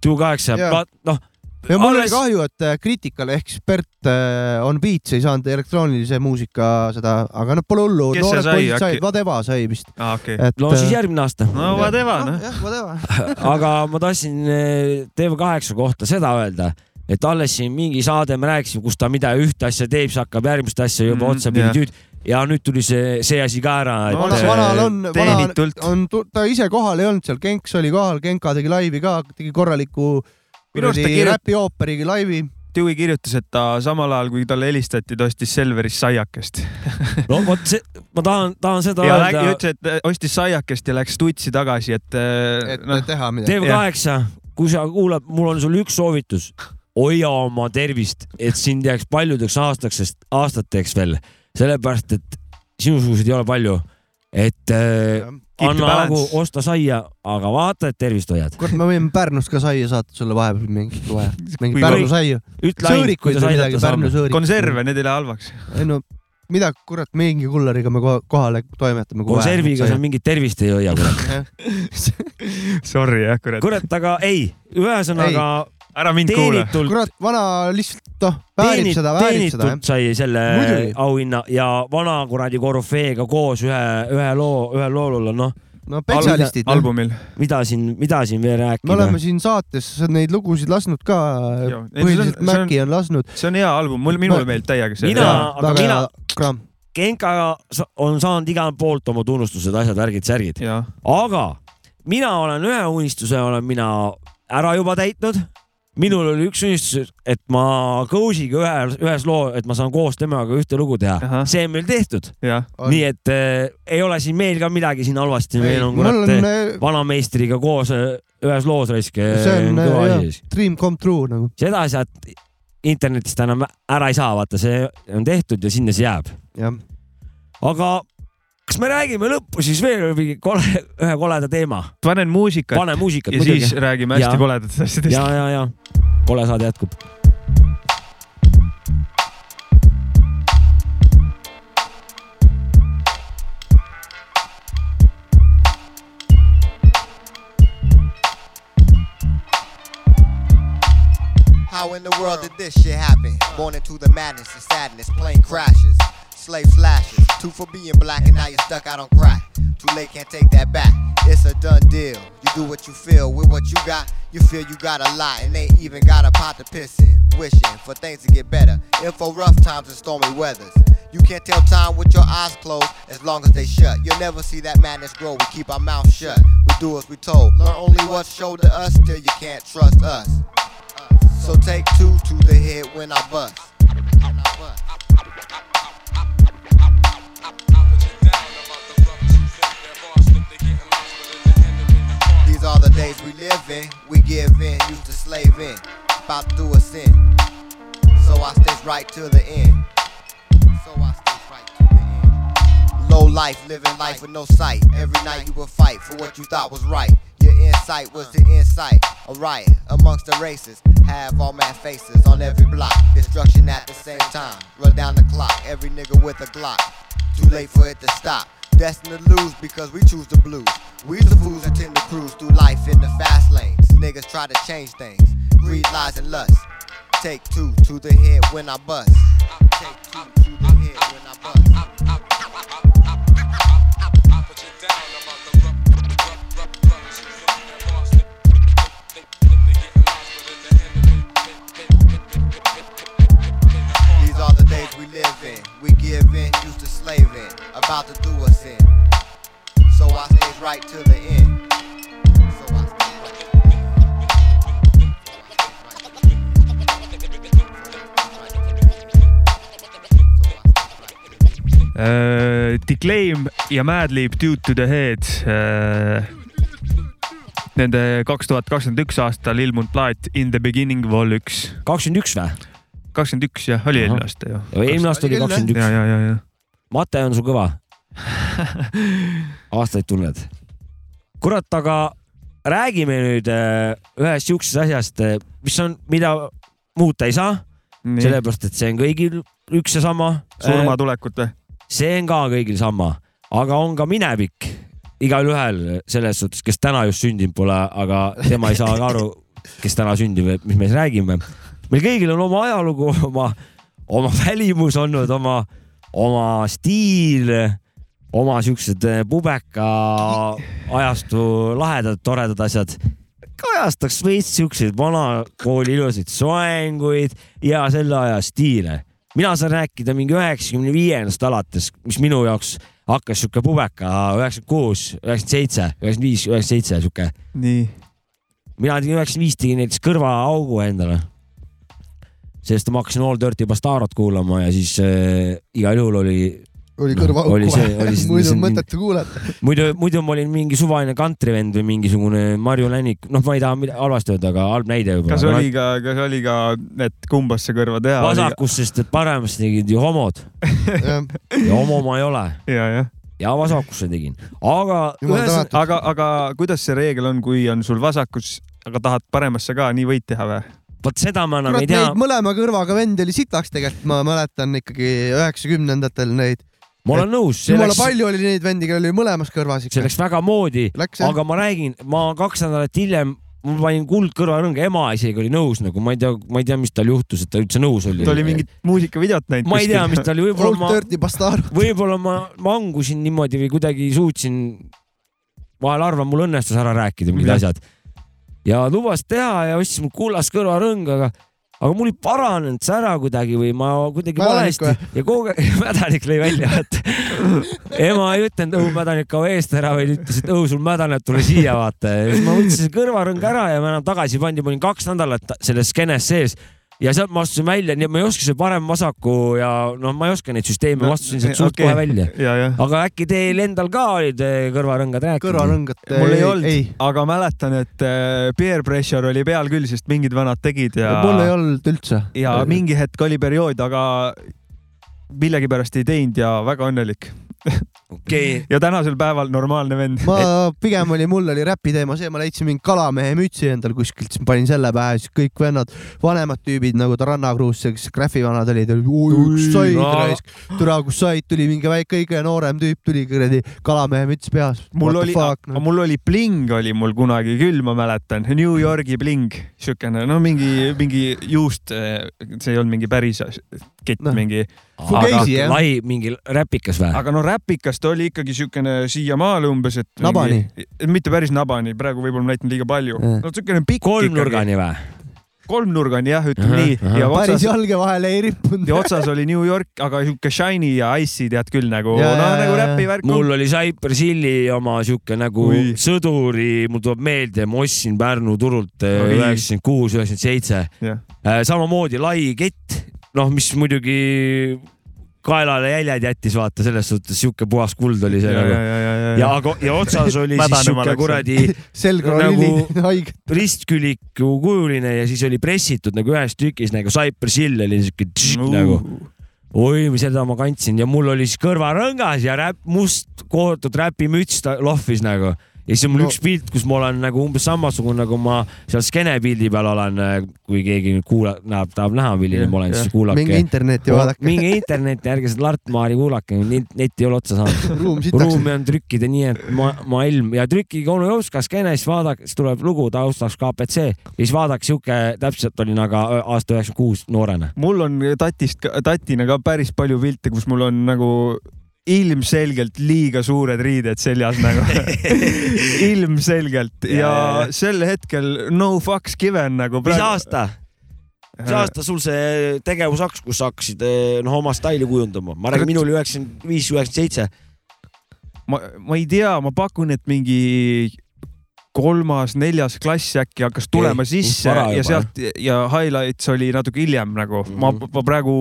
[SPEAKER 3] Two kaheksa
[SPEAKER 1] jaa. ,
[SPEAKER 3] noh ,
[SPEAKER 1] ja mul
[SPEAKER 3] alles-
[SPEAKER 1] oli kahju , et eh, Critical ehk siis Bert eh, on Beats ei saanud elektroonilise muusika seda , aga noh , pole hullu ,
[SPEAKER 2] Kes see
[SPEAKER 1] noored
[SPEAKER 2] sai,
[SPEAKER 1] poisid
[SPEAKER 2] äkki-
[SPEAKER 1] said , Vadeva sai vist .
[SPEAKER 2] aa , Ah, okei .
[SPEAKER 1] et
[SPEAKER 3] no siis
[SPEAKER 1] eh,
[SPEAKER 3] järgmine aasta .
[SPEAKER 2] no whatever , noh .
[SPEAKER 1] jah , Vadeva .
[SPEAKER 3] aga ma tahtsin eh, TV8 kohta seda öelda , et alles siin mingi saade me rääkisime , kus ta mida ühte asja teeb , siis hakkab järgmist asja
[SPEAKER 2] Mhm,
[SPEAKER 3] juba mm, otsapidi
[SPEAKER 2] jah.
[SPEAKER 3] tüüd ja nüüd tuli see , see asi ka ära , et eh,
[SPEAKER 2] No,
[SPEAKER 1] vana ,
[SPEAKER 2] see-
[SPEAKER 1] vanal on , vanal
[SPEAKER 2] teenitult.
[SPEAKER 1] on , ta ise kohal ei olnud seal , Genks oli kohal , Genka tegi laivi ka , tegi korraliku
[SPEAKER 2] Minu arust ta
[SPEAKER 1] kuradi
[SPEAKER 2] kirjut-
[SPEAKER 1] räpiooperigi laivi .
[SPEAKER 2] Dewey kirjutas , et ta samal ajal , kui talle helistati , ta ostis Selverist saiakest .
[SPEAKER 3] eh, no vot see , ma tahan , tahan seda
[SPEAKER 2] ja läks,
[SPEAKER 3] öelda ,
[SPEAKER 2] ütles , et äh, ostis saiakest ja läks tutsi tagasi , et, äh,
[SPEAKER 1] et no. teha midagi .
[SPEAKER 3] TV8 , kui sa kuulad , mul on sulle üks soovitus , hoia oma tervist , et sind jääks paljudeks aastaks , aastateks veel , sellepärast et sinusuguseid ei ole palju , et eh,
[SPEAKER 2] Keep the
[SPEAKER 3] anna nagu
[SPEAKER 2] balance.
[SPEAKER 3] osta saia , aga vaata , et tervist hoiad .
[SPEAKER 1] kurat , me võime Pärnust ka saia saata sulle vahepeal mingit vaja ,
[SPEAKER 2] Kui
[SPEAKER 1] mingit Pärnu
[SPEAKER 3] või-
[SPEAKER 1] saiu .
[SPEAKER 3] ütle ainult ,
[SPEAKER 1] sõõrikuid
[SPEAKER 3] kuidas
[SPEAKER 1] või
[SPEAKER 3] aidata
[SPEAKER 1] midagi ,
[SPEAKER 3] saame
[SPEAKER 1] Pärnu . sõõrikuid .
[SPEAKER 2] konserve , need ei lähe halvaks .
[SPEAKER 1] ei no mida , kurat , mingi kulleriga me ko- kohale toimetame .
[SPEAKER 3] konserviga seal . mingit tervist ei hoia , kurat .
[SPEAKER 2] Sorry jah , kurat .
[SPEAKER 3] kurat , aga ei , ühesõnaga
[SPEAKER 2] ära mind kuula .
[SPEAKER 3] teenitult ,
[SPEAKER 1] kurat , vana lihtsalt , noh , väärib
[SPEAKER 3] teenit-
[SPEAKER 1] seda , väärib seda ,
[SPEAKER 3] teenitult sai selle
[SPEAKER 1] Muidugi.
[SPEAKER 3] auhinna ja vana kuradi korüfeega koos ühe , ühe loo , ühel loolul on noh ,
[SPEAKER 1] jah . no spetsialistid .
[SPEAKER 2] albumil .
[SPEAKER 3] mida siin , mida siin veel
[SPEAKER 1] me
[SPEAKER 3] rääkida .
[SPEAKER 1] oleme siin saates neid lugusid lasknud ka ,
[SPEAKER 2] Joo. Ei,
[SPEAKER 1] põhiliselt
[SPEAKER 2] see on- see on-
[SPEAKER 1] Maci on lasknud .
[SPEAKER 2] see on hea album , mul , minule
[SPEAKER 1] Ma-
[SPEAKER 2] meeldib täiega see .
[SPEAKER 3] Mina- aga
[SPEAKER 1] väga
[SPEAKER 3] mina-
[SPEAKER 1] hea kraam .
[SPEAKER 3] Genka sa- on saanud igalt poolt oma tunnustused , asjad , värgid , särgid ,
[SPEAKER 2] jah ,
[SPEAKER 3] aga mina olen ühe unistuse , olen mina ära juba täitnud , minul oli üks unistus , et ma Kõusiga ühe , ühes loo , et ma saan koos temaga ühte lugu teha
[SPEAKER 2] Ahah. .
[SPEAKER 3] see on meil tehtud .
[SPEAKER 2] jah ,
[SPEAKER 1] On.
[SPEAKER 3] nii et äh, ei ole siin meil ka midagi siin halvasti , meil on
[SPEAKER 1] mul
[SPEAKER 3] kurat
[SPEAKER 1] on
[SPEAKER 3] on...
[SPEAKER 1] äh,
[SPEAKER 3] vanameistriga koos äh, ühes loos raisk .
[SPEAKER 1] see on
[SPEAKER 3] kõva
[SPEAKER 1] äh, jah,
[SPEAKER 3] asi siis .
[SPEAKER 1] dream come true nagu .
[SPEAKER 3] seda asjad internetist enam ära ei saa , vaata , see on tehtud ja sinna see jääb .
[SPEAKER 1] jah ,
[SPEAKER 3] aga kas me räägime lõppu siis veel mingi kole , ühe koleda teema ?
[SPEAKER 2] panen muusikat
[SPEAKER 3] pane muusikat
[SPEAKER 2] ja siis
[SPEAKER 3] muidugi .
[SPEAKER 2] räägime hästi
[SPEAKER 3] Jaa.
[SPEAKER 2] koledatest asjadest .
[SPEAKER 3] ja , ja , ja kole saade jätkub .
[SPEAKER 10] How in the world did this shit happen? Born into the madness and sadness, plane crashes, slave flashes. Two for being black and now you're stuck out on crack. Too late, can't take that back. It's a done deal. You do what you feel with what you got. You feel you got a lot and ain't even got a pot to piss in. Wishing for things to get better. Info rough times and stormy weathers. You can't tell time with your eyes closed as long as they shut. You'll never see that madness grow. We keep our mouth shut. We do as we told. Learn only what's showed to us till you can't trust us. So take two to the head when I bust. These are the days we live in, we give in, used to slave in, about to do a sin. So I stays right to the end. So I stays right to the end. Low life, living life with no sight. Every night you would fight for what you thought was right. Your insight was the insight. A riot amongst the races. Have all mad faces on every block. Destruction at the same time. Run down the clock. Every nigga with a Glock. Too late for it to stop. Destined to lose because we choose the blues. We the fools who tend to cruise through life in the fast lanes. Niggas try to change things. Greed, lies, and lust. Take two to the head when I bust. Take two to the head when I bust. These are the days we live in. We give in, used to slaving, about to do us in. So I stays right to the end. So I stays right to the end.
[SPEAKER 2] Declaim Eh, ja Madlib Due to the Head . Nende kaks tuhat kakskümmend üks aastal ilmunud plaat In the beginning vol üks ,
[SPEAKER 3] kakskümmend üks või ?
[SPEAKER 2] kakskümmend üks jah , oli
[SPEAKER 3] Ahah.
[SPEAKER 2] eelmine aasta ju .
[SPEAKER 3] eelmine aasta oli
[SPEAKER 1] Oli küll,
[SPEAKER 2] ja ,
[SPEAKER 3] kakskümmend üks .
[SPEAKER 2] ja , ja , ja .
[SPEAKER 3] Mate on su kõva aastaid tunned . kurat , aga räägime nüüd äh, ühest siuksest asjast , mis on , mida muuta ei saa ,
[SPEAKER 2] nii ,
[SPEAKER 3] sellepärast et see on kõigil üks ja sama .
[SPEAKER 2] surmatulekut või ?
[SPEAKER 3] see on ka kõigil sama , aga on ka minevik igalühel selles suhtes , kes täna just sündinud pole , aga tema ei saa ka aru , kes täna sündib , et mis me siis räägime . meil kõigil on oma ajalugu , oma , oma välimus olnud , oma , oma stiil , oma siuksed pubeka ajastu lahedad , toredad asjad . kajastaks veits siukseid vanakooli ilusaid soenguid ja selle aja stiile mina saan rääkida mingi üheksakümne viiendast alates , mis minu jaoks hakkas sihuke pubeka , üheksakümmend kuus , üheksakümmend seitse , üheksakümmend viis , üheksakümmend seitse sihuke .
[SPEAKER 2] nii ,
[SPEAKER 3] mina tegin üheksakümmend viis tegin näiteks kõrvaaugu endale . sest ma hakkasin All Dirty Bastardot kuulama ja siis äh, igal juhul oli ,
[SPEAKER 1] oli
[SPEAKER 3] Noh,
[SPEAKER 1] kõrva
[SPEAKER 3] oli see- oli see-
[SPEAKER 1] muidu
[SPEAKER 3] see-
[SPEAKER 1] on mõttetu kuulata .
[SPEAKER 3] muidu , muidu ma olin mingi suvaline kantrivend või mingisugune Marju Länik , noh , ma ei taha midagi halvasti öelda , aga halb näide
[SPEAKER 2] kas
[SPEAKER 3] võib-olla .
[SPEAKER 2] oli ka , kas oli ka , et kumbasse kõrva teha ?
[SPEAKER 3] vasakus , sest et paremast tegid ju homod ja homo ma ei ole
[SPEAKER 2] ja , jah .
[SPEAKER 3] ja vasakusse tegin , aga .
[SPEAKER 1] Jumal tänatud.
[SPEAKER 2] aga , aga kuidas see reegel on , kui on sul vasakus , aga tahad paremasse ka , nii võid teha või ?
[SPEAKER 3] vot seda ma enam
[SPEAKER 1] kurat ,
[SPEAKER 3] ei tea
[SPEAKER 1] neid . mõlema kõrvaga vend oli sitaks tegelikult , ma mäletan ikkagi üheksakümnendatel neid .
[SPEAKER 3] ma olen nõus , see
[SPEAKER 1] jumala
[SPEAKER 3] läks ,
[SPEAKER 1] palju oli neid vendi , kellel oli mõlemas kõrvas
[SPEAKER 3] see
[SPEAKER 1] ikka .
[SPEAKER 3] läks väga moodi ,
[SPEAKER 1] Läks jah ,
[SPEAKER 3] aga ma räägin , ma kaks nädalat hiljem , ma panin kuldkõrvarõnga , ema isegi oli nõus nagu , ma ei tea , ma ei tea , mis tal juhtus , et ta üldse nõus oli .
[SPEAKER 2] ta oli mingit muusikavideot näinud .
[SPEAKER 3] ma ei tea , mis ta oli ,
[SPEAKER 1] old
[SPEAKER 3] võib-olla ma ,
[SPEAKER 1] dirty bastard .
[SPEAKER 3] võib-olla ma mangusin niimoodi või kuidagi suutsin , vahel arvan , mul õnnestus ära rääkida mingid
[SPEAKER 2] Jah.
[SPEAKER 3] asjad . ja lubas teha ja ostis mul kullast kõrvarõng , aga aga mul ei paranenud see ära kuidagi või ma kuidagi
[SPEAKER 1] Mädanik
[SPEAKER 3] valesti ja kogu aeg mädanik lõi välja , et ema ei ütelnud , õhu mädanik kao eest ära , vaid ütles , et õhu sul mädaneb , tule siia vaata . ja siis ma võtsin kõrvarõng ära ja ma enam tagasi ei pannud ja ma olin kaks nädalat selles skeenes sees ja sealt ma astusin välja , nii et ma ei oska seda parem-vasaku ja noh , ma ei oska neid süsteeme , ma astusin sealt suht kohe välja .
[SPEAKER 2] ja , jah .
[SPEAKER 3] aga äkki teil endal ka olid eh, kõrvarõngad rääkinud ?
[SPEAKER 1] kõrvarõngat .
[SPEAKER 2] mul ei olnud
[SPEAKER 1] ei ,,
[SPEAKER 2] aga mäletan , et äh, peer pressure oli peal küll , sest mingid vennad tegid ja .
[SPEAKER 1] mul ei olnud üldse .
[SPEAKER 2] ja mingi hetk oli periood , aga millegipärast ei teinud ja väga õnnelik .
[SPEAKER 3] okei ,
[SPEAKER 2] ja tänasel päeval normaalne vend .
[SPEAKER 1] ma pigem oli , mul oli räpi teema see , ma leidsin mingi kalamehe mütsi endal kuskilt , siis ma panin selle pähe , siis kõik vennad , vanemad tüübid nagu Taranna Kruuse , kes Graffi vanad olid , oi kus said
[SPEAKER 3] no.
[SPEAKER 1] raisk , türa kus said , tuli mingi väike kõige noorem tüüp tuli kuradi kalamehe müts peas .
[SPEAKER 2] mul oli ,
[SPEAKER 1] noh.
[SPEAKER 2] mul oli bling oli mul kunagi küll , ma mäletan , New Yorgi bling , siukene no mingi , mingi juust , see ei olnud mingi päris as- kett
[SPEAKER 1] Noh.
[SPEAKER 2] no. mingi ,
[SPEAKER 1] Fugazi, jah.
[SPEAKER 3] lai mingi räpikas või ?
[SPEAKER 2] aga no räpikas ta oli ikkagi siukene siiamaale umbes , et .
[SPEAKER 1] Nabani. .
[SPEAKER 2] mitte päris nabani , praegu võib-olla ma näitan liiga palju
[SPEAKER 1] Jah. .
[SPEAKER 2] no siukene pikk .
[SPEAKER 3] kolmnurgani või ?
[SPEAKER 2] kolmnurgani jah ,
[SPEAKER 3] Ahah,
[SPEAKER 2] ütleme nii
[SPEAKER 3] ahah.
[SPEAKER 2] ja
[SPEAKER 1] päris
[SPEAKER 2] otsas ,
[SPEAKER 1] jalge vahele ei rippunud
[SPEAKER 2] ja . otsas oli New York , aga siuke Shiny ja Ice'i tead küll nagu ,
[SPEAKER 1] Ja,
[SPEAKER 2] noh
[SPEAKER 1] ja,
[SPEAKER 2] nagu
[SPEAKER 1] ja, ja.
[SPEAKER 2] räpivärk on
[SPEAKER 3] mul oli Cypress Hilli oma sihuke nagu
[SPEAKER 2] Ui.
[SPEAKER 3] sõduri , mul tuleb meelde , ma ostsin Pärnu turult eh,
[SPEAKER 2] Oi.
[SPEAKER 3] üheksakümmend kuus , üheksakümmend
[SPEAKER 2] Jah.
[SPEAKER 3] seitse . samamoodi lai kett , noh , mis muidugi kaelale jäljed jättis , vaata selles suhtes sihuke puhas kuld oli see
[SPEAKER 2] ja ,
[SPEAKER 3] nagu
[SPEAKER 2] ja , ja , ja ,
[SPEAKER 3] ja
[SPEAKER 2] ja ,
[SPEAKER 3] aga , ja otsas oli
[SPEAKER 2] Mädane
[SPEAKER 3] siis sihuke
[SPEAKER 2] oleks.
[SPEAKER 3] kuradi
[SPEAKER 1] selg
[SPEAKER 3] Nagu-
[SPEAKER 1] oli nagu... haige .
[SPEAKER 3] ristküliku kujuline ja siis oli pressitud nagu ühes tükis nagu Cypress Hill oli siuke tšik, nagu oi , seda ma kandsin ja mul oli siis kõrvarõngas ja räpp , must kohutud räpimüts ta- lohvis nagu . ja siis on mul
[SPEAKER 1] No.
[SPEAKER 3] no. üks pilt , kus ma olen nagu umbes samasugune , nagu ma seal skeene pildi peal olen , kui keegi nüüd kuulab , näeb , tahab näha , milline
[SPEAKER 2] Jah,
[SPEAKER 3] ma olen ,
[SPEAKER 2] jah.
[SPEAKER 3] siis kuulake .
[SPEAKER 1] minge internetti vaadake ,
[SPEAKER 3] minge internetti , ärge seda Lart-Maari kuulake , net ei ole otsa saanud .
[SPEAKER 1] ruum sitaks .
[SPEAKER 3] ruumi on trükkida nii , et ma , ma ilm ja trükkige onu Jõuska skeene , siis vaadake , siis tuleb lugu taustaks KPC ja siis vaadake sihuke , täpselt olin aga aasta üheksakümmend kuus noorena .
[SPEAKER 2] mul on tatist , tatina ka päris palju pilte , kus mul on nagu ilmselgelt liiga suured riided seljas nagu . ilmselgelt ja, ja,
[SPEAKER 3] Ja, ja,
[SPEAKER 2] ja sel hetkel no fucks given nagu .
[SPEAKER 3] mis aasta ? mis ? aasta sul see tegevus hakkas , kus sa hakkasid eh, noh oma staili kujundama , ma räägin ,
[SPEAKER 2] Kurat.
[SPEAKER 3] minul oli üheksakümmend viis , üheksakümmend seitse .
[SPEAKER 2] ma , ma ei tea , ma pakun , et mingi kolmas-neljas klass äkki hakkas tulema
[SPEAKER 3] Okei,
[SPEAKER 2] sisse
[SPEAKER 3] vara
[SPEAKER 2] ja
[SPEAKER 3] juba,
[SPEAKER 2] sealt ja highlights oli natuke hiljem nagu mm , -hmm. ma , ma praegu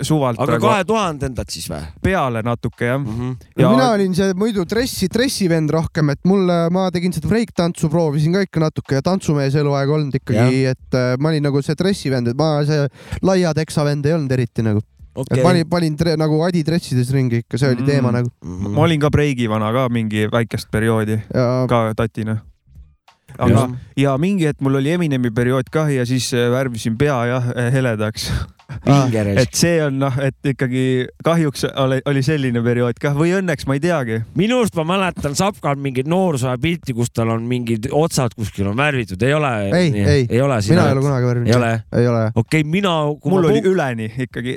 [SPEAKER 2] suvalt
[SPEAKER 3] Mhm. aga
[SPEAKER 2] praegu
[SPEAKER 3] kahe tuhandendad siis või
[SPEAKER 2] peale natuke jah .
[SPEAKER 3] mm ? -hmm.
[SPEAKER 1] ja mina olin see muidu dressi , dressivend rohkem , et mulle , ma tegin seda breiktantsu , proovisin ka ikka natuke ja tantsumees eluaeg olnud ikkagi , et äh, ma olin nagu see dressivend , et ma see laia teksa vend ei olnud eriti nagu . et
[SPEAKER 3] okei
[SPEAKER 1] panin , panin tre, nagu adidressides ringi ikka , see oli
[SPEAKER 2] Mm.
[SPEAKER 1] mm. teema nagu .
[SPEAKER 3] Mhm.
[SPEAKER 2] ma olin ka breigivana ka mingi väikest perioodi
[SPEAKER 1] ja
[SPEAKER 2] ka tatina . aga , ja mingi hetk mul oli Eminemi periood kah ja siis äh, värvisin pea jah äh, heledaks .
[SPEAKER 3] pingeres .
[SPEAKER 2] et see on noh , et ikkagi kahjuks oli, oli selline periood kah või õnneks ma ei teagi .
[SPEAKER 3] minu arust ma mäletan Sapkal mingit noorsooaja pilti , kus tal on mingid otsad kuskil on värvitud , ei ole ?
[SPEAKER 1] Ei, ei.
[SPEAKER 3] ei ole
[SPEAKER 1] mina ei ole
[SPEAKER 3] sina .
[SPEAKER 1] kunagi
[SPEAKER 3] ei
[SPEAKER 1] värvinud .
[SPEAKER 3] ole ,
[SPEAKER 1] ei ole .
[SPEAKER 3] okei okay, , mina .
[SPEAKER 2] mul oli üleni ikkagi .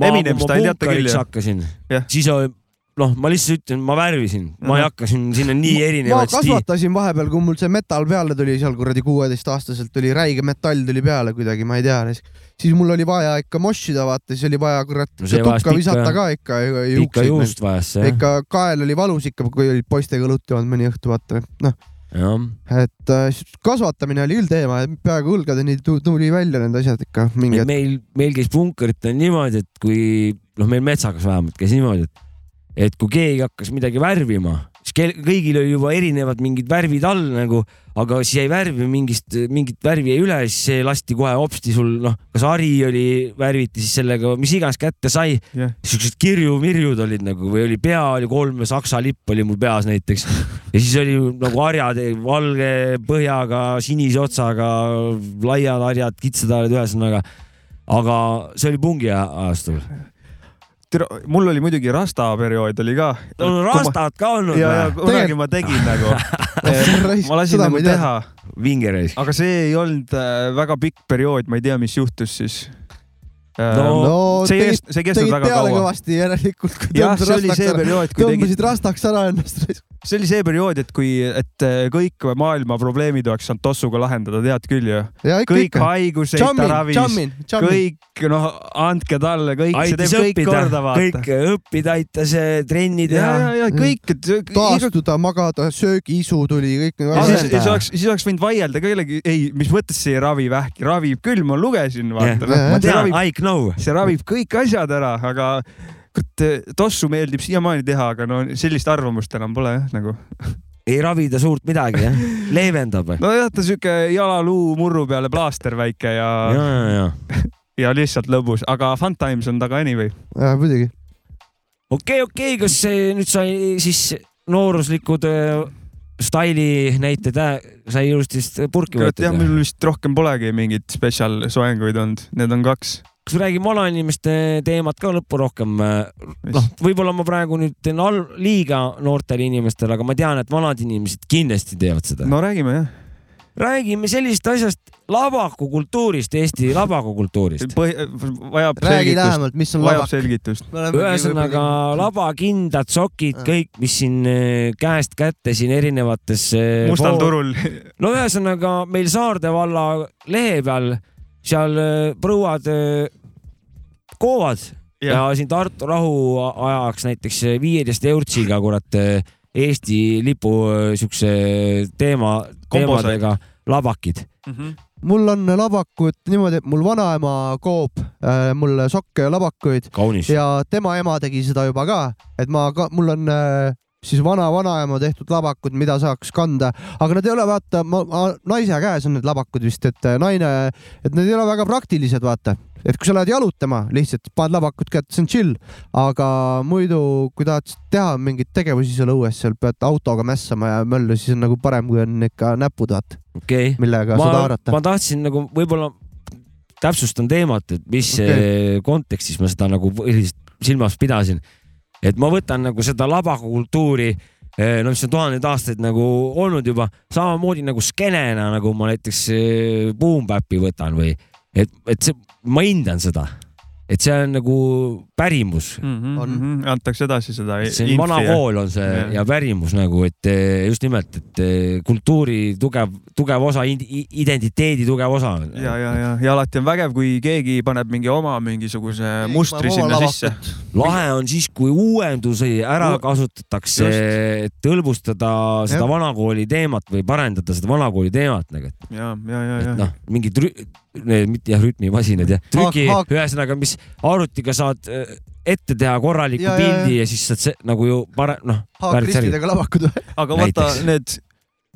[SPEAKER 2] Eminem style, teate küll, jah.
[SPEAKER 3] hakkasin
[SPEAKER 2] Jah. ,
[SPEAKER 3] siis oli- noh , ma lihtsalt ütlen , ma värvisin , ma ei
[SPEAKER 2] Ahah.
[SPEAKER 3] hakkasin sinna nii
[SPEAKER 1] ma
[SPEAKER 3] erinevaid stiile .
[SPEAKER 1] kasvatasin vahepeal , kui mul see metal peale tuli , seal kuradi kuueteistaastaselt tuli räige metall tuli peale kuidagi , ma ei tea , siis mul oli vaja ikka moshida , vaata , siis oli vaja kurat
[SPEAKER 3] No
[SPEAKER 1] no
[SPEAKER 3] see vajas
[SPEAKER 1] tukka
[SPEAKER 3] pikka-
[SPEAKER 1] visata ka ikka . nagu.
[SPEAKER 3] ikka juust vajas see
[SPEAKER 1] ikka kael oli valus ikka , kui olid poistega õlut joonud mõni õhtu , vaata , noh ,
[SPEAKER 3] jah .
[SPEAKER 1] et äh, s- kasvatamine oli küll teema , peaaegu õlgadeni tu- tuli välja need asjad ikka
[SPEAKER 3] meil ,
[SPEAKER 1] mingi hetk .
[SPEAKER 3] meil , meil käis punkritel niimoodi , et kui noh , meil metsakas vähemalt käis niimoodi , et , et kui keegi hakkas midagi värvima , siis kel- kõigil oli juba erinevad mingid värvid all nagu , aga siis jäi värvi mingist , mingit värvi jäi üle , siis see lasti kohe hopsti sul noh , kas hari oli , värviti siis sellega , mis iganes kätte sai
[SPEAKER 2] Jah.
[SPEAKER 3] yeah. . siuksed kirju-mirjud olid nagu või oli pea oli kolm ja saksa lipp oli mul peas näiteks ja siis oli nagu harjad , valge põhjaga , sinise otsaga , laiad harjad , kitsad harjad , ühesõnaga . aga see oli pungi a- ajastul .
[SPEAKER 2] Äh, mul oli muidugi rasta periood oli ka .
[SPEAKER 3] on rastad ka olnud
[SPEAKER 2] ja , ja
[SPEAKER 3] või ?
[SPEAKER 2] kunagi ma tegin nagu ma lasin nagu teha ,
[SPEAKER 3] vingereis .
[SPEAKER 2] aga see ei olnud äh, väga pikk periood , ma ei tea , mis juhtus siis .
[SPEAKER 3] No,
[SPEAKER 1] no
[SPEAKER 2] see ei
[SPEAKER 1] tegid ,
[SPEAKER 2] kest- see ei kestnud
[SPEAKER 1] tegid
[SPEAKER 2] väga
[SPEAKER 1] peale
[SPEAKER 2] kaua .
[SPEAKER 1] kõvasti järelikult , kui
[SPEAKER 2] jah ,
[SPEAKER 1] tõmbasid
[SPEAKER 2] see oli
[SPEAKER 1] rastaks
[SPEAKER 2] see
[SPEAKER 1] ära ,
[SPEAKER 2] periood , kui tegid
[SPEAKER 1] tõmbasid rastaks ära ennast .
[SPEAKER 2] see oli see periood , et kui , et äh, kõik maailma probleemid oleks saanud tossuga lahendada , tead küll ju .
[SPEAKER 1] ja ikka ,
[SPEAKER 2] kõik
[SPEAKER 1] ikka .
[SPEAKER 2] haigused ta
[SPEAKER 1] jammin ,
[SPEAKER 2] ravis ,
[SPEAKER 1] jammin , jammin .
[SPEAKER 2] kõik , noh , andke talle kõik , see
[SPEAKER 3] aitas
[SPEAKER 2] teeb kõik
[SPEAKER 3] õppida
[SPEAKER 2] korda , vaata .
[SPEAKER 3] kõik õppida aitas , trenni
[SPEAKER 2] ja ,
[SPEAKER 3] teha
[SPEAKER 2] ja ,
[SPEAKER 1] Mm.
[SPEAKER 2] ja kõik , et iga
[SPEAKER 1] taastuda , magada , söögiisu tuli kõik . nagu
[SPEAKER 2] ja siis ,
[SPEAKER 3] Asendada.
[SPEAKER 2] siis oleks , siis oleks võinud vaielda ka kellegi , ei , mis mõttes see ei ravi vähki , ravib küll , ma lugesin , vaata
[SPEAKER 1] Jah.
[SPEAKER 2] yeah.
[SPEAKER 1] Ma .
[SPEAKER 2] see
[SPEAKER 3] tean ,
[SPEAKER 2] ravib ,
[SPEAKER 3] I know .
[SPEAKER 2] see ravib kõik asjad ära , aga kurat , tossu meeldib siiamaani teha , aga no sellist arvamust enam pole jah , nagu .
[SPEAKER 3] ei ravi ta suurt midagi , jah . leevendab .
[SPEAKER 2] nojah , ta sihuke jalaluu murru peale plaaster väike ja ,
[SPEAKER 3] ja ,
[SPEAKER 2] ja ,
[SPEAKER 3] ja , ja .
[SPEAKER 2] ja lihtsalt lõbus , aga fun times on taga anyway .
[SPEAKER 1] jah , muidugi .
[SPEAKER 3] okei , okei , kas see nüüd sai siis nooruslikud öö, staili näited äh, sai ilusti vist purki
[SPEAKER 2] kurat jah ,
[SPEAKER 3] võetud ?
[SPEAKER 2] mul vist rohkem polegi mingeid spetsial soenguid olnud , need on kaks .
[SPEAKER 3] kas me räägime vanainimeste teemat ka lõppu rohkem ? noh , võib-olla ma praegu nüüd teen all, liiga noortele inimestele , aga ma tean , et vanad inimesed kindlasti teevad seda no. .
[SPEAKER 2] no räägime jah ,
[SPEAKER 3] räägime sellisest asjast , labakukultuurist , Eesti labakukultuurist .
[SPEAKER 2] vajab
[SPEAKER 1] räägi
[SPEAKER 2] selgitust ,
[SPEAKER 1] lähemalt , mis on
[SPEAKER 2] vajab
[SPEAKER 1] labak .
[SPEAKER 2] selgitust .
[SPEAKER 3] ühesõnaga labakindad sokid , kõik , mis siin eh, käest kätte siin erinevates . äh,
[SPEAKER 2] mustal . turul
[SPEAKER 3] no ühesõnaga meil Saarde valla lehe peal , seal eh, prouad eh, koovad ja, ja
[SPEAKER 2] ja
[SPEAKER 3] siin Tartu rahu ajaks näiteks äh, viieteist eurtsiga kurat eh, Eesti lipu eh, siukse teema ,
[SPEAKER 2] Kombosaid.
[SPEAKER 3] teemadega labakid .
[SPEAKER 2] mm -hmm.
[SPEAKER 1] mul on labakud niimoodi , et mul vanaema koob äh, mulle sokke ja labakuid
[SPEAKER 3] kaunis .
[SPEAKER 1] ja tema ema tegi seda juba ka , et ma ka , mul on äh, siis vana-vanaema tehtud labakud , mida saaks kanda , aga nad ei ole , vaata , ma, ma , naise käes on need labakud vist , et äh, naine , et need ei ole väga praktilised , vaata . et kui sa lähed jalutama , lihtsalt paned labakud kätte , see on chill , aga muidu , kui tahad s- teha mingeid tegevusi seal õues , seal pead autoga mässama ja möllu , siis on nagu parem , kui on ikka näpud , vaata ,
[SPEAKER 3] okei okay. ,
[SPEAKER 1] millega
[SPEAKER 3] ma
[SPEAKER 1] saad , haarata .
[SPEAKER 3] ma tahtsin nagu võib-olla täpsustan teemat , et mis
[SPEAKER 1] Okei.
[SPEAKER 3] okay. kontekstis ma seda nagu põhiliselt silmas pidasin . et ma võtan nagu seda labakultuuri , no mis on tuhandeid aastaid nagu olnud juba , samamoodi nagu skeenena , nagu ma näiteks eh, Boom Bap'i võtan või et , et see , ma hindan seda , et see on nagu pärimus ,
[SPEAKER 2] mm
[SPEAKER 1] On.
[SPEAKER 2] -hmm. antakse edasi seda
[SPEAKER 3] see on vana kool on see ja.
[SPEAKER 2] Eh, Jah.
[SPEAKER 3] ja pärimus nagu , et eh, just nimelt , et eh, kultuuri tugev , tugev osa , identiteedi tugev osa .
[SPEAKER 2] ja , ja , ja , ja alati on vägev , kui keegi paneb mingi oma mingisuguse mustri sinna sisse .
[SPEAKER 3] lahe on siis , kui uuendusi ära
[SPEAKER 2] Uu-
[SPEAKER 3] kasutatakse , et hõlbustada seda
[SPEAKER 1] Jah.
[SPEAKER 3] vanakooli teemat või parendada seda vanakooli teemat nagu , et,
[SPEAKER 2] ja , ja , ja ,
[SPEAKER 3] et
[SPEAKER 2] ja .
[SPEAKER 3] noh , mingid rü- , mitte jah , rütmimasinad jah , trüki
[SPEAKER 1] Haak- , haak-
[SPEAKER 3] ühesõnaga , mis arvutiga saad eh, ette teha korraliku
[SPEAKER 1] Ja, ja, ja.
[SPEAKER 3] pildi ja, ja siis saad see nagu ju pare- , noh , väärt särgi .
[SPEAKER 1] haakristidega labakud või ?
[SPEAKER 2] aga vaata
[SPEAKER 3] näiteks.
[SPEAKER 2] need ,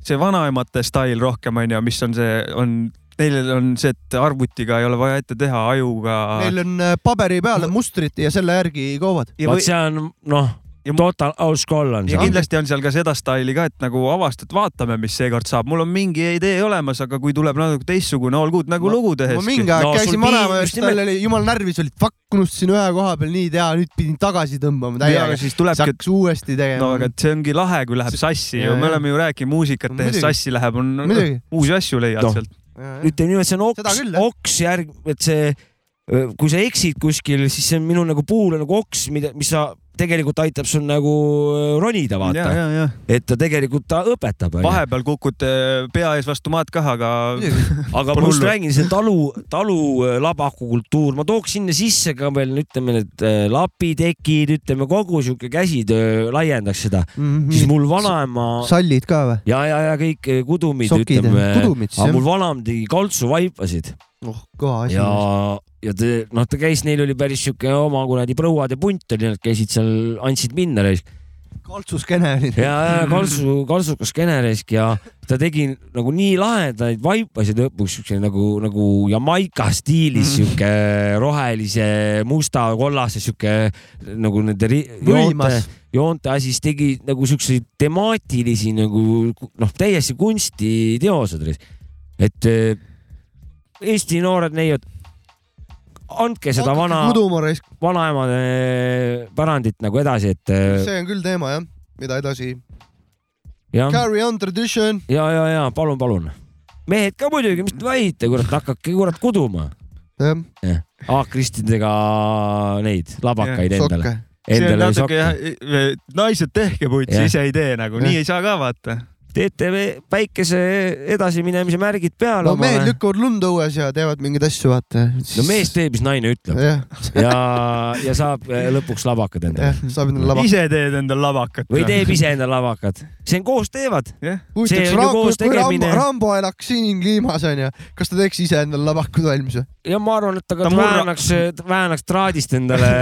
[SPEAKER 2] see vanaemate stail rohkem onju , mis on see , on , neil on see , et arvutiga ei ole vaja ette teha , ajuga .
[SPEAKER 1] Neil on äh, paberi peal on mustrid ja selle järgi koovad .
[SPEAKER 2] ja,
[SPEAKER 3] vot
[SPEAKER 2] või,
[SPEAKER 3] see on noh
[SPEAKER 2] Ja , mu-
[SPEAKER 3] total old school on
[SPEAKER 2] ja
[SPEAKER 3] see .
[SPEAKER 2] kindlasti on seal ka seda staili ka , et nagu avastad , vaatame , mis seekord saab , mul on mingi idee olemas , aga kui tuleb natuke teistsugune , olgu uut nagu
[SPEAKER 1] Ma-
[SPEAKER 2] lugu tehes
[SPEAKER 1] ma . mingi aeg
[SPEAKER 3] No
[SPEAKER 1] no,
[SPEAKER 3] sul
[SPEAKER 1] käisin
[SPEAKER 3] piin- just
[SPEAKER 1] vanaema juures , tal
[SPEAKER 3] nimelt-
[SPEAKER 1] oli jumal närvis , olid fuck , unustasin ühe koha peal nii teha , nüüd pidin tagasi tõmbama
[SPEAKER 2] ja ,
[SPEAKER 1] täiega
[SPEAKER 2] aga . siis
[SPEAKER 1] siis
[SPEAKER 2] tulebki ,
[SPEAKER 1] hakkas uuesti tegema
[SPEAKER 2] no aga . et see ongi lahe , kui läheb
[SPEAKER 1] See-
[SPEAKER 2] sassi ju
[SPEAKER 1] jaa, ,
[SPEAKER 2] me
[SPEAKER 1] jaa.
[SPEAKER 2] oleme ju rääkinud muusikat
[SPEAKER 1] No
[SPEAKER 2] tehes
[SPEAKER 1] muidugi.
[SPEAKER 2] sassi läheb , on
[SPEAKER 1] Muidugi.
[SPEAKER 2] uusi asju leiad
[SPEAKER 3] Noh.
[SPEAKER 2] sealt .
[SPEAKER 3] ütleme niimoodi , see on
[SPEAKER 1] Seda
[SPEAKER 3] oks
[SPEAKER 1] küll, , jah.
[SPEAKER 3] oks järg , et see , kui sa eksid kuskil , siis see on minu nagu puul on nagu oks , mida , mis sa tegelikult aitab sul nagu öö, ronida ,
[SPEAKER 2] ja ,
[SPEAKER 3] vaata ,
[SPEAKER 2] ja , ja
[SPEAKER 3] et ta tegelikult ta õpetab ,
[SPEAKER 2] vahepeal kukud eh, pea ees vastu maad kah , aga
[SPEAKER 3] aga ma
[SPEAKER 2] pole
[SPEAKER 3] just
[SPEAKER 2] hullu.
[SPEAKER 3] räägin , see talu , talulabaku kultuur , ma tooks sinna sisse ka veel , ütleme need öö, lapitekid , ütleme kogu sihuke käsitöö laiendaks seda ,
[SPEAKER 1] Mm.
[SPEAKER 3] siis mul vanaema
[SPEAKER 1] Mhm, sallid ka või ?
[SPEAKER 3] ja , ja , ja kõik öö, kudumid ,
[SPEAKER 1] sokid ja
[SPEAKER 3] ütleme ,
[SPEAKER 1] kudumid
[SPEAKER 3] aga
[SPEAKER 1] siis
[SPEAKER 3] mul
[SPEAKER 1] jah ?
[SPEAKER 3] vanaema tegi kaltsuvaipasid .
[SPEAKER 1] oh , kõva asi .
[SPEAKER 3] ja , ja ta noh , ta käis , neil oli päris siuke oma kuradi prouad ja punt oli , nad käisid seal , andsid minna reis
[SPEAKER 1] kaltsuskene oli .
[SPEAKER 3] ja , ja kaltsu , kaltsukas kene reis ja ta tegi nagu nii lahedaid vaipasid lõpuks siukse nagu , nagu Jamaica stiilis siuke rohelise , musta , kollase siuke nagu nende ri- joonte
[SPEAKER 1] võimas .,
[SPEAKER 3] joonte asi , siis tegi nagu siukseid temaatilisi nagu noh , täiesti kunstiteosed , et eh, Eesti noored neiud , andke seda vana ,
[SPEAKER 1] kuduma raisk ,
[SPEAKER 3] vanaemade pärandit nagu edasi , et eh,
[SPEAKER 1] see on küll teema jah , mida edasi .
[SPEAKER 3] jah ,
[SPEAKER 1] Carry on tradition .
[SPEAKER 3] ja , ja , ja palun , palun . mehed ka muidugi , mis te väite , kurat , hakake kurat kuduma
[SPEAKER 1] jah ,
[SPEAKER 3] haakristidega neid labakaid endale .
[SPEAKER 1] sokke .
[SPEAKER 2] see on
[SPEAKER 3] endale ei
[SPEAKER 2] natuke
[SPEAKER 3] soki .
[SPEAKER 2] jah , naised tehke putsi ,
[SPEAKER 3] Jah.
[SPEAKER 2] ise ei tee nagu ,
[SPEAKER 1] Jah.
[SPEAKER 2] nii ei saa ka vaata .
[SPEAKER 3] TTV päikese edasiminemise märgid peal
[SPEAKER 1] no mehed . lükkavad lund õues ja teevad mingeid asju , vaata .
[SPEAKER 3] no mees teeb , mis naine ütleb
[SPEAKER 1] jah ,
[SPEAKER 3] ja , ja saab eh, lõpuks labakad endale
[SPEAKER 1] jah , saab endale lava .
[SPEAKER 2] ise teed endal lavakat .
[SPEAKER 3] või teeb ise endale labakad , see on koos teevad , see
[SPEAKER 1] huvitaks
[SPEAKER 3] on ju
[SPEAKER 1] Rambo ,
[SPEAKER 3] koos
[SPEAKER 1] kui Rambo ,
[SPEAKER 3] tegemine.
[SPEAKER 1] Rambo elaks siin kliimas onju , kas ta teeks ise endale lavakud valmis või ?
[SPEAKER 3] ja ma arvan , et ta ka
[SPEAKER 2] Ta murra-
[SPEAKER 3] väänaks , väänaks traadist endale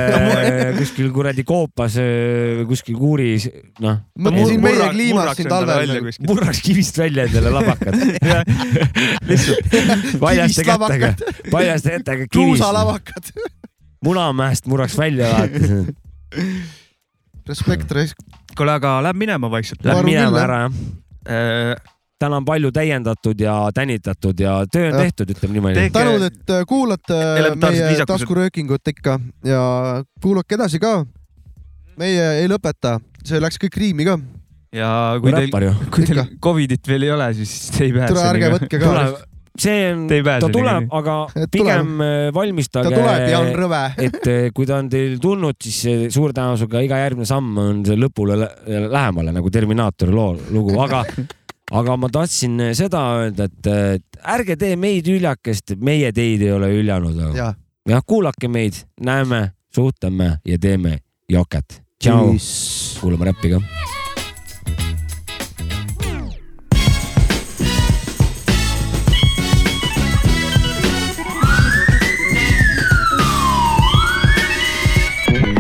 [SPEAKER 3] kuskil kuradi koopas või kuskil kuuris , noh ,
[SPEAKER 1] mõtle siin meie kliimas siin talvel .
[SPEAKER 3] murraks kivist välja endale labakad . lihtsalt paljaste
[SPEAKER 1] Kivist
[SPEAKER 3] kätega
[SPEAKER 1] labakad. ,
[SPEAKER 3] paljaste kätega kivist ,
[SPEAKER 1] kruusalavakad .
[SPEAKER 3] Munamäest murraks välja vaata ,
[SPEAKER 1] Respekt , respekt .
[SPEAKER 2] kuule , aga läheb minema vaikselt . Äh,
[SPEAKER 3] lähme
[SPEAKER 1] arvan küll,
[SPEAKER 3] minema
[SPEAKER 1] jah.
[SPEAKER 3] ära jah . täna on palju täiendatud ja tänitatud ja töö on
[SPEAKER 1] Jah.
[SPEAKER 3] tehtud , ütleme niimoodi .
[SPEAKER 2] Tehke-
[SPEAKER 1] tänud , et äh, kuulate
[SPEAKER 2] Elementaarsed
[SPEAKER 1] meie
[SPEAKER 2] viisakused.
[SPEAKER 1] taskuröökingut ikka ja kuulake edasi ka . meie ei lõpeta , see läks kõik riimi ka .
[SPEAKER 2] ja kui teil ,
[SPEAKER 3] räppar ju .
[SPEAKER 2] kui teil
[SPEAKER 1] Ikka.
[SPEAKER 2] Covidit veel ei ole , siis te ei pääse .
[SPEAKER 1] tule ärge . võtke ka .
[SPEAKER 3] see on ,
[SPEAKER 2] Te ei pääse
[SPEAKER 3] ta tuleb
[SPEAKER 2] niikuinii. ,
[SPEAKER 3] aga
[SPEAKER 1] tuleb.
[SPEAKER 3] pigem eh,
[SPEAKER 1] ta
[SPEAKER 3] valmistage .
[SPEAKER 1] tuleb ja on rõve .
[SPEAKER 3] et eh, kui ta on teil tulnud , siis eh, suure tõenäosusega iga järgmine samm on see lõpule lä- lähemale nagu Terminaatori loo , lugu , aga , aga ma tahtsin seda öelda , et eh, et ärge tee meid hüljakest , meie teid ei ole hüljanud .
[SPEAKER 1] ja .
[SPEAKER 3] jah , kuulake meid , näeme , suhtleme ja teeme joket . tšau , kuulame räppi ka .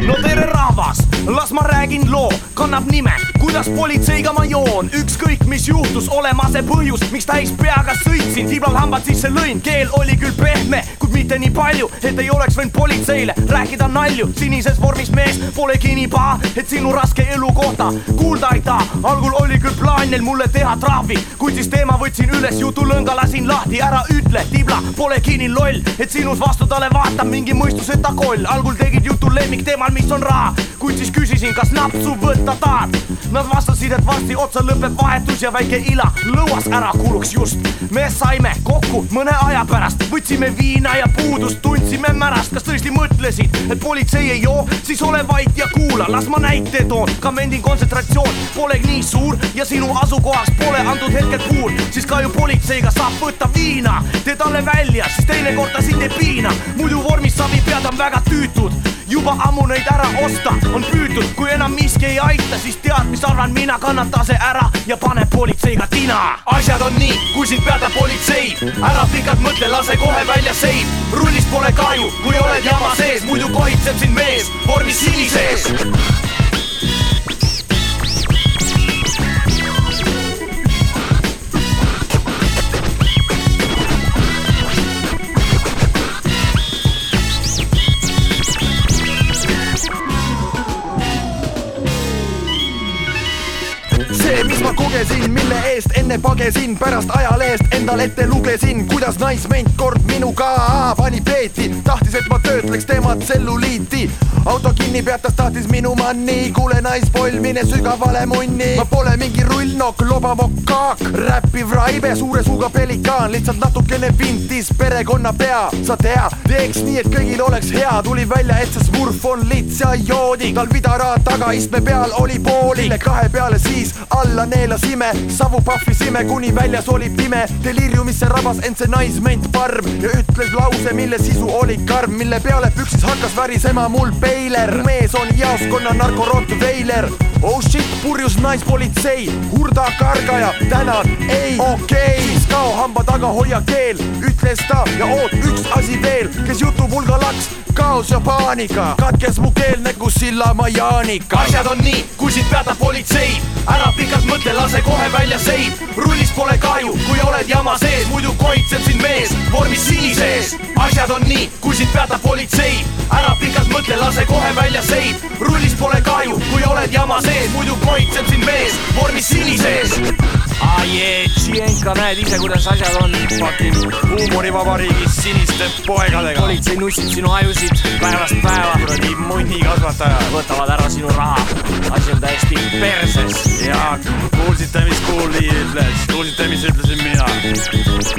[SPEAKER 9] no tere rahvas , las ma räägin loo , kannab nime , kuidas politseiga ma joon , ükskõik mis juhtus , olema see põhjus , miks täis peaga sõitsin , tiblal hambad sisse lõin , keel oli küll pehme , kuid mitte nii palju , et ei oleks võinud politseile rääkida nalju , sinises vormis mees , polegi nii paha , et sinu raske elu kohta kuulda ei taha , algul oli küll plaan neil mulle teha trahvi , kuid siis teema võtsin üles , jutulõnga lasin lahti , ära ütle , tibla , polegi nii loll , et sinus vastu talle vaatab mingi mõistuseta koll , algul tegid jutu lemmikteemal , mis on raha , kuid siis küsisin , kas napsu võtta tahad . Nad vastasid , et varsti otsa lõpeb vahetus ja väike ila lõuas ära kuluks just . me saime kokku mõne aja pärast , võtsime viina ja puudust tundsime märast , kas tõesti mõtlesid , et politsei ei joo , siis ole vait ja kuula , las ma näite toon , kamendi kontsentratsioon pole nii suur ja sinu asukohas pole antud hetkel kuul , siis ka ju politseiga saab võtta viina , tee talle välja , siis teinekord ta sind ei piina , muidu vormis savipead on väga tüütud juba ammu neid ära osta on püütud , kui enam miski ei aita , siis tead , mis arvan mina , kannata see ära ja pane politseiga tina . asjad on nii , kui sind peatab politsei , ära pikalt mõtle , lase kohe välja seib . rullist pole kahju , kui oled jama sees , muidu kohitseb sind mees vormis sinises . see , mis ma kogesin , mille eest enne pagesin , pärast ajalehest endal ette lugesin , kuidas naisment kord minuga pani peeti , tahtis , et ma töötleks tema tselluliiti . auto kinni peatas , tahtis minu manni , kuule naispoll , mine sügavale munni . ma pole mingi rullnokk , lobamokk , kaak , räppiv raibe , suure suuga pelikaan , lihtsalt natukene vintis perekonna pea , sa tea , teeks nii , et kõigil oleks hea , tuli välja , et see smurf on lihtsa joodi , tal vidara tagaistme peal oli poolile kahe peale , siis alla neelasime , savu pahvisime , kuni väljas oli pime . deliiriumisse rabas end see naisment parm ja ütles lause , mille sisu oli karm , mille peale püksis hakkas värisema mul peiler . mu mees on jaoskonna narkorott Veiler . Oh shit , purjus naispolitsei , hurda kargaja , tänan , ei , okei okay. , siis kao hamba taga , hoia keel , ütles ta ja oot , üks asi veel , kes jutupulga laks , kaos ja paanika , katkes mu keel nagu Sillamaa Jaanika . asjad on nii , kui sind peatab politsei , ära pikalt mõtle , lase kohe välja seib . rullist pole kahju , kui oled jama sees , muidu kohitseb sind mees vormis sinises . asjad on nii , kui sind peatab politsei , ära pikalt mõtle , lase kohe välja seib . rullist pole kahju , kui oled jama sees , muidu kohitseb sind mees vormis sinises . aa jee , Tšienka , näed ise , kuidas asjad on , fucking huumorivabariigis siniste poegadega . politsei nussib sinu ajusid päevast päeva . kuradi munnikasvatajad . võtavad ära sinu raha . asi on täiesti perses . ja kuulsite , mis Kuuli ütles , kuulsite , mis ütlesin mina .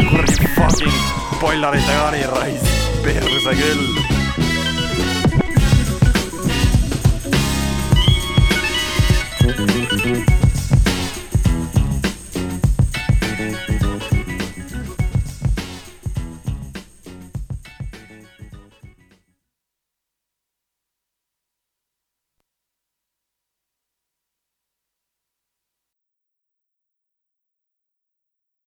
[SPEAKER 9] kuradi fucking boileritega nii raisk , perse küll